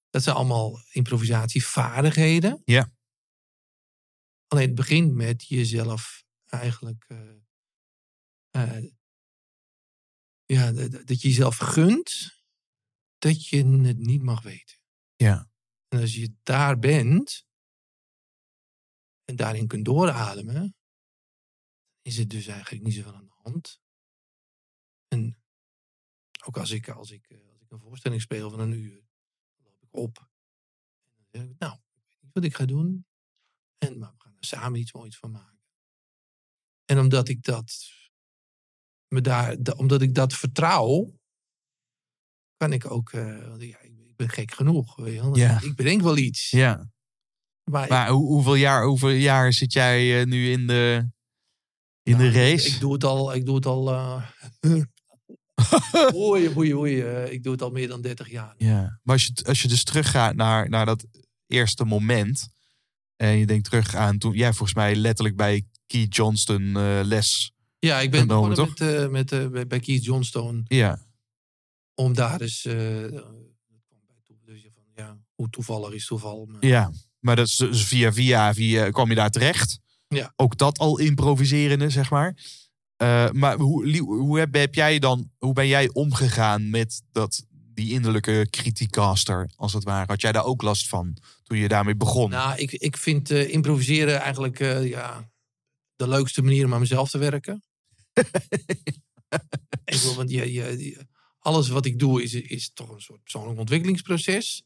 Speaker 1: Dat zijn allemaal improvisatievaardigheden.
Speaker 2: Ja.
Speaker 1: Alleen het begint met jezelf eigenlijk. eh, eh, ja, d- d- dat je jezelf gunt dat je het niet mag weten.
Speaker 2: Ja.
Speaker 1: En als je daar bent en daarin kunt doorademen, is het dus eigenlijk niet zoveel aan de hand. En ook als ik, als ik, eh, als ik een voorstelling speel van een uur, dan loop ik op. En dan zeg ik, nou, ik weet niet wat ik ga doen. En, maar we gaan er samen iets moois van maken. En omdat ik dat, me daar, da- omdat ik dat vertrouw, kan ik ook, eh, want ja, ik ik ben gek genoeg. Weet je wel.
Speaker 2: Ja.
Speaker 1: Ik bedenk wel iets.
Speaker 2: Ja.
Speaker 1: Maar, ik-
Speaker 2: Maar hoe- hoeveel jaar, hoeveel jaar zit jij eh, nu in de, in de
Speaker 1: nou, ik-
Speaker 2: race?
Speaker 1: Ik doe het al, ik doe het al. eh oei, oei, oei. eh, ik doe het al meer dan 30 jaar.
Speaker 2: Ja. Maar als je, als je dus teruggaat naar, naar dat eerste moment. En je denkt terug aan toen jij volgens mij letterlijk bij Key Johnston eh, les.
Speaker 1: Ja, ik
Speaker 2: Dan
Speaker 1: ben
Speaker 2: doen we
Speaker 1: begonnen met, eh, met, eh, bij- bij Keith Johnstone
Speaker 2: Ja,
Speaker 1: om daar dus. eh, eh, dus je van, ja, hoe toevallig is toeval. Maar,
Speaker 2: ja. Maar dat is dus via via, via kwam je daar terecht.
Speaker 1: Ja.
Speaker 2: Ook dat al improviserende, zeg maar. Eh, maar hoe, Lie- hoe, heb, heb jij dan, hoe ben jij omgegaan met dat, die innerlijke criticaster, als het ware? Had jij daar ook last van toen je daarmee begon?
Speaker 1: Nou, ik, ik vind eh, improviseren eigenlijk eh, ja, de leukste manier om aan mezelf te werken. ik wil, want je, je, je- alles wat ik doe is, is toch een soort persoonlijk ontwikkelingsproces.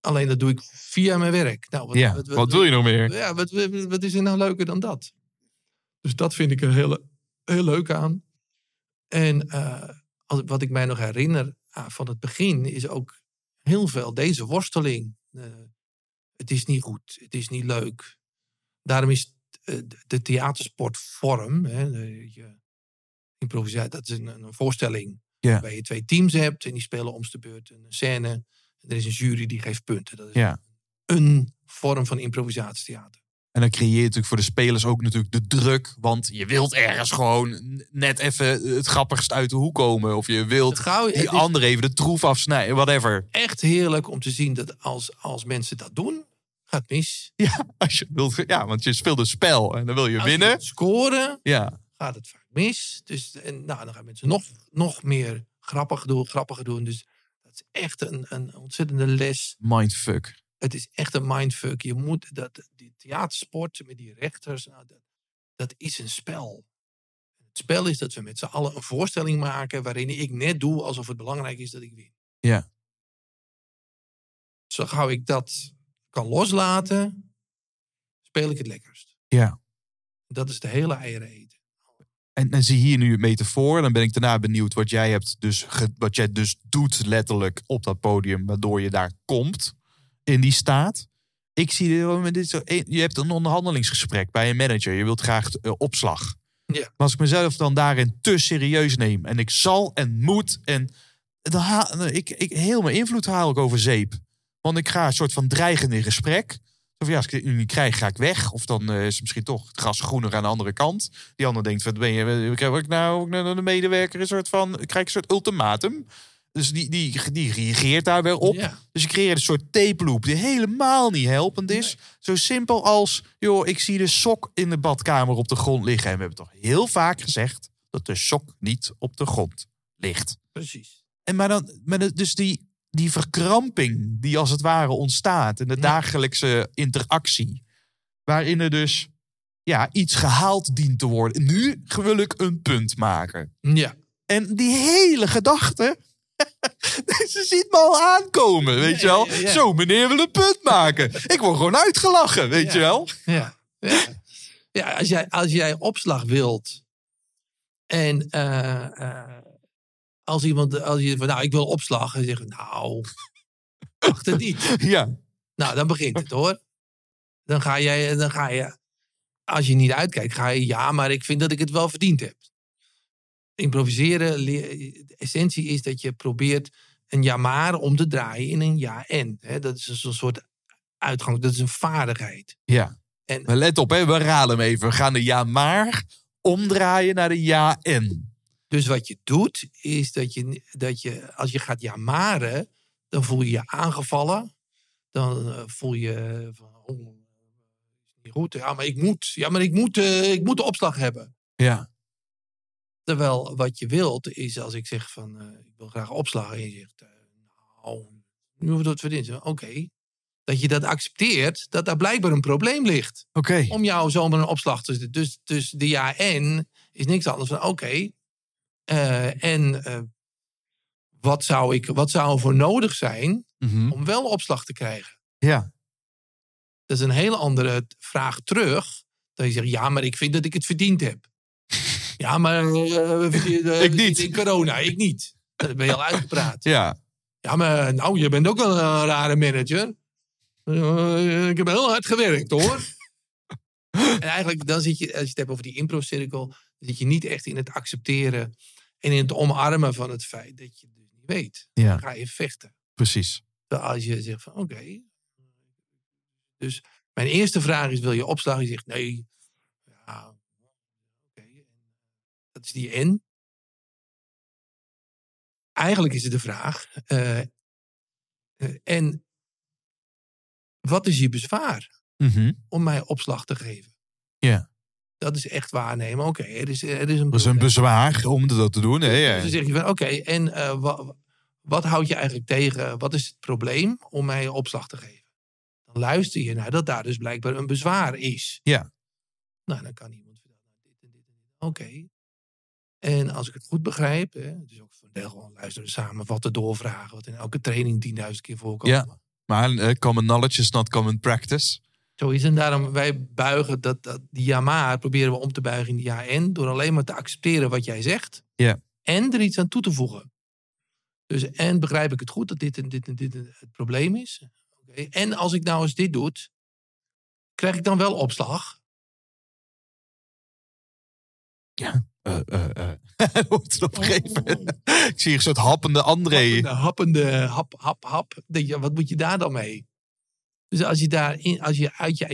Speaker 1: Alleen dat doe ik via mijn werk. Nou, wat,
Speaker 2: ja,
Speaker 1: wat- wat-
Speaker 2: wat wil je nog meer?
Speaker 1: ja, wat, wat- wat is er nou leuker dan dat? Dus dat vind ik er heel, heel leuk aan. En eh, als- wat ik mij nog herinner ah, van het begin is ook heel veel deze worsteling. Eh, het is niet goed, het is niet leuk. Daarom is eh, de- de theatersportvorm, hè, de- je improvisatie, dat is een, een voorstelling
Speaker 2: Ja.
Speaker 1: waar je twee teams hebt en die spelen om de beurt een scène. En er is een jury die geeft punten. Dat is
Speaker 2: Ja.
Speaker 1: een vorm van improvisatietheater.
Speaker 2: En dan creëer je natuurlijk voor de spelers ook natuurlijk de druk. Want je wilt ergens gewoon n- net even het grappigst uit de hoek komen. Of je wilt
Speaker 1: Het gauw- het
Speaker 2: die
Speaker 1: is
Speaker 2: ander even de troef afsnijden, whatever.
Speaker 1: echt heerlijk om te zien dat als, als mensen dat doen, gaat het mis.
Speaker 2: Ja, als je wilt, ja, want je speelt een spel en dan wil je
Speaker 1: Als
Speaker 2: winnen.
Speaker 1: het scoren,
Speaker 2: Ja,
Speaker 1: gaat het vaak mis. Dus en, nou, dan gaan mensen nog, nog meer grappig doen, grappiger doen. Dus dat is echt een, een ontzettende les.
Speaker 2: mindfuck.
Speaker 1: Het is echt een mindfuck. Je moet dat, die theatersport met die rechters, nou, dat, dat is een spel. Het spel is dat we met z'n allen een voorstelling maken waarin ik net doe alsof het belangrijk is dat ik win.
Speaker 2: Ja.
Speaker 1: Zo gauw ik dat kan loslaten, speel ik het lekkerst.
Speaker 2: Ja.
Speaker 1: Dat is de hele eieren eten.
Speaker 2: En, en zie hier nu het metafoor. Dan ben ik daarna benieuwd wat jij, hebt dus ge- wat jij dus doet letterlijk op dat podium. Waardoor je daar komt in die staat. Ik zie dit, wel met dit zo, je hebt een onderhandelingsgesprek bij een manager. Je wilt graag eh, opslag.
Speaker 1: Ja.
Speaker 2: Maar als ik mezelf dan daarin te serieus neem. En ik zal en moet. En dan haal, dan- ik, ik, heel mijn invloed haal ik over zeep. Want ik ga een soort van dreigend in gesprek. Of ja, als ik dit nu niet krijg, ga ik weg. Of dan eh, is misschien toch het gras groener aan de andere kant. Die ander denkt, wat ben je? Krijg ik nou ook naar de medewerker een soort van, krijg ik een soort ultimatum? Dus die, die, die reageert daar weer op.
Speaker 1: Ja.
Speaker 2: Dus je creëert een soort tape loop die helemaal niet helpend is. Zo simpel als, joh, ik zie de sok in de badkamer op de grond liggen. En we hebben toch heel vaak gezegd dat de sok niet op de grond ligt.
Speaker 1: Precies.
Speaker 2: En maar dan, maar dat- dus die, die verkramping die als het ware ontstaat in de
Speaker 1: Ja.
Speaker 2: dagelijkse interactie, waarin er dus ja, iets gehaald dient te worden. Nu wil ik een punt maken.
Speaker 1: Ja.
Speaker 2: En die hele gedachte. Ze ziet me al aankomen, weet
Speaker 1: Ja,
Speaker 2: je wel.
Speaker 1: ja, ja, ja.
Speaker 2: Zo, meneer wil een punt maken. Ik word gewoon uitgelachen, weet
Speaker 1: Ja.
Speaker 2: je wel.
Speaker 1: Ja, ja. ja als, jij, als jij opslag wilt. En eh, eh, als iemand, als je van nou, ik wil opslag. En je zegt, nou, wacht het niet.
Speaker 2: Ja,
Speaker 1: Nou, dan begint het hoor. Dan ga jij, dan ga je, als je niet uitkijkt, ga je, ja, maar ik vind dat ik het wel verdiend heb. Improviseren, leer- de essentie is dat je probeert een ja maar om te draaien in een ja en. Hè, dat is een soort- soort uitgang, dat is een vaardigheid.
Speaker 2: maar let op, hè, we raden hem even. We gaan de ja maar omdraaien naar de ja en.
Speaker 1: Dus wat je doet, is dat je, dat je als je gaat jamaren, Dan voel je je aangevallen. Dan eh, voel je van, oh, is niet goed. Ja, maar ik moet, ja, maar ik moet, eh, ik moet de opslag hebben.
Speaker 2: Ja.
Speaker 1: Terwijl wat je wilt is als ik zeg van, eh, ik wil graag opslag. En je zegt, eh, nou, nu wordt het verdiend. Oké. Dat je dat accepteert, dat daar blijkbaar een probleem ligt
Speaker 2: Oké.
Speaker 1: om jou zomaar een opslag te zetten. Dus, dus de ja en is niks anders dan oké. eh, en eh, wat, zou ik, wat zou er voor nodig zijn
Speaker 2: Mhm.
Speaker 1: om wel opslag te krijgen?
Speaker 2: Ja.
Speaker 1: Dat is een hele andere t- vraag terug. Dat je zegt, ja, maar ik vind dat ik het verdiend heb. ja, maar eh, we verdien- eh,
Speaker 2: Ik
Speaker 1: we
Speaker 2: niet.
Speaker 1: zitten In corona, ik niet. Dan ben je al uitgepraat.
Speaker 2: Ja.
Speaker 1: Ja, maar nou, je bent ook wel een rare manager. Eh, ik heb heel hard gewerkt, hoor. en eigenlijk, dan zit je, als je het hebt over die impro-cirkel, dan zit je niet echt in het accepteren en in het omarmen van het feit dat je het dus niet weet.
Speaker 2: Ja.
Speaker 1: Dan ga je vechten.
Speaker 2: Precies.
Speaker 1: Terwijl eh, als je zegt van, oké. Dus mijn eerste vraag is, wil je opslag? Je zegt, nee. Ja, oké. Dat is die en. Eigenlijk is het de vraag. eh, eh, en wat is je bezwaar
Speaker 2: Mhm.
Speaker 1: om mij opslag te geven?
Speaker 2: Ja.
Speaker 1: Dat is echt waarnemen. Oké, er, is, er is een
Speaker 2: Dat is een
Speaker 1: probleem.
Speaker 2: bezwaar om dat te doen. Hè?
Speaker 1: Dus dan
Speaker 2: Ja.
Speaker 1: zeg je van, oké, en eh, wa- wat houd je eigenlijk tegen? Wat is het probleem om mij opslag te geven? Dan luister je naar dat daar dus blijkbaar een bezwaar is.
Speaker 2: Ja.
Speaker 1: Nou, dan kan iemand vertellen, dit en dit en dit. Oké. En als ik het goed begrijp, hè, het is ook van deel gewoon luisteren, samenvatten, doorvragen, wat in elke training 10.000 keer voorkomt.
Speaker 2: Ja. Maar eh, common knowledge is not common practice.
Speaker 1: Zo is het. En daarom wij buigen dat, dat die ja maar proberen we om te buigen in die ja en door alleen maar te accepteren wat jij zegt.
Speaker 2: Ja.
Speaker 1: En er iets aan toe te voegen. Dus en begrijp ik het goed dat dit en dit en dit en het probleem is. Oké. En als ik nou eens dit doe, krijg ik dan wel opslag?
Speaker 2: Eh, eh, eh. Dat wordt het op een gegeven moment. Ik zie een soort happende André.
Speaker 1: Oh. Happende, happende, hap, hap, hap. Denk je, wat moet je daar dan mee? Dus als je, daarin, als je, uit, je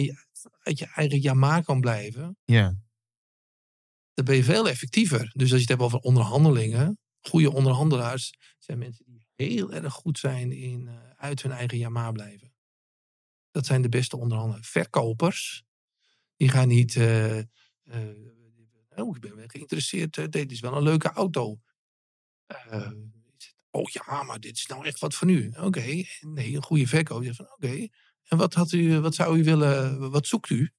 Speaker 1: uit je eigen ja maar kan blijven,
Speaker 2: Ja.
Speaker 1: dan ben je veel effectiever. Dus als je het hebt over onderhandelingen, goede onderhandelaars zijn mensen die heel erg goed zijn in eh, uit hun eigen jama blijven. Dat zijn de beste onderhandelaars. Verkopers, die gaan niet. eh, eh, oh, ik ben wel geïnteresseerd. eh, dit is wel een leuke auto. Eh, oh ja, maar dit is nou echt wat voor nu. Oké, nee, een goede verkoper zegt van oké. En wat, had u, wat zou u willen, wat zoekt u?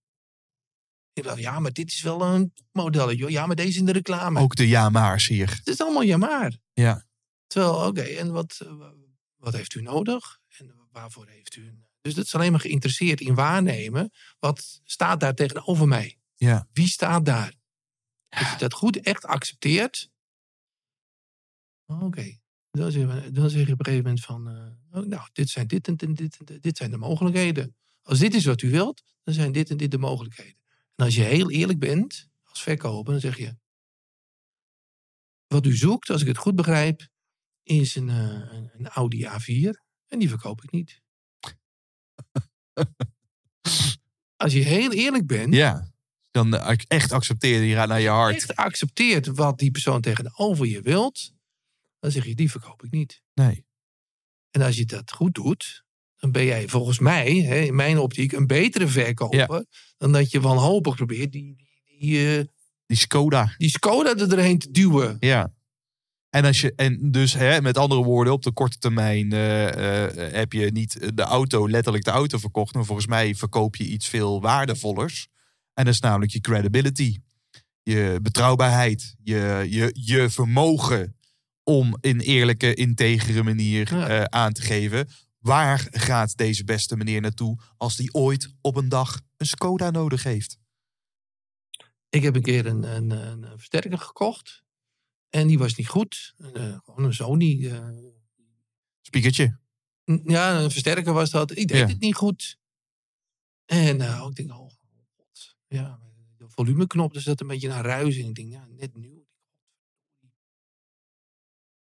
Speaker 1: Ik dacht, ja, maar dit is wel een modelletje. hoor. Ja, maar deze in de reclame.
Speaker 2: Ook de ja-maars hier.
Speaker 1: Het is allemaal ja maar.
Speaker 2: Ja.
Speaker 1: Terwijl, oké, en wat, eh, wa- wat heeft u nodig? En waarvoor heeft u... een- Dus dat is alleen maar geïnteresseerd in waarnemen. Wat staat daar tegenover mij?
Speaker 2: Ja.
Speaker 1: Wie staat daar? Dat je dat goed echt accepteert. Oké. Dan, zeg je- dan zeg je op een gegeven moment van... eh, oh, nou, dit zijn dit en dit, en dit, en dit, dit zijn de mogelijkheden. Als dit is wat u wilt, dan zijn dit en dit de mogelijkheden. En als je heel eerlijk bent, als verkoper, dan zeg je wat u zoekt, als ik het goed begrijp, is een, eh, een, een Audi A4. En die verkoop ik niet. als je heel eerlijk bent,
Speaker 2: Ja. Dan eh, ac- echt accepteren. Je gaat naar je hart.
Speaker 1: echt accepteert wat die persoon tegenover je wilt, dan zeg je, die verkoop ik niet.
Speaker 2: Nee.
Speaker 1: En als je dat goed doet, dan ben jij volgens mij, hè, in mijn optiek, een betere verkoper dan dat je wanhopig probeert die, die, die, eh,
Speaker 2: Die Skoda.
Speaker 1: die Skoda er doorheen te duwen.
Speaker 2: Ja. En, als je, en dus hè, met andere woorden, op de korte termijn eh, eh, heb je niet de auto, letterlijk de auto verkocht. Maar volgens mij verkoop je iets veel waardevollers. En dat is namelijk je credibility. Je betrouwbaarheid. Je, je, je vermogen om in eerlijke, integere manier
Speaker 1: Ja.
Speaker 2: eh, aan te geven. Waar gaat deze beste meneer naartoe als die ooit op een dag een Skoda nodig heeft?
Speaker 1: Ik heb een keer een, een, een een versterker gekocht. En die was niet goed. Eh, gewoon een Sony. eh,
Speaker 2: Spiekertje.
Speaker 1: n- ja, een versterker was dat. Ik deed
Speaker 2: Ja.
Speaker 1: het niet goed. En eh, ik denk, oh god. Ja, de volumeknop, dus dat een beetje naar ruis in. Ik denk, ja, net nieuw.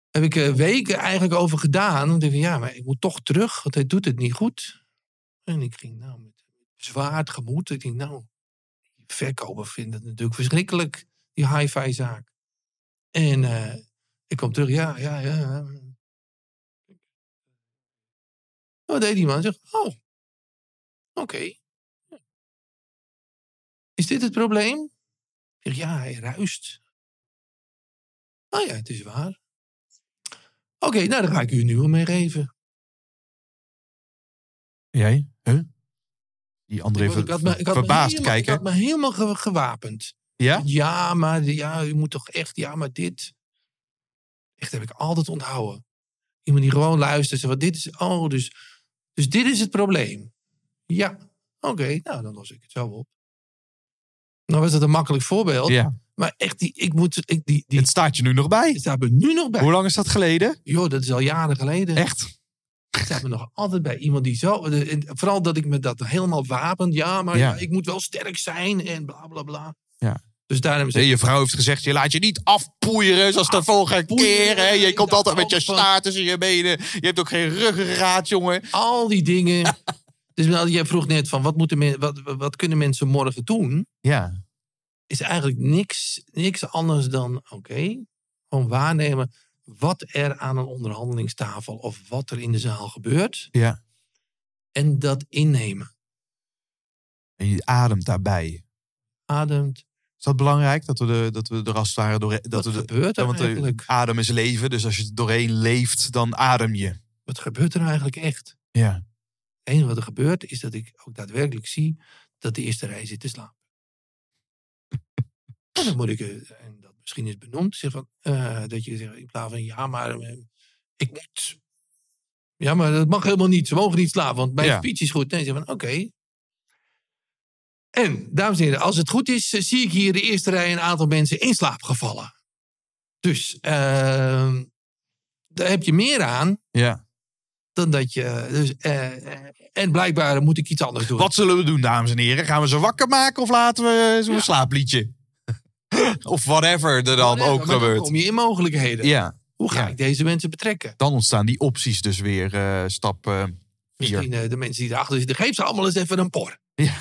Speaker 1: Heb ik er weken eigenlijk over gedaan. Want ik dacht, ja, maar ik moet toch terug, want hij doet het niet goed. En ik ging nou met zwaar gemoed. Ik denk, nou, die verkoper vindt het natuurlijk verschrikkelijk, die hi-fi zaak. En eh, ik kom terug, ja, ja, ja. Wat deed die man? Zegt, oh, oké. Is dit het probleem? Ik Zeg, ja, hij ruist. Nou ja, het is waar. Oké, nou dan ga ik u een nieuwe meegeven.
Speaker 2: Jij? Huh? Die André
Speaker 1: Ik had
Speaker 2: ver,
Speaker 1: me- ik had me
Speaker 2: verbaasd
Speaker 1: helemaal-
Speaker 2: kijken.
Speaker 1: Ik had me helemaal ge- gewapend.
Speaker 2: Ja?
Speaker 1: Ja, maar de- ja, u moet toch echt, ja, maar dit. Echt heb ik altijd onthouden. Iemand die gewoon luistert en wat dit is. Oh, dus, dus dit is het probleem. Ja, oké, nou dan los ik het zo op. Nou was dat een makkelijk voorbeeld.
Speaker 2: ja.
Speaker 1: Maar echt, die, ik moet, ik, die, die
Speaker 2: Het staat je nu nog bij.
Speaker 1: staat me nu nog bij.
Speaker 2: Hoe lang is dat geleden?
Speaker 1: Joh, dat is al jaren geleden.
Speaker 2: Echt?
Speaker 1: Het staat me nog altijd bij iemand die zo... de- en Vooral dat ik me dat helemaal wapend. Ja, maar
Speaker 2: Ja.
Speaker 1: ja, ik moet wel sterk zijn en bla, bla, bla.
Speaker 2: Ja.
Speaker 1: Dus daarom zeg
Speaker 2: Nee, je vrouw heeft gezegd, je laat je niet afpoeieren
Speaker 1: Ah,
Speaker 2: zoals de vorige keer. Hè? Je komt altijd met je staart tussen je benen. Je hebt ook geen ruggengraat, jongen.
Speaker 1: al die dingen. dus nou, jij vroeg net van wat, moeten men, wat, wat kunnen mensen morgen doen?
Speaker 2: Ja.
Speaker 1: Is eigenlijk niks, niks anders dan oké, gewoon waarnemen wat er aan een onderhandelingstafel of wat er in de zaal gebeurt.
Speaker 2: Ja.
Speaker 1: En dat innemen.
Speaker 2: En je ademt daarbij.
Speaker 1: Ademt.
Speaker 2: Is dat belangrijk? Dat we, de, dat we er als het ware doorheen... Dat
Speaker 1: Wat
Speaker 2: we de,
Speaker 1: gebeurt
Speaker 2: ja,
Speaker 1: er
Speaker 2: want eh,
Speaker 1: eigenlijk?
Speaker 2: adem is leven. Dus als je er doorheen leeft, dan adem je.
Speaker 1: Wat gebeurt er eigenlijk echt?
Speaker 2: Ja.
Speaker 1: Het enige wat er gebeurt is dat ik ook daadwerkelijk zie dat de eerste rij zit te slapen. en dan moet ik, eh, en dat misschien is benoemd, zeg van, eh, dat je zegt in plaats van ja, maar eh, ik moet. Ja, maar dat mag helemaal niet. Ze mogen niet slapen, want mijn
Speaker 2: Ja.
Speaker 1: speech is goed. Nee, zeg van oké. En, dames en heren, als het goed is, eh, zie ik hier de eerste rij een aantal mensen in slaap gevallen. Dus eh, daar heb je meer aan
Speaker 2: ja.
Speaker 1: dan dat je. Dus, eh, eh, en blijkbaar moet ik iets anders doen.
Speaker 2: Wat zullen we doen, dames en heren? Gaan we ze wakker maken of laten we zo'n slaapliedje? of whatever er dan
Speaker 1: Whatever,
Speaker 2: ook
Speaker 1: maar dan
Speaker 2: gebeurt.
Speaker 1: kom je in mogelijkheden.
Speaker 2: Ja,
Speaker 1: Hoe ga
Speaker 2: ja.
Speaker 1: ik deze mensen betrekken?
Speaker 2: dan ontstaan die opties dus weer eh, stap eh, vier.
Speaker 1: Misschien eh, de mensen die erachter zitten. Geef ze allemaal eens even een por.
Speaker 2: Ja.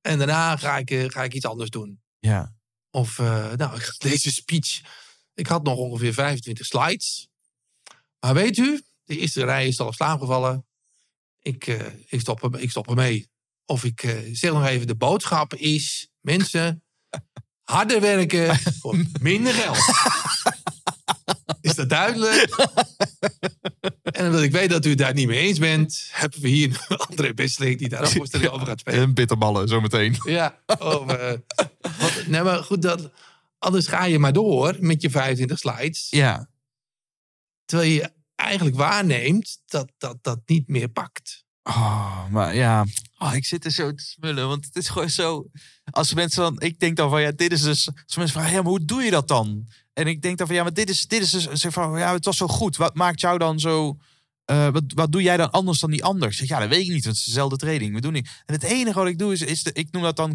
Speaker 1: En daarna ga ik, eh, ga ik iets anders doen.
Speaker 2: Ja.
Speaker 1: Of eh, nou, deze speech. Ik had nog ongeveer 25 slides. Maar weet u, de eerste rij is al op slaap gevallen. Ik, eh, ik, stop, hem- ik stop ermee. Of ik eh, zeg nog even, de boodschap is... Mensen, harder werken voor minder geld. Is dat duidelijk? En omdat ik weet dat u het daar niet mee eens bent... hebben we hier een André Besseling die daar een voorstelling over gaat spelen.
Speaker 2: En bitterballen zometeen.
Speaker 1: Ja, oh, eh, wat- nee, maar goed, dat, anders ga je maar door met je 25 slides.
Speaker 2: Ja.
Speaker 1: Terwijl je eigenlijk waarneemt dat dat, dat niet meer pakt.
Speaker 2: Oh, maar ja. Oh, ik zit er zo te smullen, want het is gewoon zo... Als mensen dan... Ik denk dan van, ja, dit is dus... Als mensen vragen, ja, maar hoe doe je dat dan? En ik denk dan van, ja, maar dit is, dit is dus... Zeg van, ja, het was zo goed. Wat maakt jou dan zo... eh, wat, wat doe jij dan anders dan die ander? Ik zeg, ja, dat weet ik niet, want het is dezelfde training. We doen niet. En het enige wat ik doe is... is de, ik noem dat dan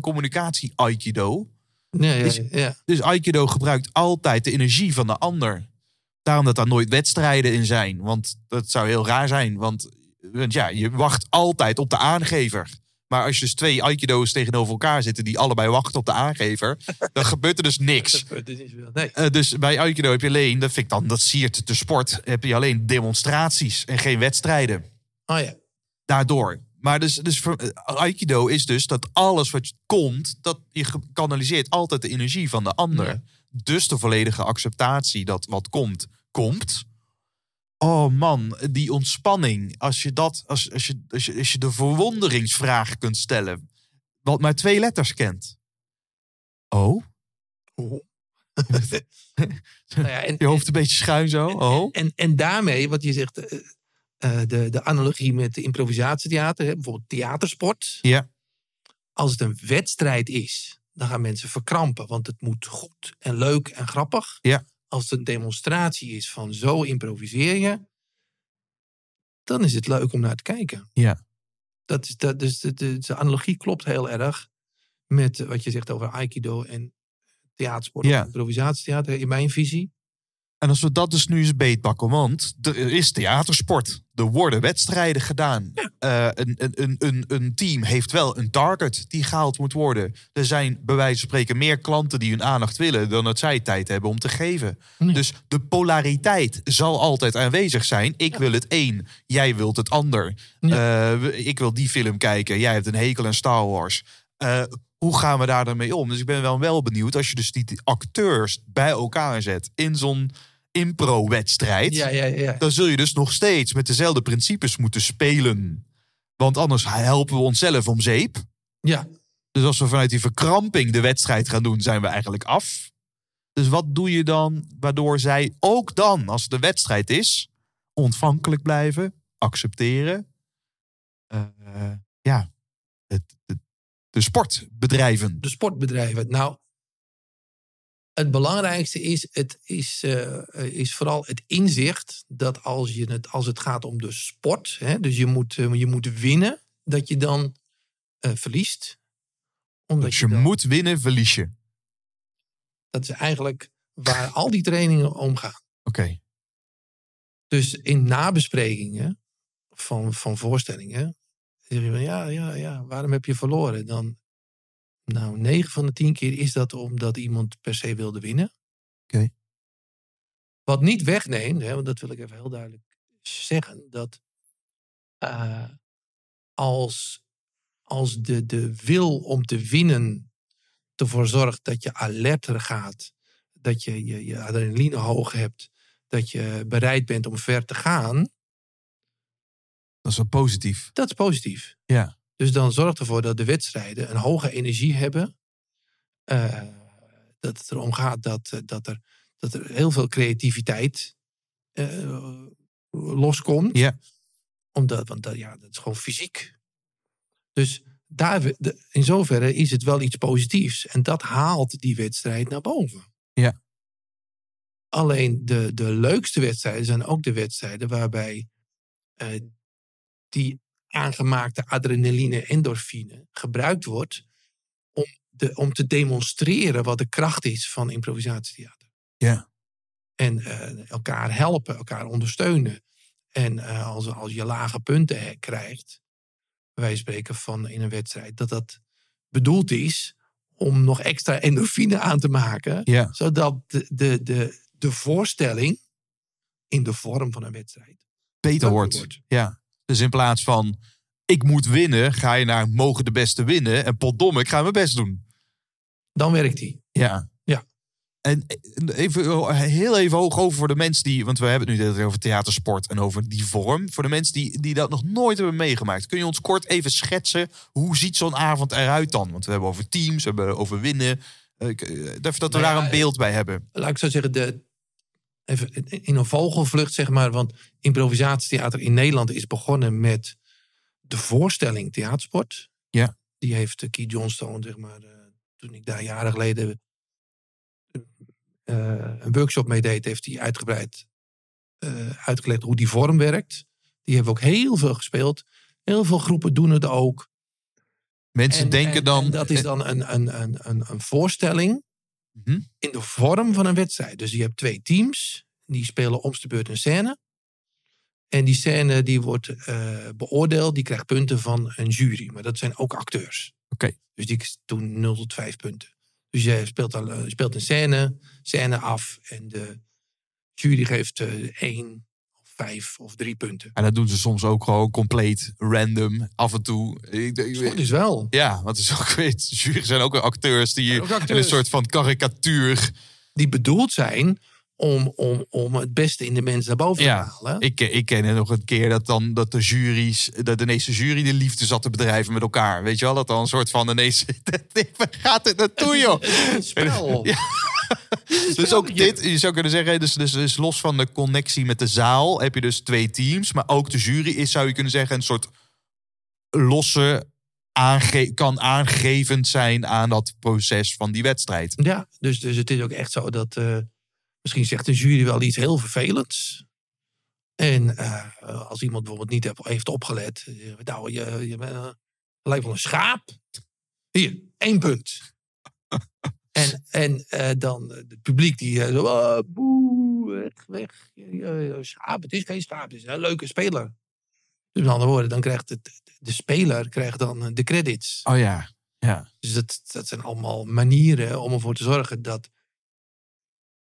Speaker 2: communicatie-aikido.
Speaker 1: Nee, ja,
Speaker 2: Dus-
Speaker 1: ja.
Speaker 2: Dus Aikido gebruikt altijd de energie van de ander. Daarom dat daar nooit wedstrijden in zijn. Want dat zou heel raar zijn. Want, want ja, je wacht altijd op de aangever. Maar als je dus twee Aikido's tegenover elkaar zitten... die allebei wachten op de aangever... dan gebeurt er dus niks.
Speaker 1: Dat is niet veel. Nee.
Speaker 2: Eh, dus bij Aikido heb je alleen... dat vind ik dan, dat siert de sport... heb je alleen demonstraties en geen wedstrijden
Speaker 1: Oh ja.
Speaker 2: daardoor. Maar dus, dus voor- eh, Aikido is dus dat alles wat je- komt, dat je ge- kanaliseert altijd de energie van de ander.
Speaker 1: Ja.
Speaker 2: Dus de volledige acceptatie dat wat komt, komt. Oh man, die ontspanning. Als je, dat, als, als je, als je, als je de verwonderingsvraag kunt stellen, wat maar twee letters kent. Oh?
Speaker 1: Oh. nou ja en,
Speaker 2: Je hoofd een beetje schuin zo. Oh?
Speaker 1: en, en daarmee, wat je zegt, eh, eh, de, de analogie met de improvisatietheater, hè, bijvoorbeeld theatersport.
Speaker 2: Ja.
Speaker 1: Als het een wedstrijd is, dan gaan mensen verkrampen, want het moet goed en leuk en grappig.
Speaker 2: Ja.
Speaker 1: Als het een demonstratie is van zo improviseer je, dan is het leuk om naar te kijken.
Speaker 2: Ja.
Speaker 1: Dat is, dat, dus de, de, de analogie klopt heel erg met eh, wat je zegt over Aikido en theatersport,
Speaker 2: Ja.
Speaker 1: of improvisatietheater in mijn visie.
Speaker 2: En als we dat dus nu eens beetpakken, want er is theatersport. Er worden wedstrijden gedaan. Eh, een, een, een, een, een team heeft wel een target die gehaald moet worden. Er zijn bij wijze van spreken meer klanten die hun aandacht willen dan dat zij tijd hebben om te geven.
Speaker 1: Ja.
Speaker 2: Dus de polariteit zal altijd aanwezig zijn. Ik wil het een, jij wilt het ander. Eh, we- ik wil die film kijken, jij hebt een hekel aan Star Wars. Eh, hoe gaan we daar dan mee om? Dus ik ben wel, wel benieuwd als je dus die die acteurs bij elkaar zet in zo'n impro-wedstrijd.
Speaker 1: Ja, ja, ja.
Speaker 2: Dan zul je dus nog steeds met dezelfde principes moeten spelen. Want anders helpen we onszelf om zeep.
Speaker 1: ja.
Speaker 2: Dus als we vanuit die verkramping de wedstrijd gaan doen, zijn we eigenlijk af. Dus wat doe je dan waardoor zij ook dan, als de wedstrijd is, ontvankelijk blijven, accepteren? Eh, eh, ja, het, het- de sportbedrijven.
Speaker 1: de sportbedrijven. Nou, het belangrijkste is, het is, eh, eh, is vooral het inzicht dat als, je het, als het gaat om de sport, hè, dus je moet, eh, je moet winnen, dat je dan eh, verliest. Omdat
Speaker 2: Dat Dus je
Speaker 1: dan-
Speaker 2: moet winnen, verlies je. Oké.
Speaker 1: Dat is eigenlijk waar al die trainingen om gaan. Dus in nabesprekingen van, van voorstellingen. zeg je van ja, ja, ja, waarom heb je verloren? Dan, nou, 9 van de 10 keer is dat omdat iemand per se wilde winnen.
Speaker 2: Oké.
Speaker 1: Wat niet wegneemt, hè, want dat wil ik even heel duidelijk zeggen, dat eh, als, als de, de wil om te winnen ervoor zorgt dat je alerter gaat, dat je je, je adrenaline hoog hebt, dat je bereid bent om ver te gaan,
Speaker 2: Dat is wel positief.
Speaker 1: dat is positief.
Speaker 2: Ja.
Speaker 1: Dus dan zorgt ervoor dat de wedstrijden een hoge energie hebben. eh, dat het erom gaat dat, eh, dat, er, dat er heel veel creativiteit eh, loskomt.
Speaker 2: Ja.
Speaker 1: Omdat, want dat, ja, dat is gewoon fysiek. Dus daar, we- de- in zoverre is het wel iets positiefs. En dat haalt die wedstrijd naar boven.
Speaker 2: Ja.
Speaker 1: Alleen de, de leukste wedstrijden zijn ook de wedstrijden waarbij eh, die aangemaakte adrenaline, endorfine, gebruikt wordt om, de, om te demonstreren wat de kracht is van improvisatietheater.
Speaker 2: Ja.
Speaker 1: En eh, elkaar helpen, elkaar ondersteunen. En eh, als, als je lage punten he- krijgt, wij spreken van in een wedstrijd, dat dat bedoeld is om nog extra endorfine aan te maken,
Speaker 2: Ja.
Speaker 1: zodat de, de, de, de voorstelling in de vorm van een wedstrijd
Speaker 2: Beter
Speaker 1: Leuker
Speaker 2: wordt.
Speaker 1: wordt.
Speaker 2: Ja. Dus in plaats van ik moet winnen, ga je naar mogen de beste winnen. En potdomme, ik ga mijn best doen.
Speaker 1: Dan werkt die.
Speaker 2: Ja.
Speaker 1: Ja.
Speaker 2: En even, oh, heel even hoog over voor de mensen die... Want we hebben het nu de hele tijd over theatersport en over die vorm. Voor de mensen die, die dat nog nooit hebben meegemaakt. Kun je ons kort even schetsen, hoe ziet zo'n avond eruit dan? Want we hebben over teams, we hebben over winnen. Eh, ik- eh, dat dat we
Speaker 1: Nou ja,
Speaker 2: daar een
Speaker 1: eh,
Speaker 2: beeld bij hebben.
Speaker 1: laat ik zo zeggen, de, even in een vogelvlucht zeg maar. Want improvisatietheater in Nederland is begonnen met de voorstelling Theatersport.
Speaker 2: Ja.
Speaker 1: Die heeft eh, Keith Johnstone, zeg maar, eh, toen ik daar jaren geleden eh, een workshop mee deed, heeft hij uitgebreid eh, uitgelegd hoe die vorm werkt. Die hebben we ook heel veel gespeeld. Heel veel groepen doen het ook.
Speaker 2: Mensen
Speaker 1: En-
Speaker 2: denken
Speaker 1: en-
Speaker 2: dan...
Speaker 1: en dat is dan een, een, een, een, een voorstelling
Speaker 2: Mhm.
Speaker 1: in de vorm van een wedstrijd. Dus je hebt twee teams, die spelen om de beurt een scène. En die scène die wordt eh, beoordeeld, die krijgt punten van een jury. Maar dat zijn ook acteurs.
Speaker 2: Oké.
Speaker 1: Dus die doen 0 tot 5 punten. Dus je speelt, al, eh, speelt een scène, scène af. En de jury geeft eh 1 of 5 of 3 punten.
Speaker 2: En dat doen ze soms ook gewoon compleet random, af en toe. Ik- ik-
Speaker 1: Sport is wel.
Speaker 2: Ja, want het is ook weer, de jury zijn ook weer acteurs die
Speaker 1: Ook acteurs.
Speaker 2: in een soort van karikatuur.
Speaker 1: die bedoeld zijn om, om, om het beste in de mens naar boven
Speaker 2: Ja,
Speaker 1: te halen.
Speaker 2: Ik, eh, ik ken het nog een keer dat dan dat de jury's, dat de Nederlandse jury de liefde zat te bedrijven met elkaar. Weet je wel, dat dan een soort van de Nederlandse. Waar gaat dit naartoe, joh?
Speaker 1: Een spel.
Speaker 2: Ja. Dus ook dit, je zou kunnen zeggen, dus, dus, dus los van de connectie met de zaal heb je dus twee teams. Maar ook de jury is, zou je kunnen zeggen, een soort losse, aange kan aangevend zijn aan dat proces van die wedstrijd.
Speaker 1: Ja, dus, dus het is ook echt zo dat eh, misschien zegt een jury wel iets heel vervelends. En eh, als iemand bijvoorbeeld niet heeft- heeft opgelet, eh, nou, je, je bent, eh, lijkt wel een schaap. Hier, één punt. en en eh, dan eh, het publiek die eh, zo, ah, boe, weg, weg. eh, eh, Schaap, het is geen schaap, het is een leuke speler. Dus met andere woorden, dan krijgt het, de speler krijgt dan eh, de credits.
Speaker 2: Oh ja.
Speaker 1: Dus dat, dat zijn allemaal manieren om ervoor te zorgen dat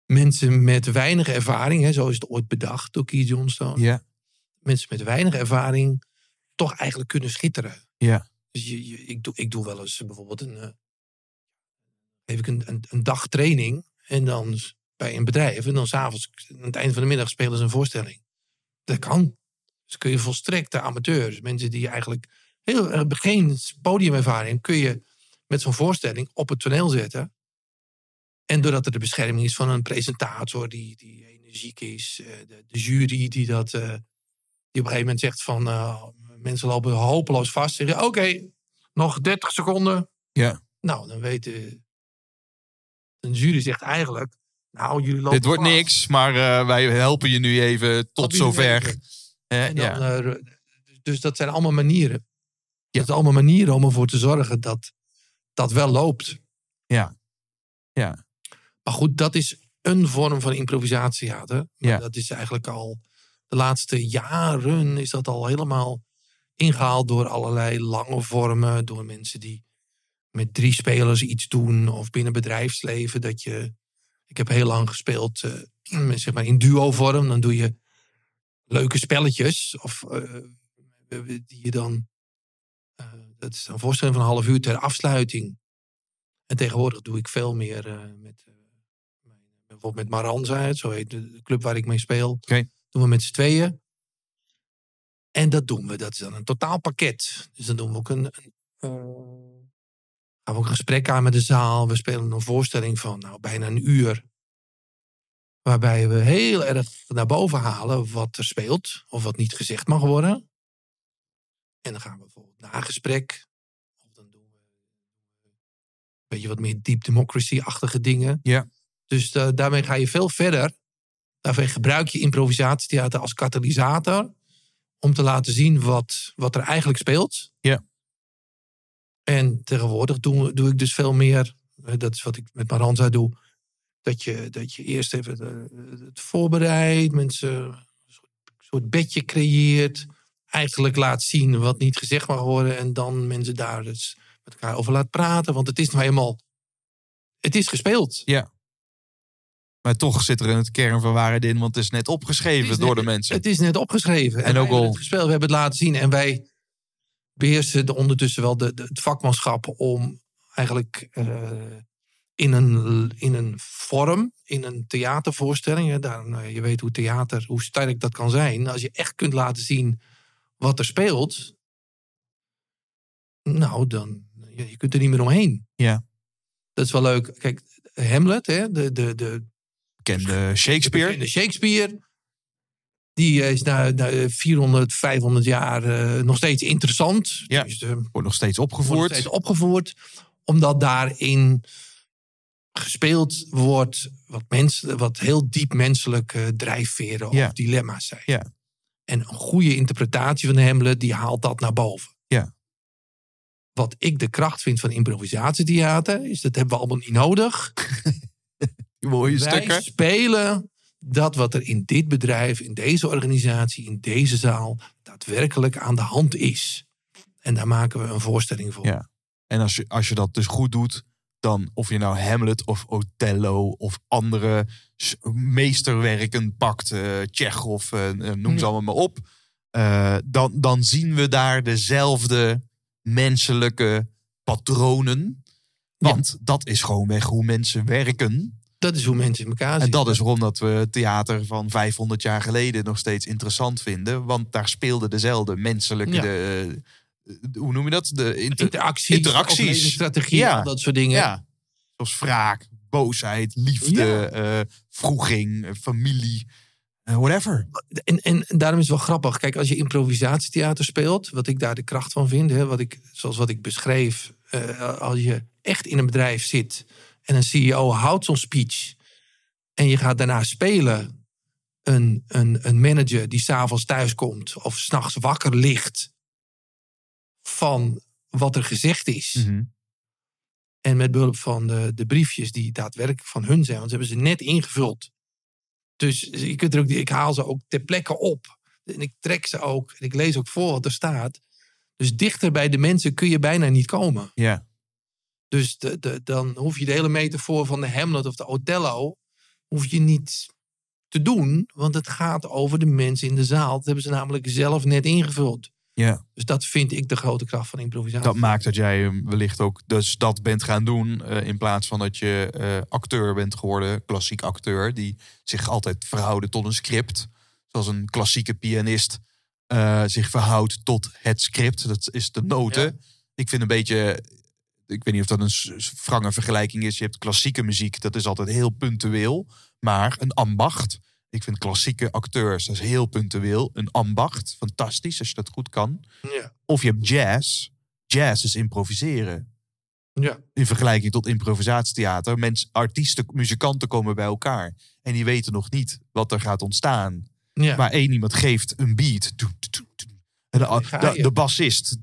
Speaker 1: mensen met weinig ervaring, hè, zo is het ooit bedacht door Keith Johnstone,
Speaker 2: Ja.
Speaker 1: mensen met weinig ervaring toch eigenlijk kunnen schitteren.
Speaker 2: Ja.
Speaker 1: Dus je, je- ik, doe, ik doe wel eens bijvoorbeeld een, eh, geef ik een, een, een dag training en dan s- bij een bedrijf en dan s'avonds aan het eind van de middag spelen ze een voorstelling. Dat kan. Dus kun je volstrekte amateurs, mensen die eigenlijk heel, erg- geen podiumervaring, kun je met zo'n voorstelling op het toneel zetten. En doordat er de bescherming is van een presentator die, die energiek is, eh, de, de jury die dat. eh, die op een gegeven moment zegt van eh, mensen lopen hopeloos vast. Zeggen oké, nog 30 seconden.
Speaker 2: Ja.
Speaker 1: Nou, dan weten. Een jury zegt eigenlijk. Nou, jullie lopen
Speaker 2: Dit wordt
Speaker 1: vast.
Speaker 2: niks, maar eh, wij helpen je nu even tot
Speaker 1: Wat jullie
Speaker 2: zover.
Speaker 1: weten.
Speaker 2: Eh,
Speaker 1: En dan,
Speaker 2: ja.
Speaker 1: eh, dus dat zijn allemaal manieren. Dat zijn allemaal manieren om ervoor te zorgen dat dat wel loopt.
Speaker 2: Ja. Ja.
Speaker 1: Maar goed, dat is een vorm van improvisatietheater. Maar
Speaker 2: Ja.
Speaker 1: Dat is eigenlijk al de laatste jaren is dat al helemaal ingehaald door allerlei lange vormen. Door mensen die met drie spelers iets doen. Of binnen bedrijfsleven dat je... Ik heb heel lang gespeeld eh, met, zeg maar in duo vorm. Dan doe je leuke spelletjes. Of eh, die je dan. eh, dat is een voorstelling van een half uur ter afsluiting. En tegenwoordig doe ik veel meer eh, met. eh, mijn- bijvoorbeeld met Maranza, het zo heet de de club waar ik mee speel.
Speaker 2: Oké.
Speaker 1: Doen we met z'n tweeën. En dat doen we. Dat is dan een totaalpakket. Dus dan doen we ook een. een eh, gaan we ook een gesprek aan met de zaal. We spelen een voorstelling van nou, bijna een uur. Waarbij we heel erg naar boven halen wat er speelt. Of wat niet gezegd mag worden. En dan gaan we bijvoorbeeld na gesprek. Of dan doen we een beetje wat meer deep democracy-achtige dingen.
Speaker 2: Ja.
Speaker 1: Dus eh, daarmee ga je veel verder. Daarmee gebruik je improvisatietheater als katalysator. Om te laten zien wat, wat er eigenlijk speelt.
Speaker 2: Ja.
Speaker 1: En tegenwoordig doe, doe ik dus veel meer. eh, Dat is wat ik met Maranza doe. Dat je, dat je eerst even eh, het voorbereidt, mensen een soort- soort bedje creëert. Eigenlijk laat zien wat niet gezegd mag worden. En dan mensen daar dus met elkaar over laat praten. Want het is nou eenmaal. Het is gespeeld.
Speaker 2: Maar toch zit er in het kern van waarheid in, want het is net opgeschreven
Speaker 1: Het is
Speaker 2: door
Speaker 1: net-
Speaker 2: de mensen.
Speaker 1: Het is net opgeschreven.
Speaker 2: En
Speaker 1: wij
Speaker 2: ook
Speaker 1: hebben
Speaker 2: al-
Speaker 1: het gespeeld, we hebben het laten zien. En wij beheersen de, ondertussen wel de, de- het vakmanschap om eigenlijk eh, in, een, in een vorm, in een theatervoorstelling. Hè, daar, nou ja, je weet hoe theater, hoe sterk dat kan zijn. Als je echt kunt laten zien wat er speelt, nou dan, ja, je kunt er niet meer omheen.
Speaker 2: Ja.
Speaker 1: Dat is wel leuk. Kijk, Hamlet, hè, de, de, de,
Speaker 2: Bekende eh, Shakespeare.
Speaker 1: de Shakespeare. Die eh, is na, na 400, 500 jaar eh, nog steeds interessant.
Speaker 2: Ja.
Speaker 1: Dus, eh, wordt
Speaker 2: Wordt nog steeds
Speaker 1: nog
Speaker 2: opgevoerd.
Speaker 1: steeds opgevoerd. Omdat daarin gespeeld wordt wat, mensen, wat heel diep menselijke drijfveren
Speaker 2: Ja.
Speaker 1: of dilemma's zijn.
Speaker 2: Ja.
Speaker 1: En een goede interpretatie van Hamlet, die haalt dat naar boven.
Speaker 2: Ja.
Speaker 1: Wat ik de kracht vind van improvisatietheater, is dat hebben we allemaal niet nodig.
Speaker 2: Mooie
Speaker 1: Wij
Speaker 2: stukken.
Speaker 1: spelen dat wat er in dit bedrijf, in deze organisatie, in deze zaal daadwerkelijk aan de hand is. En daar maken we een voorstelling voor.
Speaker 2: Ja. En als je, als je dat dus goed doet, dan of je nou Hamlet of Othello of andere s- meesterwerken pakt, eh Tsjechov, eh, eh, noem ze
Speaker 1: Ja.
Speaker 2: allemaal maar op, eh, dan, dan zien we daar dezelfde menselijke patronen.
Speaker 1: Ja.
Speaker 2: Want dat is gewoonweg hoe mensen werken.
Speaker 1: Dat is hoe mensen in elkaar
Speaker 2: En
Speaker 1: zitten.
Speaker 2: dat is waarom dat we theater van 500 jaar geleden nog steeds interessant vinden. Want daar speelden dezelfde menselijke,
Speaker 1: Ja.
Speaker 2: de, eh, hoe noem je dat? De inter-
Speaker 1: Interacties,
Speaker 2: interacties.
Speaker 1: strategieën,
Speaker 2: Ja.
Speaker 1: al dat soort dingen.
Speaker 2: ja. Zoals wraak, boosheid, liefde, eh vroeging, eh, familie, eh, whatever.
Speaker 1: En, en daarom is het wel grappig. Kijk, als je improvisatietheater speelt, wat ik daar de kracht van vind, hè, wat ik, zoals wat ik beschreef, eh, als je echt in een bedrijf zit en een CEO houdt zo'n speech en je gaat daarna spelen een, een, een manager die s'avonds thuiskomt of s'nachts wakker ligt van wat er gezegd is.
Speaker 2: Mhm.
Speaker 1: En met behulp van de, de briefjes die daadwerkelijk van hun zijn, want ze hebben ze net ingevuld. Dus je kunt er ook, ik haal ze ook ter plekke op. En ik trek ze ook. En ik lees ook voor wat er staat. Dus dichter bij de mensen kun je bijna niet komen.
Speaker 2: Ja.
Speaker 1: Dus de, de, dan hoef je de hele metafoor van de Hamlet of de Othello... hoef je niet te doen. Want het gaat over de mensen in de zaal. Dat hebben ze namelijk zelf net ingevuld.
Speaker 2: Ja.
Speaker 1: Dus dat vind ik de grote kracht van improvisatie.
Speaker 2: Dat maakt dat jij hem wellicht ook dus dat bent gaan doen. eh, in plaats van dat je eh, acteur bent geworden, klassiek acteur, die zich altijd verhouden tot een script. Zoals een klassieke pianist eh, zich verhoudt tot het script. Dat is de noten. Ik vind een beetje. Ik weet niet of dat een s- s- wrange vergelijking is. Je hebt klassieke muziek, dat is altijd heel puntueel. Maar een ambacht. Ik vind klassieke acteurs, dat is heel puntueel. Een ambacht, fantastisch als je dat goed kan.
Speaker 1: Ja.
Speaker 2: Of je hebt jazz. Jazz is improviseren.
Speaker 1: Ja.
Speaker 2: In vergelijking tot improvisatietheater. Mensen, artiesten, muzikanten komen bij elkaar. En die weten nog niet wat er gaat ontstaan.
Speaker 1: Ja.
Speaker 2: Maar één iemand geeft een beat. Doet, doet, doet, doet. En de,
Speaker 1: Ga
Speaker 2: de,
Speaker 1: je.
Speaker 2: de bassist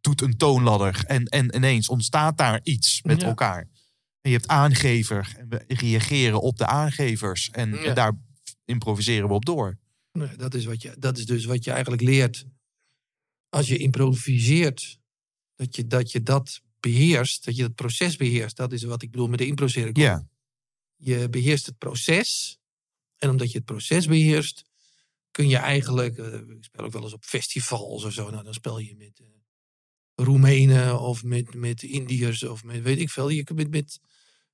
Speaker 2: doet een toonladder. En, en ineens ontstaat daar iets met
Speaker 1: Ja.
Speaker 2: elkaar. En je hebt aangever. En we reageren op de aangevers. En,
Speaker 1: Ja.
Speaker 2: en daar improviseren we op door.
Speaker 1: Nee, dat, is wat je, dat is dus wat je eigenlijk leert als je improviseert. Dat je dat, je dat beheerst, dat je dat proces beheerst. Dat is wat ik bedoel met de improcirkel.
Speaker 2: Ja.
Speaker 1: Je beheerst het proces. En omdat je het proces beheerst, kun je eigenlijk... eh, ik speel ook wel eens op festivals of zo. Nou, dan speel je met eh, Roemenen of met, met Indiërs of met weet ik veel. Je kunt met, met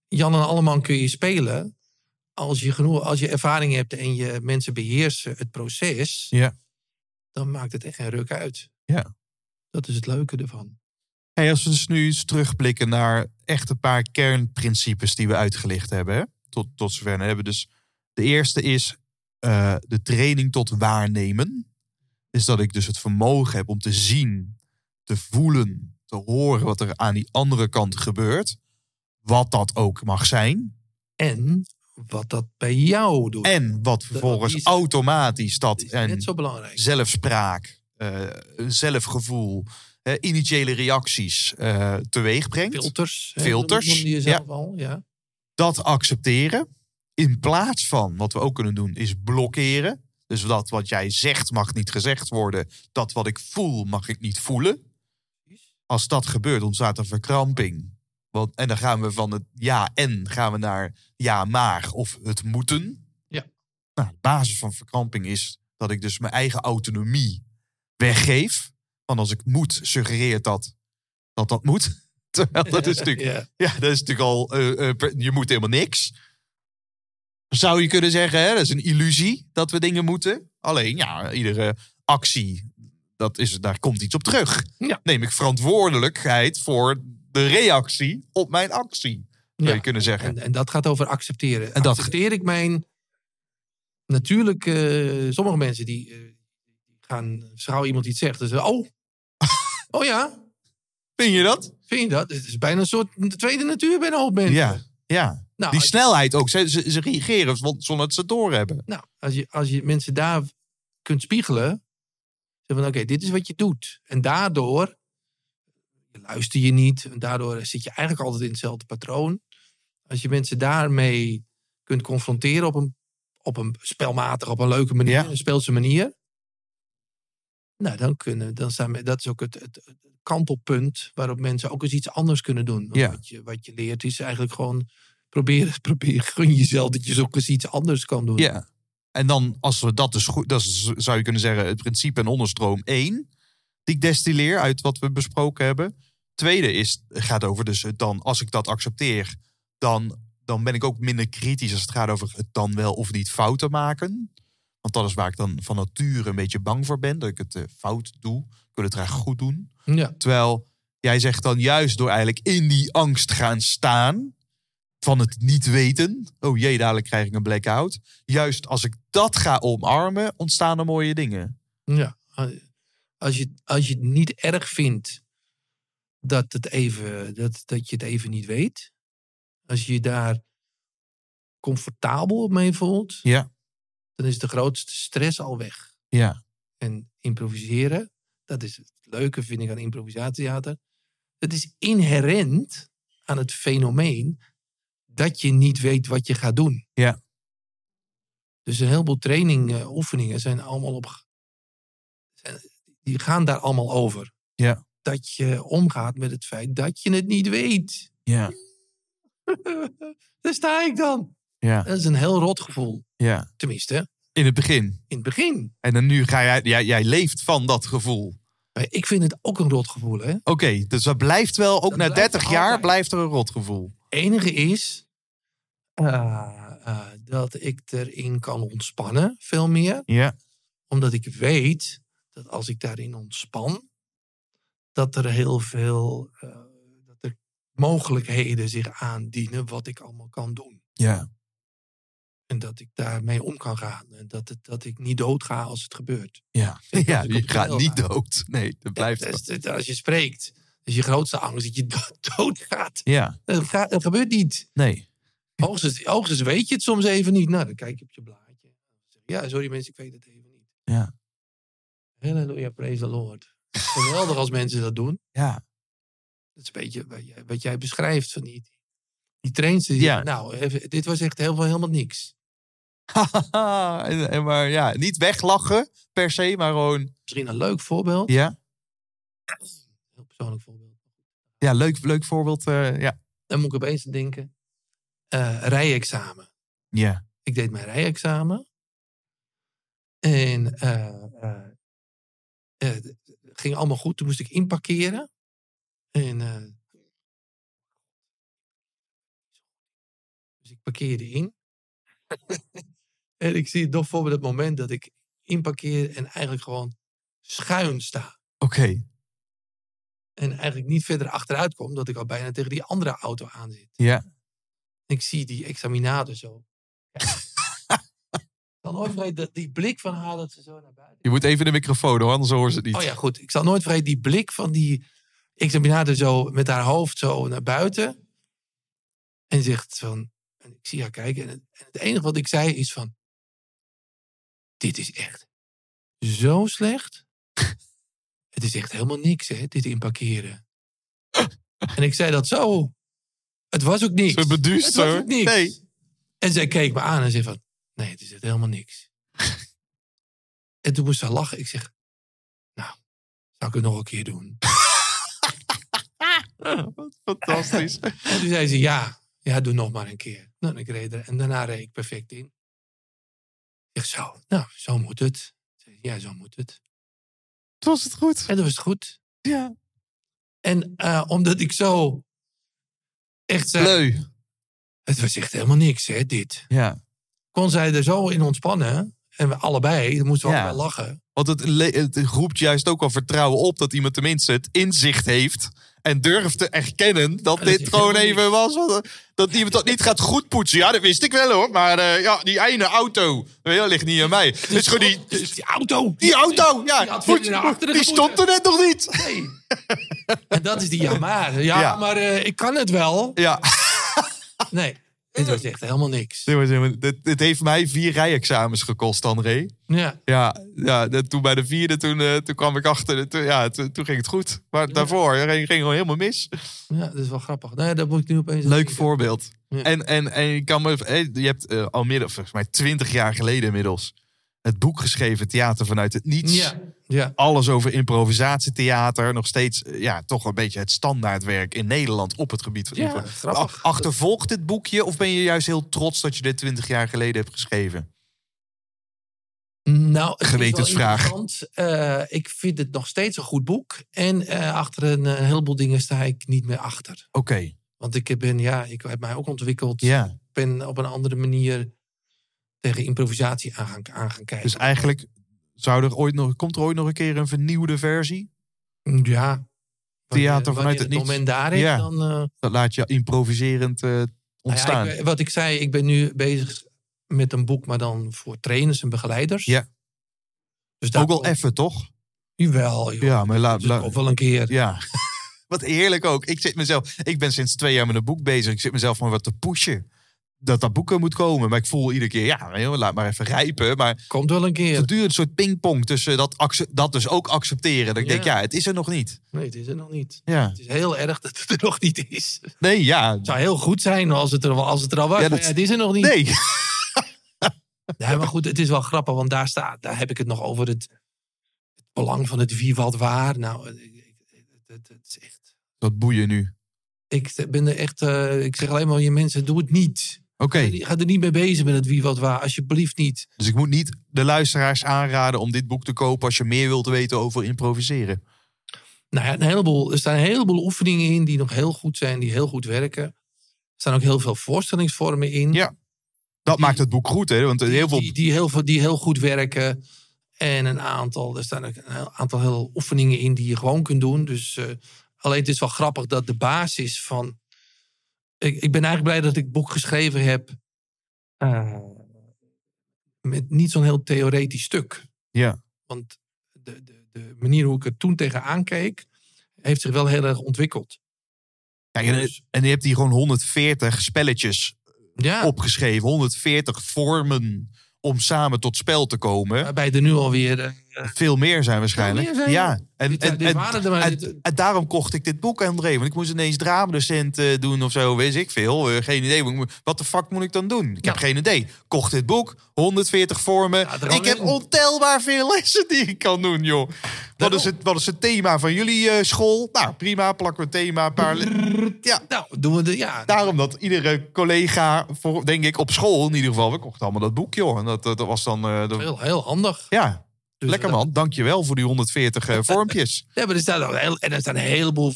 Speaker 1: Jan en Alleman kun je spelen als je, genoeg, als je ervaring hebt en je mensen beheersen het proces,
Speaker 2: Ja.
Speaker 1: dan maakt het echt geen ruk uit.
Speaker 2: Ja.
Speaker 1: Dat is het leuke ervan.
Speaker 2: Hey, als we dus nu eens terugblikken naar echt een paar kernprincipes die we uitgelicht hebben. hè, Tot, tot zover. Dan hebben we dus, de eerste is eh, de training tot waarnemen. Is dat ik dus het vermogen heb om te zien, te voelen, te horen wat er aan die andere kant gebeurt. Wat dat ook mag zijn.
Speaker 1: En wat dat bij jou doet.
Speaker 2: En wat vervolgens
Speaker 1: is-
Speaker 2: automatisch dat
Speaker 1: dat is
Speaker 2: en
Speaker 1: net zo belangrijk.
Speaker 2: zelfspraak, eh, een zelfgevoel, eh, initiële reacties eh teweeg brengt.
Speaker 1: Filters. hè,
Speaker 2: Filters,
Speaker 1: noemde je zelf al. Ja.
Speaker 2: dat accepteren. In plaats van, wat we ook kunnen doen, is blokkeren. Dus dat wat jij zegt mag niet gezegd worden. Dat wat ik voel mag ik niet voelen. Als dat gebeurt, ontstaat een verkramping. Want, en dan gaan we van het ja en gaan we naar ja maar of het moeten.
Speaker 1: Ja.
Speaker 2: Nou, de basis van verkramping is dat ik dus mijn eigen autonomie weggeef. Want als ik moet, suggereert dat dat dat moet. Terwijl dat is natuurlijk
Speaker 1: Ja.
Speaker 2: ja, dat is natuurlijk al. eh, eh, per- je moet helemaal niks. Zou je kunnen zeggen, hè? dat is een illusie dat we dingen moeten. Alleen, ja, iedere actie, dat is, daar komt iets op terug.
Speaker 1: Ja.
Speaker 2: Neem ik verantwoordelijkheid voor de reactie op mijn actie, zou
Speaker 1: Ja.
Speaker 2: je kunnen zeggen.
Speaker 1: En, en dat gaat over accepteren.
Speaker 2: En dat-
Speaker 1: Accepteer ik mijn... Natuurlijk, eh, sommige mensen die eh, gaan... Zodra iemand iets zegt, dan zeggen ze, oh, oh ja,
Speaker 2: Vind je dat?
Speaker 1: vind je dat? Het is bijna een soort tweede natuur bij een hoop mensen.
Speaker 2: Ja, ja.
Speaker 1: Nou,
Speaker 2: die
Speaker 1: als-
Speaker 2: snelheid ook. Ze, ze, ze reageren zon- zonder dat ze het doorhebben.
Speaker 1: Nou, als je, als je mensen daar kunt spiegelen. Zeg van oké, dit is wat je doet. En daardoor luister je niet. En daardoor zit je eigenlijk altijd in hetzelfde patroon. Als je mensen daarmee kunt confronteren op een, op een spelmatige, op een leuke manier.
Speaker 2: Ja.
Speaker 1: Een speelse manier. Nou, dan kunnen, dan staan, we- dat is ook het, het, het kantelpunt waarop mensen ook eens iets anders kunnen doen. Want
Speaker 2: Ja.
Speaker 1: Wat, je, wat je leert is eigenlijk gewoon proberen, proberen, gun jezelf dat je zo ook eens iets anders kan doen.
Speaker 2: Ja. En dan, als we dat dus goed, dat is, zou je kunnen zeggen, het principe en onderstroom één, die ik destilleer uit wat we besproken hebben. Tweede is, gaat over dus het dan, als ik dat accepteer, dan, dan ben ik ook minder kritisch als het gaat over het dan wel of niet fouten maken. Want dat is waar ik dan van nature een beetje bang voor ben, dat ik het eh, fout doe. Ik wil het graag goed doen.
Speaker 1: Ja,
Speaker 2: Terwijl jij zegt dan juist door eigenlijk in die angst gaan staan van het niet weten. Oh jee, dadelijk krijg ik een blackout. Juist als ik dat ga omarmen, ontstaan er mooie dingen.
Speaker 1: ja. Als je, als je het niet erg vindt dat, het even, dat, dat je het even niet weet. Als je je daar comfortabel mee voelt.
Speaker 2: Ja.
Speaker 1: Dan is de grootste stress al weg.
Speaker 2: Ja.
Speaker 1: En improviseren, dat is het leuke vind ik aan improvisatietheater. Het is inherent aan het fenomeen dat je niet weet wat je gaat doen.
Speaker 2: Ja.
Speaker 1: Dus een heleboel training, eh, oefeningen zijn allemaal op. zijn- die gaan daar allemaal over.
Speaker 2: Ja.
Speaker 1: Dat je omgaat met het feit dat je het niet weet.
Speaker 2: Ja.
Speaker 1: daar sta ik dan.
Speaker 2: Ja.
Speaker 1: Dat is een heel rot gevoel.
Speaker 2: ja.
Speaker 1: Tenminste,
Speaker 2: In het begin.
Speaker 1: in het begin.
Speaker 2: En dan nu ga jij, jij, jij leeft van dat gevoel.
Speaker 1: Maar ik vind het ook een rot gevoel. Hè? Het
Speaker 2: Oké, dus dat blijft wel, ook
Speaker 1: Dat
Speaker 2: na
Speaker 1: blijft
Speaker 2: 30 jaar
Speaker 1: altijd.
Speaker 2: blijft er een rotgevoel.
Speaker 1: enige is eh, eh, dat ik erin kan ontspannen, veel meer.
Speaker 2: Ja.
Speaker 1: Omdat ik weet dat als ik daarin ontspan, dat er heel veel eh, dat er mogelijkheden zich aandienen wat ik allemaal kan doen.
Speaker 2: Ja.
Speaker 1: En dat ik daarmee om kan gaan. En dat, het, dat ik niet doodga als het gebeurt.
Speaker 2: Ja. ja je gaat niet
Speaker 1: Ja.
Speaker 2: dood. Nee, dat blijft
Speaker 1: Dat
Speaker 2: wel.
Speaker 1: is- dat- als je spreekt, is je grootste angst dat je do- doodgaat.
Speaker 2: Ja,
Speaker 1: Dat, gaat- dat gebeurt niet.
Speaker 2: nee.
Speaker 1: Hoogstens, hoogstens weet je het soms even niet. Nou, dan kijk je op je blaadje. Ja, sorry mensen, ik weet het even niet.
Speaker 2: Ja.
Speaker 1: Halleluja, praise the Lord. Geweldig als mensen dat doen.
Speaker 2: Ja.
Speaker 1: Dat is een beetje wat jij, wat jij beschrijft van die, die trains. Die
Speaker 2: Ja.
Speaker 1: zeggen, nou, even- dit was echt heel, helemaal niks.
Speaker 2: en, en maar ja, niet weglachen per se, maar gewoon...
Speaker 1: Misschien een leuk voorbeeld.
Speaker 2: Ja,
Speaker 1: Heel persoonlijk voorbeeld.
Speaker 2: ja leuk, leuk voorbeeld. eh, ja.
Speaker 1: Dan moet ik opeens aan denken. eh rijexamen.
Speaker 2: Ja.
Speaker 1: ik deed mijn rijexamen. En eh, eh, eh, het ging allemaal goed. Toen moest ik inparkeren. En, eh, dus ik parkeerde in. en ik zie het nog voor me dat moment dat ik inparkeer en eigenlijk gewoon schuin sta.
Speaker 2: Oké.
Speaker 1: En eigenlijk niet verder achteruit kom, dat ik al bijna tegen die andere auto aan zit.
Speaker 2: Ja.
Speaker 1: Ik zie die examinator zo. Dan nooit vergeten dat- die blik van haar dat ze zo naar buiten.
Speaker 2: Je moet even de microfoon hoor, anders horen ze het niet.
Speaker 1: Oh ja, goed. Ik zal nooit vergeten die blik van die examinator dus zo met haar hoofd zo naar buiten. En zegt van, en ik zie haar kijken. En het, en het enige wat ik zei is van, dit is echt zo slecht. Het is echt helemaal niks, hè, dit inparkeren. En ik zei dat zo. Het was ook niks.
Speaker 2: Ze beduust,
Speaker 1: Het was
Speaker 2: hoor.
Speaker 1: ook niks.
Speaker 2: Nee.
Speaker 1: En zij keek me aan en zei van, nee, het is echt helemaal niks. en toen moest ze lachen. Ik zeg, nou, zou ik het nog een keer doen? Oh.
Speaker 2: Fantastisch.
Speaker 1: En toen zei ze, ja, ja, doe nog maar een keer. Nou, en ik reed er, en daarna reed ik perfect in. Ik zeg, zo, nou, zo moet het. Zei ze, Ja, zo moet het.
Speaker 2: Het was het goed.
Speaker 1: En dat was het goed.
Speaker 2: Ja.
Speaker 1: En eh, omdat ik zo echt zei,
Speaker 2: Leu.
Speaker 1: het was echt helemaal niks, hè, dit.
Speaker 2: Ja.
Speaker 1: Kon zij er zo in ontspannen. En we allebei, dan moesten we
Speaker 2: Ja.
Speaker 1: allebei lachen.
Speaker 2: Want het, le- het roept juist ook al vertrouwen op dat iemand tenminste het inzicht heeft. En durft te erkennen dat
Speaker 1: Ja, dat
Speaker 2: dit
Speaker 1: is
Speaker 2: gewoon
Speaker 1: helemaal
Speaker 2: even was. wat- Dat iemand dat niet gaat goedpoetsen. Ja, dat wist ik wel hoor. Maar eh, ja, die ene auto. weet je, Dat ligt niet aan mij. Het is gewoon die,
Speaker 1: Dus die auto.
Speaker 2: die auto. Ja,
Speaker 1: had
Speaker 2: goed,
Speaker 1: verder naar achteren
Speaker 2: die
Speaker 1: gemoeten.
Speaker 2: stond er net nog niet.
Speaker 1: Nee. en dat is die ja maar. Ja,
Speaker 2: Ja.
Speaker 1: maar eh, ik kan het wel.
Speaker 2: Ja.
Speaker 1: Nee, dit was echt helemaal niks.
Speaker 2: Dit, was helemaal- dit- dit heeft mij vier rijexamens gekost, André.
Speaker 1: Ja,
Speaker 2: Ja, ja dat- toen bij de vierde, toen, eh, toen kwam ik achter. Toen, ja, toen, toen ging het goed. Maar daarvoor ging, ging gewoon helemaal mis.
Speaker 1: ja, dat is wel grappig. Nee, dat moet ik nu opeens... aan
Speaker 2: Leuk
Speaker 1: denken.
Speaker 2: voorbeeld.
Speaker 1: Ja.
Speaker 2: En, en, en ik kan me, eh, je hebt eh, al meer, dan- volgens mij twintig jaar geleden inmiddels, het boek geschreven, Theater vanuit het Niets.
Speaker 1: Ja, ja,
Speaker 2: Alles over improvisatietheater. Nog steeds, eh, ja, toch een beetje het standaardwerk in Nederland op het gebied van
Speaker 1: Ja,
Speaker 2: impro-
Speaker 1: grappig.
Speaker 2: A- Achtervolgt dit boekje of ben je juist heel trots dat je dit twintig jaar geleden hebt geschreven?
Speaker 1: Nou, het is wel
Speaker 2: Gewetensvraag.
Speaker 1: interessant. Eh, ik vind het nog steeds een goed boek. En eh, achter een, eh, heleboel dingen sta ik niet meer achter.
Speaker 2: Oké,
Speaker 1: Want ik ben, ja, ik heb mij ook ontwikkeld.
Speaker 2: ja.
Speaker 1: Ik ben op een andere manier tegen improvisatie aan gaan, aan gaan kijken.
Speaker 2: Dus eigenlijk zou er ooit nog, komt er ooit nog een keer een vernieuwde versie?
Speaker 1: ja.
Speaker 2: Theater
Speaker 1: Wanneer- wanneer
Speaker 2: vanuit het niets.
Speaker 1: moment daar is,
Speaker 2: Ja.
Speaker 1: dan... eh,
Speaker 2: Dat laat je improviserend eh,
Speaker 1: Nou ja, ik
Speaker 2: ontstaan.
Speaker 1: ben- wat ik zei, ik ben nu bezig met een boek, maar dan voor trainers en begeleiders.
Speaker 2: Ja.
Speaker 1: Dus daar
Speaker 2: Ook wel even, toch?
Speaker 1: Jawel, joh.
Speaker 2: Ja, maar laat...
Speaker 1: Dus dat
Speaker 2: la-
Speaker 1: komt wel een keer.
Speaker 2: Ja. Wat heerlijk ook. Ik, zit mezelf, ik ben sinds twee jaar met een boek bezig. Ik zit mezelf maar wat te pushen. Dat dat boek er moet komen. Maar ik voel iedere keer, ja, joh, laat maar even rijpen. Maar
Speaker 1: Komt wel een keer.
Speaker 2: voortdurend een soort pingpong tussen dat, acce- dat dus ook accepteren. Dat ik
Speaker 1: Ja.
Speaker 2: denk, ja, het is er nog niet.
Speaker 1: Nee, het is er nog niet.
Speaker 2: Ja.
Speaker 1: Het is heel erg dat het er nog niet is. Het
Speaker 2: Nee, ja.
Speaker 1: zou heel goed zijn als het er, als het er al was,
Speaker 2: Ja,
Speaker 1: maar
Speaker 2: dat-
Speaker 1: ja, het is er nog niet.
Speaker 2: Nee.
Speaker 1: Nee, maar goed, het is wel grappig, want daar, staat, daar heb ik het nog over het, het belang van het wie wat waar. Nou, eh, het, het, het is echt.
Speaker 2: Dat boeien nu. Oké.
Speaker 1: Ik ben er echt. eh, ik zeg alleen maar, je mensen, doe het niet. Ga er niet mee bezig met het wie wat waar. Alsjeblieft niet.
Speaker 2: Dus ik moet niet de luisteraars aanraden om dit boek te kopen als je meer wilt weten over improviseren.
Speaker 1: Nou ja, een heleboel, er staan een heleboel oefeningen in die nog heel goed zijn, die heel goed werken. Er staan ook heel veel voorstellingsvormen in.
Speaker 2: Ja, Dat
Speaker 1: Die-
Speaker 2: maakt het boek goed, hè? Want heel veel.
Speaker 1: die, die, heel veel, die heel goed werken. En een aantal, er staan ook een heel- aantal heel oefeningen in die je gewoon kunt doen. Dus, eh, alleen het is wel grappig dat de basis van. Ik, ik ben eigenlijk blij dat ik het boek geschreven heb. eh, met niet zo'n heel theoretisch stuk.
Speaker 2: Ja.
Speaker 1: Want de, de, de manier hoe ik er toen tegenaan keek. heeft zich wel heel erg ontwikkeld.
Speaker 2: Kijk, en, en je hebt hier gewoon 140 spelletjes
Speaker 1: Ja.
Speaker 2: opgeschreven. 140 vormen om samen tot spel te komen.
Speaker 1: Waarbij er nu alweer. eh,
Speaker 2: Veel meer zijn waarschijnlijk.
Speaker 1: Ah. Veel meer zijn
Speaker 2: ja, en,
Speaker 1: dit,
Speaker 2: en,
Speaker 1: dit
Speaker 2: en-
Speaker 1: waren er maar-
Speaker 2: en-
Speaker 1: dit-
Speaker 2: en daarom kocht ik dit boek, André. Want ik moest ineens dramadocent eh, doen of zo, weet ik veel. Eh, geen idee. Wat ik moet- Wat de fuck moet ik dan doen? Ik heb geen idee. Kocht dit boek, 140 vormen.
Speaker 1: Ja, er
Speaker 2: ik heb
Speaker 1: alleen.
Speaker 2: ontelbaar veel lessen die ik kan doen, joh. Wat
Speaker 1: Daarom.
Speaker 2: is, het, wat is het thema van jullie eh, school? Nou, prima, plakken we het thema. Een paar le-
Speaker 1: nou, doen we de. Ja,
Speaker 2: Daarom dat iedere collega, voor, denk ik, op school in ieder geval... we kochten allemaal dat boek, joh. En dat, dat, dat was dan... eh, de-
Speaker 1: heel, heel handig.
Speaker 2: ja,
Speaker 1: Dus
Speaker 2: lekker
Speaker 1: dat-
Speaker 2: man. Dankjewel voor die 140 eh, vormpjes.
Speaker 1: Ja, maar er staan ook heel, en er staan een heleboel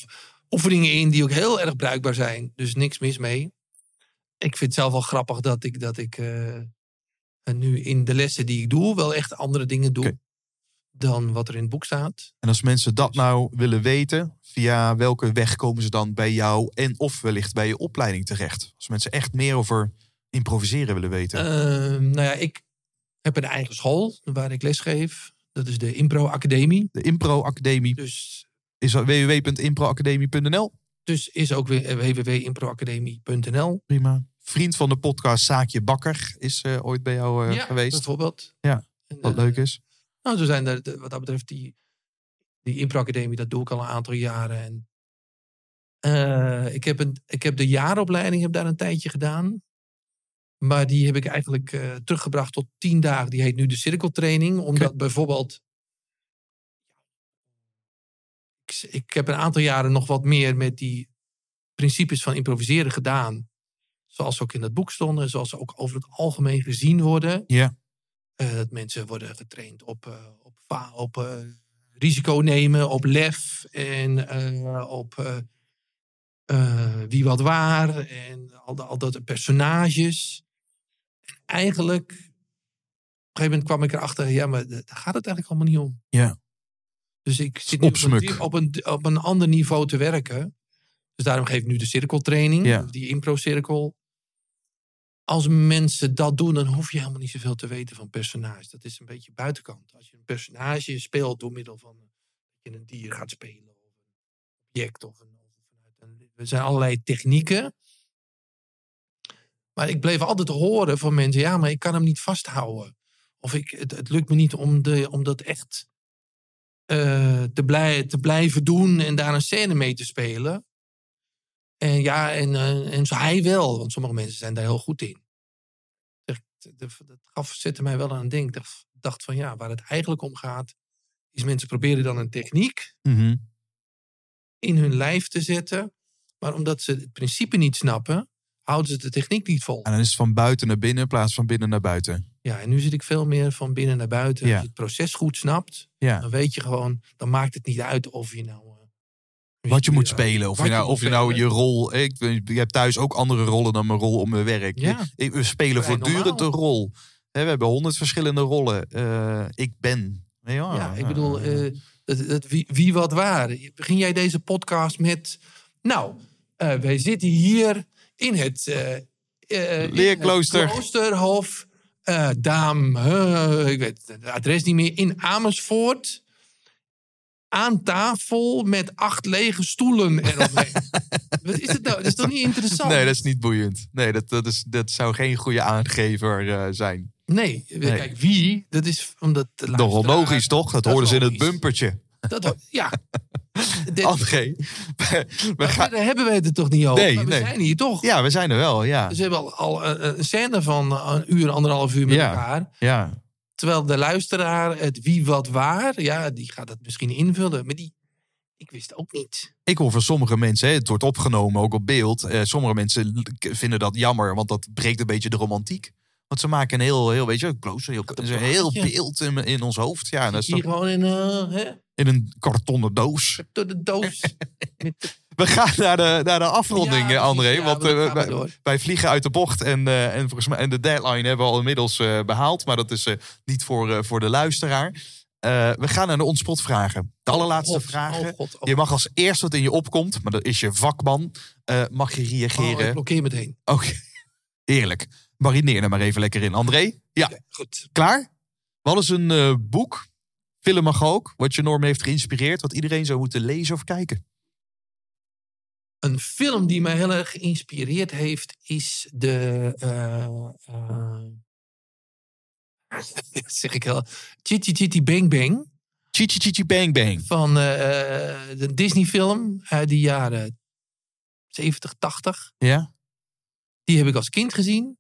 Speaker 1: oefeningen in die ook heel erg bruikbaar zijn. Dus niks mis mee. Ik vind het zelf wel grappig dat ik, dat ik eh, nu in de lessen die ik doe, wel echt andere dingen doe
Speaker 2: Oké.
Speaker 1: dan wat er in het boek staat.
Speaker 2: En als mensen dat nou willen weten, via welke weg komen ze dan bij jou en of wellicht bij je opleiding terecht? Als mensen echt meer over improviseren willen weten.
Speaker 1: Ehm, nou ja, ik heb een eigen school waar ik lesgeef. Dat is de Impro Academie.
Speaker 2: de Impro Academie
Speaker 1: Dus,
Speaker 2: is eh, dat www.improacademie.nl.
Speaker 1: dus is ook weer www.improacademie.nl.
Speaker 2: Prima. Vriend van de podcast Saakje Bakker is eh, ooit bij jou eh, geweest.
Speaker 1: bijvoorbeeld.
Speaker 2: Ja,
Speaker 1: En,
Speaker 2: Wat
Speaker 1: eh,
Speaker 2: leuk is.
Speaker 1: Nou, zo zijn er, de- wat dat betreft, die, die impro-academie, dat doe ik al een aantal jaren. En, eh, ik, heb een, ik heb de jaaropleiding heb daar een tijdje gedaan. Maar die heb ik eigenlijk eh, teruggebracht tot tien dagen. Die heet nu de cirkeltraining. Omdat bijvoorbeeld... Ik, s- ik heb een aantal jaren nog wat meer met die principes van improviseren gedaan. Zoals ze ook in het boek stonden. Zoals ze ook over het algemeen gezien worden.
Speaker 2: Ja.
Speaker 1: Eh, dat mensen worden getraind op, eh, op, fa- op eh, risico nemen, op lef en eh, op eh, eh, wie wat waar en al, da- al dat personages. En eigenlijk, op een gegeven moment kwam ik erachter, ja, maar daar gaat het eigenlijk allemaal niet om.
Speaker 2: Ja.
Speaker 1: Dus ik zit nu op een,
Speaker 2: Opsmuk.
Speaker 1: di- op, een, op een ander niveau te werken. Dus daarom geef ik nu de cirkeltraining,
Speaker 2: Ja.
Speaker 1: die impro-cirkel als mensen dat doen, dan hoef je helemaal niet zoveel te weten van personage. Dat is een beetje buitenkant. Als je een personage speelt door middel van dat je een dier gaat spelen, of een object, of een. Of een er zijn allerlei technieken. Maar ik bleef altijd horen van mensen: ja, maar ik kan hem niet vasthouden. Of ik, het, het lukt me niet om, de, om dat echt eh, te, blij, te blijven doen en daar een scène mee te spelen. En ja, en, eh, en zo hij wel, want sommige mensen zijn daar heel goed in. Zeg, d- d- Dat gaf, zette mij wel aan het denken. Ik dacht- dacht van ja, waar het eigenlijk om gaat, is mensen proberen dan een techniek
Speaker 2: Mhm.
Speaker 1: in hun lijf te zetten. Maar omdat ze het principe niet snappen, houden ze de techniek niet vol.
Speaker 2: En dan is het van buiten naar binnen in plaats van binnen naar buiten.
Speaker 1: Ja, en nu zit ik veel meer van binnen naar buiten.
Speaker 2: Ja.
Speaker 1: Als je het proces goed snapt,
Speaker 2: Ja.
Speaker 1: dan weet je gewoon, dan maakt het niet uit of je nou. eh,
Speaker 2: Wat je moet
Speaker 1: ja,
Speaker 2: spelen. Of
Speaker 1: wat
Speaker 2: je nou,
Speaker 1: moet
Speaker 2: of je, nou
Speaker 1: spelen.
Speaker 2: je rol. eh, Ik, je hebt thuis ook andere rollen dan mijn rol om mijn werk.
Speaker 1: Ja.
Speaker 2: Ik- We spelen
Speaker 1: Vrij
Speaker 2: voortdurend
Speaker 1: normaal.
Speaker 2: een rol. Hè, We hebben honderd verschillende rollen. Eh, ik ben. Ah, Ja,
Speaker 1: Ja, ik bedoel, eh, dat, dat, wie, wie wat waar. Begin jij deze podcast met. Nou, eh, wij zitten hier in het. eh, eh,
Speaker 2: Leerklooster.
Speaker 1: in het kloosterhof. eh, Daam. eh, ik weet het adres niet meer. In Amersfoort. Aan tafel met acht lege stoelen eromheen. Wat is het nou? Dat is toch niet interessant?
Speaker 2: nee, dat is niet boeiend. Nee, dat, dat, is, dat zou geen goede aangever eh, zijn.
Speaker 1: Nee, kijk, wie? Dat is omdat. de
Speaker 2: Nogal
Speaker 1: luisteraar-
Speaker 2: logisch, toch? Dat,
Speaker 1: eh, dat
Speaker 2: hoorden
Speaker 1: is
Speaker 2: ze in het
Speaker 1: logisch.
Speaker 2: bumpertje.
Speaker 1: Dat, ja. dit-
Speaker 2: André, we, we gaan...
Speaker 1: Daar hebben we het er toch niet over?
Speaker 2: Nee,
Speaker 1: Maar we
Speaker 2: nee.
Speaker 1: zijn hier toch?
Speaker 2: Ja, we zijn er wel, ja.
Speaker 1: Ze hebben al, al een, een scène van eh, een uur, anderhalf uur met
Speaker 2: Ja.
Speaker 1: elkaar.
Speaker 2: ja.
Speaker 1: Terwijl de luisteraar het wie, wat, waar, ja, die gaat dat misschien invullen. Maar die, ik wist ook niet.
Speaker 2: Ik hoor van sommige mensen, hè, het wordt opgenomen ook op beeld. eh, sommige mensen l- k- vinden dat jammer, want dat breekt een beetje de romantiek. Want ze maken een heel, heel weet je, close, heel, is een heel
Speaker 1: plaatje.
Speaker 2: beeld in, in ons hoofd. Ja, en dat is
Speaker 1: Hier
Speaker 2: toch-
Speaker 1: gewoon in, eh, hè,
Speaker 2: in een kartonnen doos.
Speaker 1: door de doos. Met de
Speaker 2: We gaan naar de, naar de afronding,
Speaker 1: Ja,
Speaker 2: eh, André.
Speaker 1: precies, ja,
Speaker 2: want
Speaker 1: maar
Speaker 2: eh,
Speaker 1: dat gaan we
Speaker 2: wij,
Speaker 1: door.
Speaker 2: wij vliegen uit de bocht. En, eh, en, volgens mij, en de deadline hebben we al inmiddels eh, behaald. Maar dat is eh, niet voor, eh, voor de luisteraar. Eh, we gaan naar de ontspotvragen. De allerlaatste
Speaker 1: God,
Speaker 2: vragen.
Speaker 1: Oh god, oh
Speaker 2: Je mag als eerst wat in je opkomt, maar dat is je vakman. eh, mag je
Speaker 1: god. Oh, ik
Speaker 2: reageren.
Speaker 1: blokkeer meteen.
Speaker 2: Oké, eerlijk. Marineer er maar even lekker in. André, ja,
Speaker 1: Ja, goed.
Speaker 2: klaar? Wat is een eh, boek, film mag ook, wat je norm heeft geïnspireerd, wat iedereen zou moeten lezen of kijken?
Speaker 1: Een film die mij heel erg geïnspireerd heeft is de. eh, eh, dat zeg ik heel. Chitty Chitty Bang Bang.
Speaker 2: Chichi Chichi Bang Bang.
Speaker 1: van eh, eh, de Disney-film uit de jaren 70, 80.
Speaker 2: Ja?
Speaker 1: Die heb ik als kind gezien.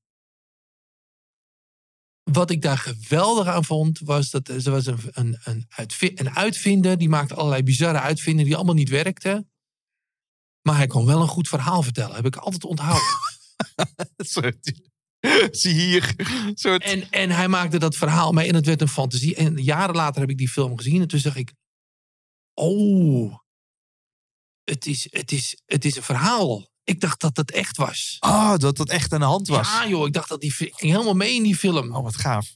Speaker 1: Wat ik daar geweldig aan vond, was dat er- ze was een, een, een, uitvi- een uitvinder. Die maakte allerlei bizarre uitvinden die allemaal niet werkten. Maar hij kon wel een goed verhaal vertellen. Heb ik altijd onthouden.
Speaker 2: Soort- Zie hier. Soort...
Speaker 1: En, en hij maakte dat verhaal mee en het werd een fantasie. En jaren later heb ik die film gezien en toen dacht ik... Oh, het is, het is, het is een verhaal. Ik dacht dat dat echt was.
Speaker 2: Ah, dat dat echt aan de hand was.
Speaker 1: Ja joh, ik dacht dat die fi- ik ging helemaal mee in die film.
Speaker 2: Oh, wat gaaf.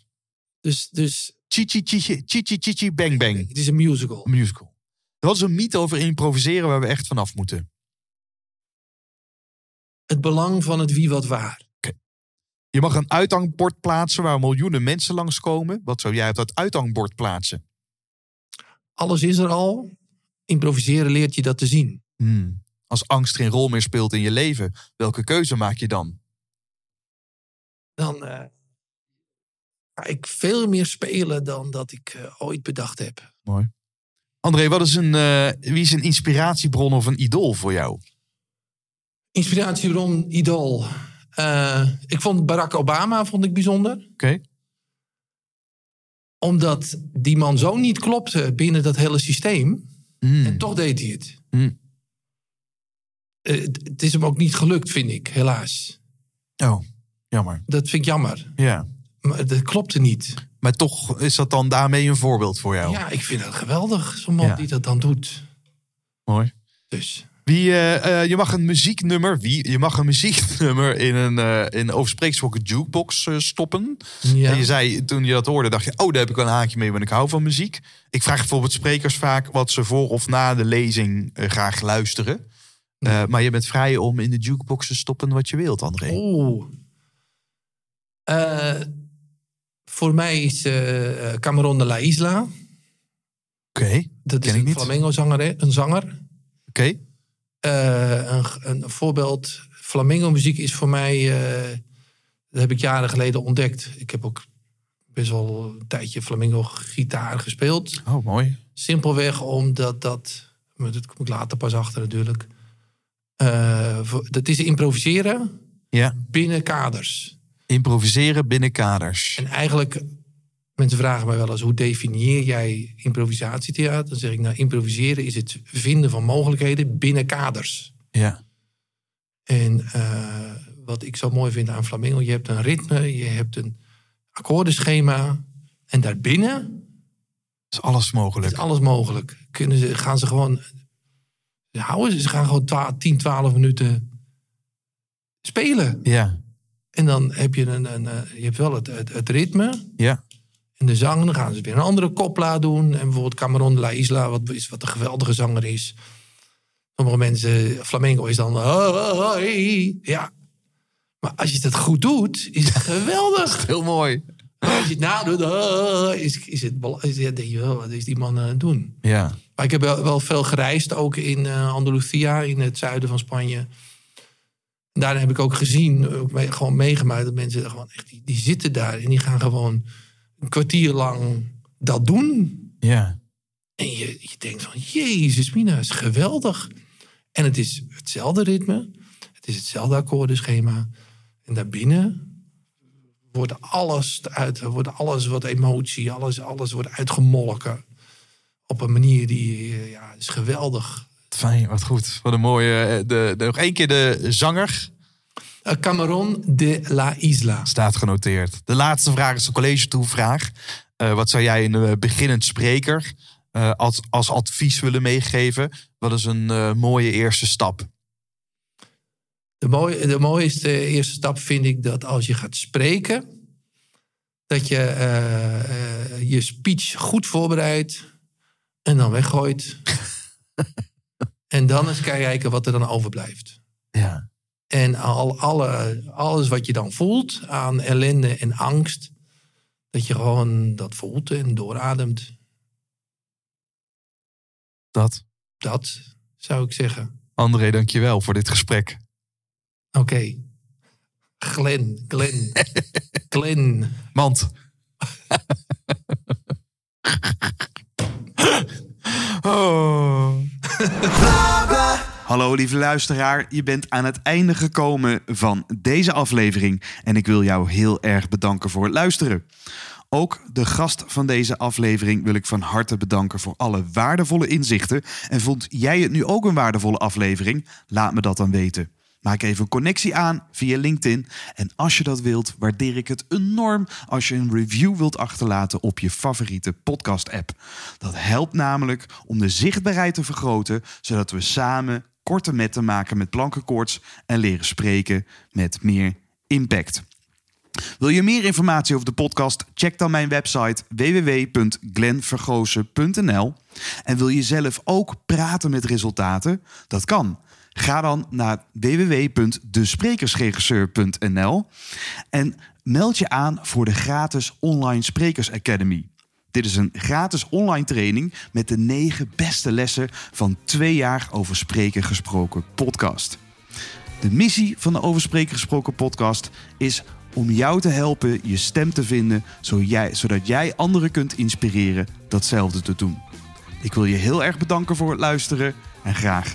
Speaker 1: Dus, dus
Speaker 2: Chichi Chichi Chichi Chichi Bang Bang.
Speaker 1: het is een musical.
Speaker 2: Een musical. Dat is een mythe over improviseren waar we echt vanaf moeten.
Speaker 1: Het belang van het wie wat waar.
Speaker 2: Je mag een uithangbord plaatsen waar miljoenen mensen langskomen. Wat zou jij op dat uithangbord plaatsen?
Speaker 1: Alles is er al. Improviseren leert je dat te zien.
Speaker 2: Hmm. Als angst geen rol meer speelt in je leven, welke keuze maak je dan?
Speaker 1: Dan eh, ga ik veel meer spelen dan dat ik eh, ooit bedacht heb.
Speaker 2: André, wat is een, eh, wie is een inspiratiebron of een idool voor jou?
Speaker 1: Inspiratie rond idool. Eh, ik vond Barack Obama vond ik bijzonder.
Speaker 2: Oké.
Speaker 1: Omdat die man zo niet klopte binnen dat hele systeem.
Speaker 2: Hmm.
Speaker 1: En toch deed hij het.
Speaker 2: Hmm.
Speaker 1: Eh, het- het is hem ook niet gelukt, vind ik, helaas.
Speaker 2: Oh, jammer.
Speaker 1: Dat vind ik jammer.
Speaker 2: Ja.
Speaker 1: Maar dat klopte niet.
Speaker 2: Maar toch is dat dan daarmee een voorbeeld voor jou.
Speaker 1: Ja, ik vind dat geweldig. Zo'n man
Speaker 2: Nou. Ja.
Speaker 1: die dat dan doet.
Speaker 2: Mooi.
Speaker 1: Dus
Speaker 2: Wie, eh, eh, je mag een muzieknummer, wie, je mag een muzieknummer in een eh in overspreeksproken jukebox eh, stoppen.
Speaker 1: ja.
Speaker 2: En je zei, toen je dat hoorde, dacht je, oh, daar heb ik wel een haakje mee, want ik hou van muziek. Ik vraag bijvoorbeeld sprekers vaak wat ze voor of na de lezing eh, graag luisteren. Eh, maar je bent vrij om in de jukebox te stoppen wat je wilt, André.
Speaker 1: Oeh. Eh, voor mij is eh, Cameron de La Isla. Dat
Speaker 2: Ken
Speaker 1: is
Speaker 2: ik
Speaker 1: een
Speaker 2: niet.
Speaker 1: flamenco-zanger. Een zanger.
Speaker 2: Oké,
Speaker 1: Eh, een, een voorbeeld. Flamingo-muziek is voor mij. eh, dat heb ik jaren geleden ontdekt. Ik heb ook best wel een tijdje flamingo-gitaar gespeeld.
Speaker 2: oh, mooi.
Speaker 1: Simpelweg omdat dat. Maar dat kom ik later pas achter natuurlijk. Eh, voor- dat is improviseren
Speaker 2: Ja,
Speaker 1: binnen kaders.
Speaker 2: improviseren binnen kaders.
Speaker 1: En eigenlijk, mensen vragen mij wel eens: hoe definieer jij improvisatietheater? Dan zeg ik: nou, improviseren is het vinden van mogelijkheden binnen kaders.
Speaker 2: Ja,
Speaker 1: En eh, wat ik zo mooi vind aan flamenco: je hebt een ritme, je hebt een akkoordenschema. En daarbinnen
Speaker 2: is alles
Speaker 1: is
Speaker 2: mogelijk.
Speaker 1: alles mogelijk. Kunnen ze, gaan ze gewoon. Ze houden ze, ze gaan gewoon 12 10, 12 minuten spelen.
Speaker 2: Ja,
Speaker 1: En dan heb je, een, een, eh, je hebt wel het, het, het ritme.
Speaker 2: ja.
Speaker 1: En de zang, dan gaan ze weer een andere kopla doen. En bijvoorbeeld Cameron de la Isla, wat, is, wat een geweldige zanger is. Sommige mensen, flamenco is dan... Ja. Maar als je dat goed doet, is het geweldig.
Speaker 2: Heel mooi.
Speaker 1: Maar als je het nadoet, is, is het... bela- Is, ja, denk je, wel, wat is die man eh, aan het doen?
Speaker 2: Ja,
Speaker 1: Maar ik heb wel, wel veel gereisd, ook in eh Andalusia, in het zuiden van Spanje. En Daar heb ik ook gezien, ook mee- gewoon meegemaakt, dat mensen er gewoon echt, die, die zitten daar en die gaan gewoon een kwartier lang dat doen.
Speaker 2: ja.
Speaker 1: En je, je denkt van, jezus mina, is geweldig. En het is hetzelfde ritme. Het is hetzelfde akkoordenschema. En daarbinnen wordt alles, uit, wordt alles wat emotie, alles, alles wordt uitgemolken. Op een manier die, eh, ja, is geweldig.
Speaker 2: Fijn, wat goed. Wat een mooie. eh, De, de, nog één keer de zanger
Speaker 1: Eh, Cameron de la Isla.
Speaker 2: staat genoteerd. De laatste vraag is de college toevraag. Eh, wat zou jij een eh, beginnend spreker eh, als, als advies willen meegeven? Wat is een eh, mooie eerste stap?
Speaker 1: De, mooi, de mooiste eerste stap vind ik dat als je gaat spreken, dat je eh, eh, je speech goed voorbereidt en dan weggooit. en dan eens kijken wat er dan overblijft.
Speaker 2: Ja.
Speaker 1: En al, alle, alles wat je dan voelt aan ellende en angst, dat je gewoon dat voelt en doorademt.
Speaker 2: Dat.
Speaker 1: Dat zou ik zeggen.
Speaker 2: André, dankjewel voor dit gesprek.
Speaker 1: Oké. Glen, Glen, Glen.
Speaker 2: Mand. oh.
Speaker 4: Hallo lieve luisteraar, je bent aan het einde gekomen van deze aflevering en ik wil jou heel erg bedanken voor het luisteren. Ook de gast van deze aflevering wil ik van harte bedanken voor alle waardevolle inzichten. En vond jij het nu ook een waardevolle aflevering? Laat me dat dan weten. Maak even een connectie aan via LinkedIn. En als je dat wilt, waardeer ik het enorm als je een review wilt achterlaten op je favoriete podcast-app. Dat helpt namelijk om de zichtbaarheid te vergroten, zodat we samen korte metten maken met plankenkoorts en leren spreken met meer impact. Wil je meer informatie over de podcast? Check dan mijn website www.glenvergozen.nl. En wil je zelf ook praten met resultaten? Dat kan. Ga dan naar www.desprekersregisseur.nl en meld je aan voor de gratis Online Sprekers Academy. Dit is een gratis online training met de negen beste lessen van twee jaar over spreken gesproken podcast. De missie van de Over Spreken Gesproken podcast is om jou te helpen je stem te vinden, zo jij- zodat jij anderen kunt inspireren datzelfde te doen. Ik wil je heel erg bedanken voor het luisteren en graag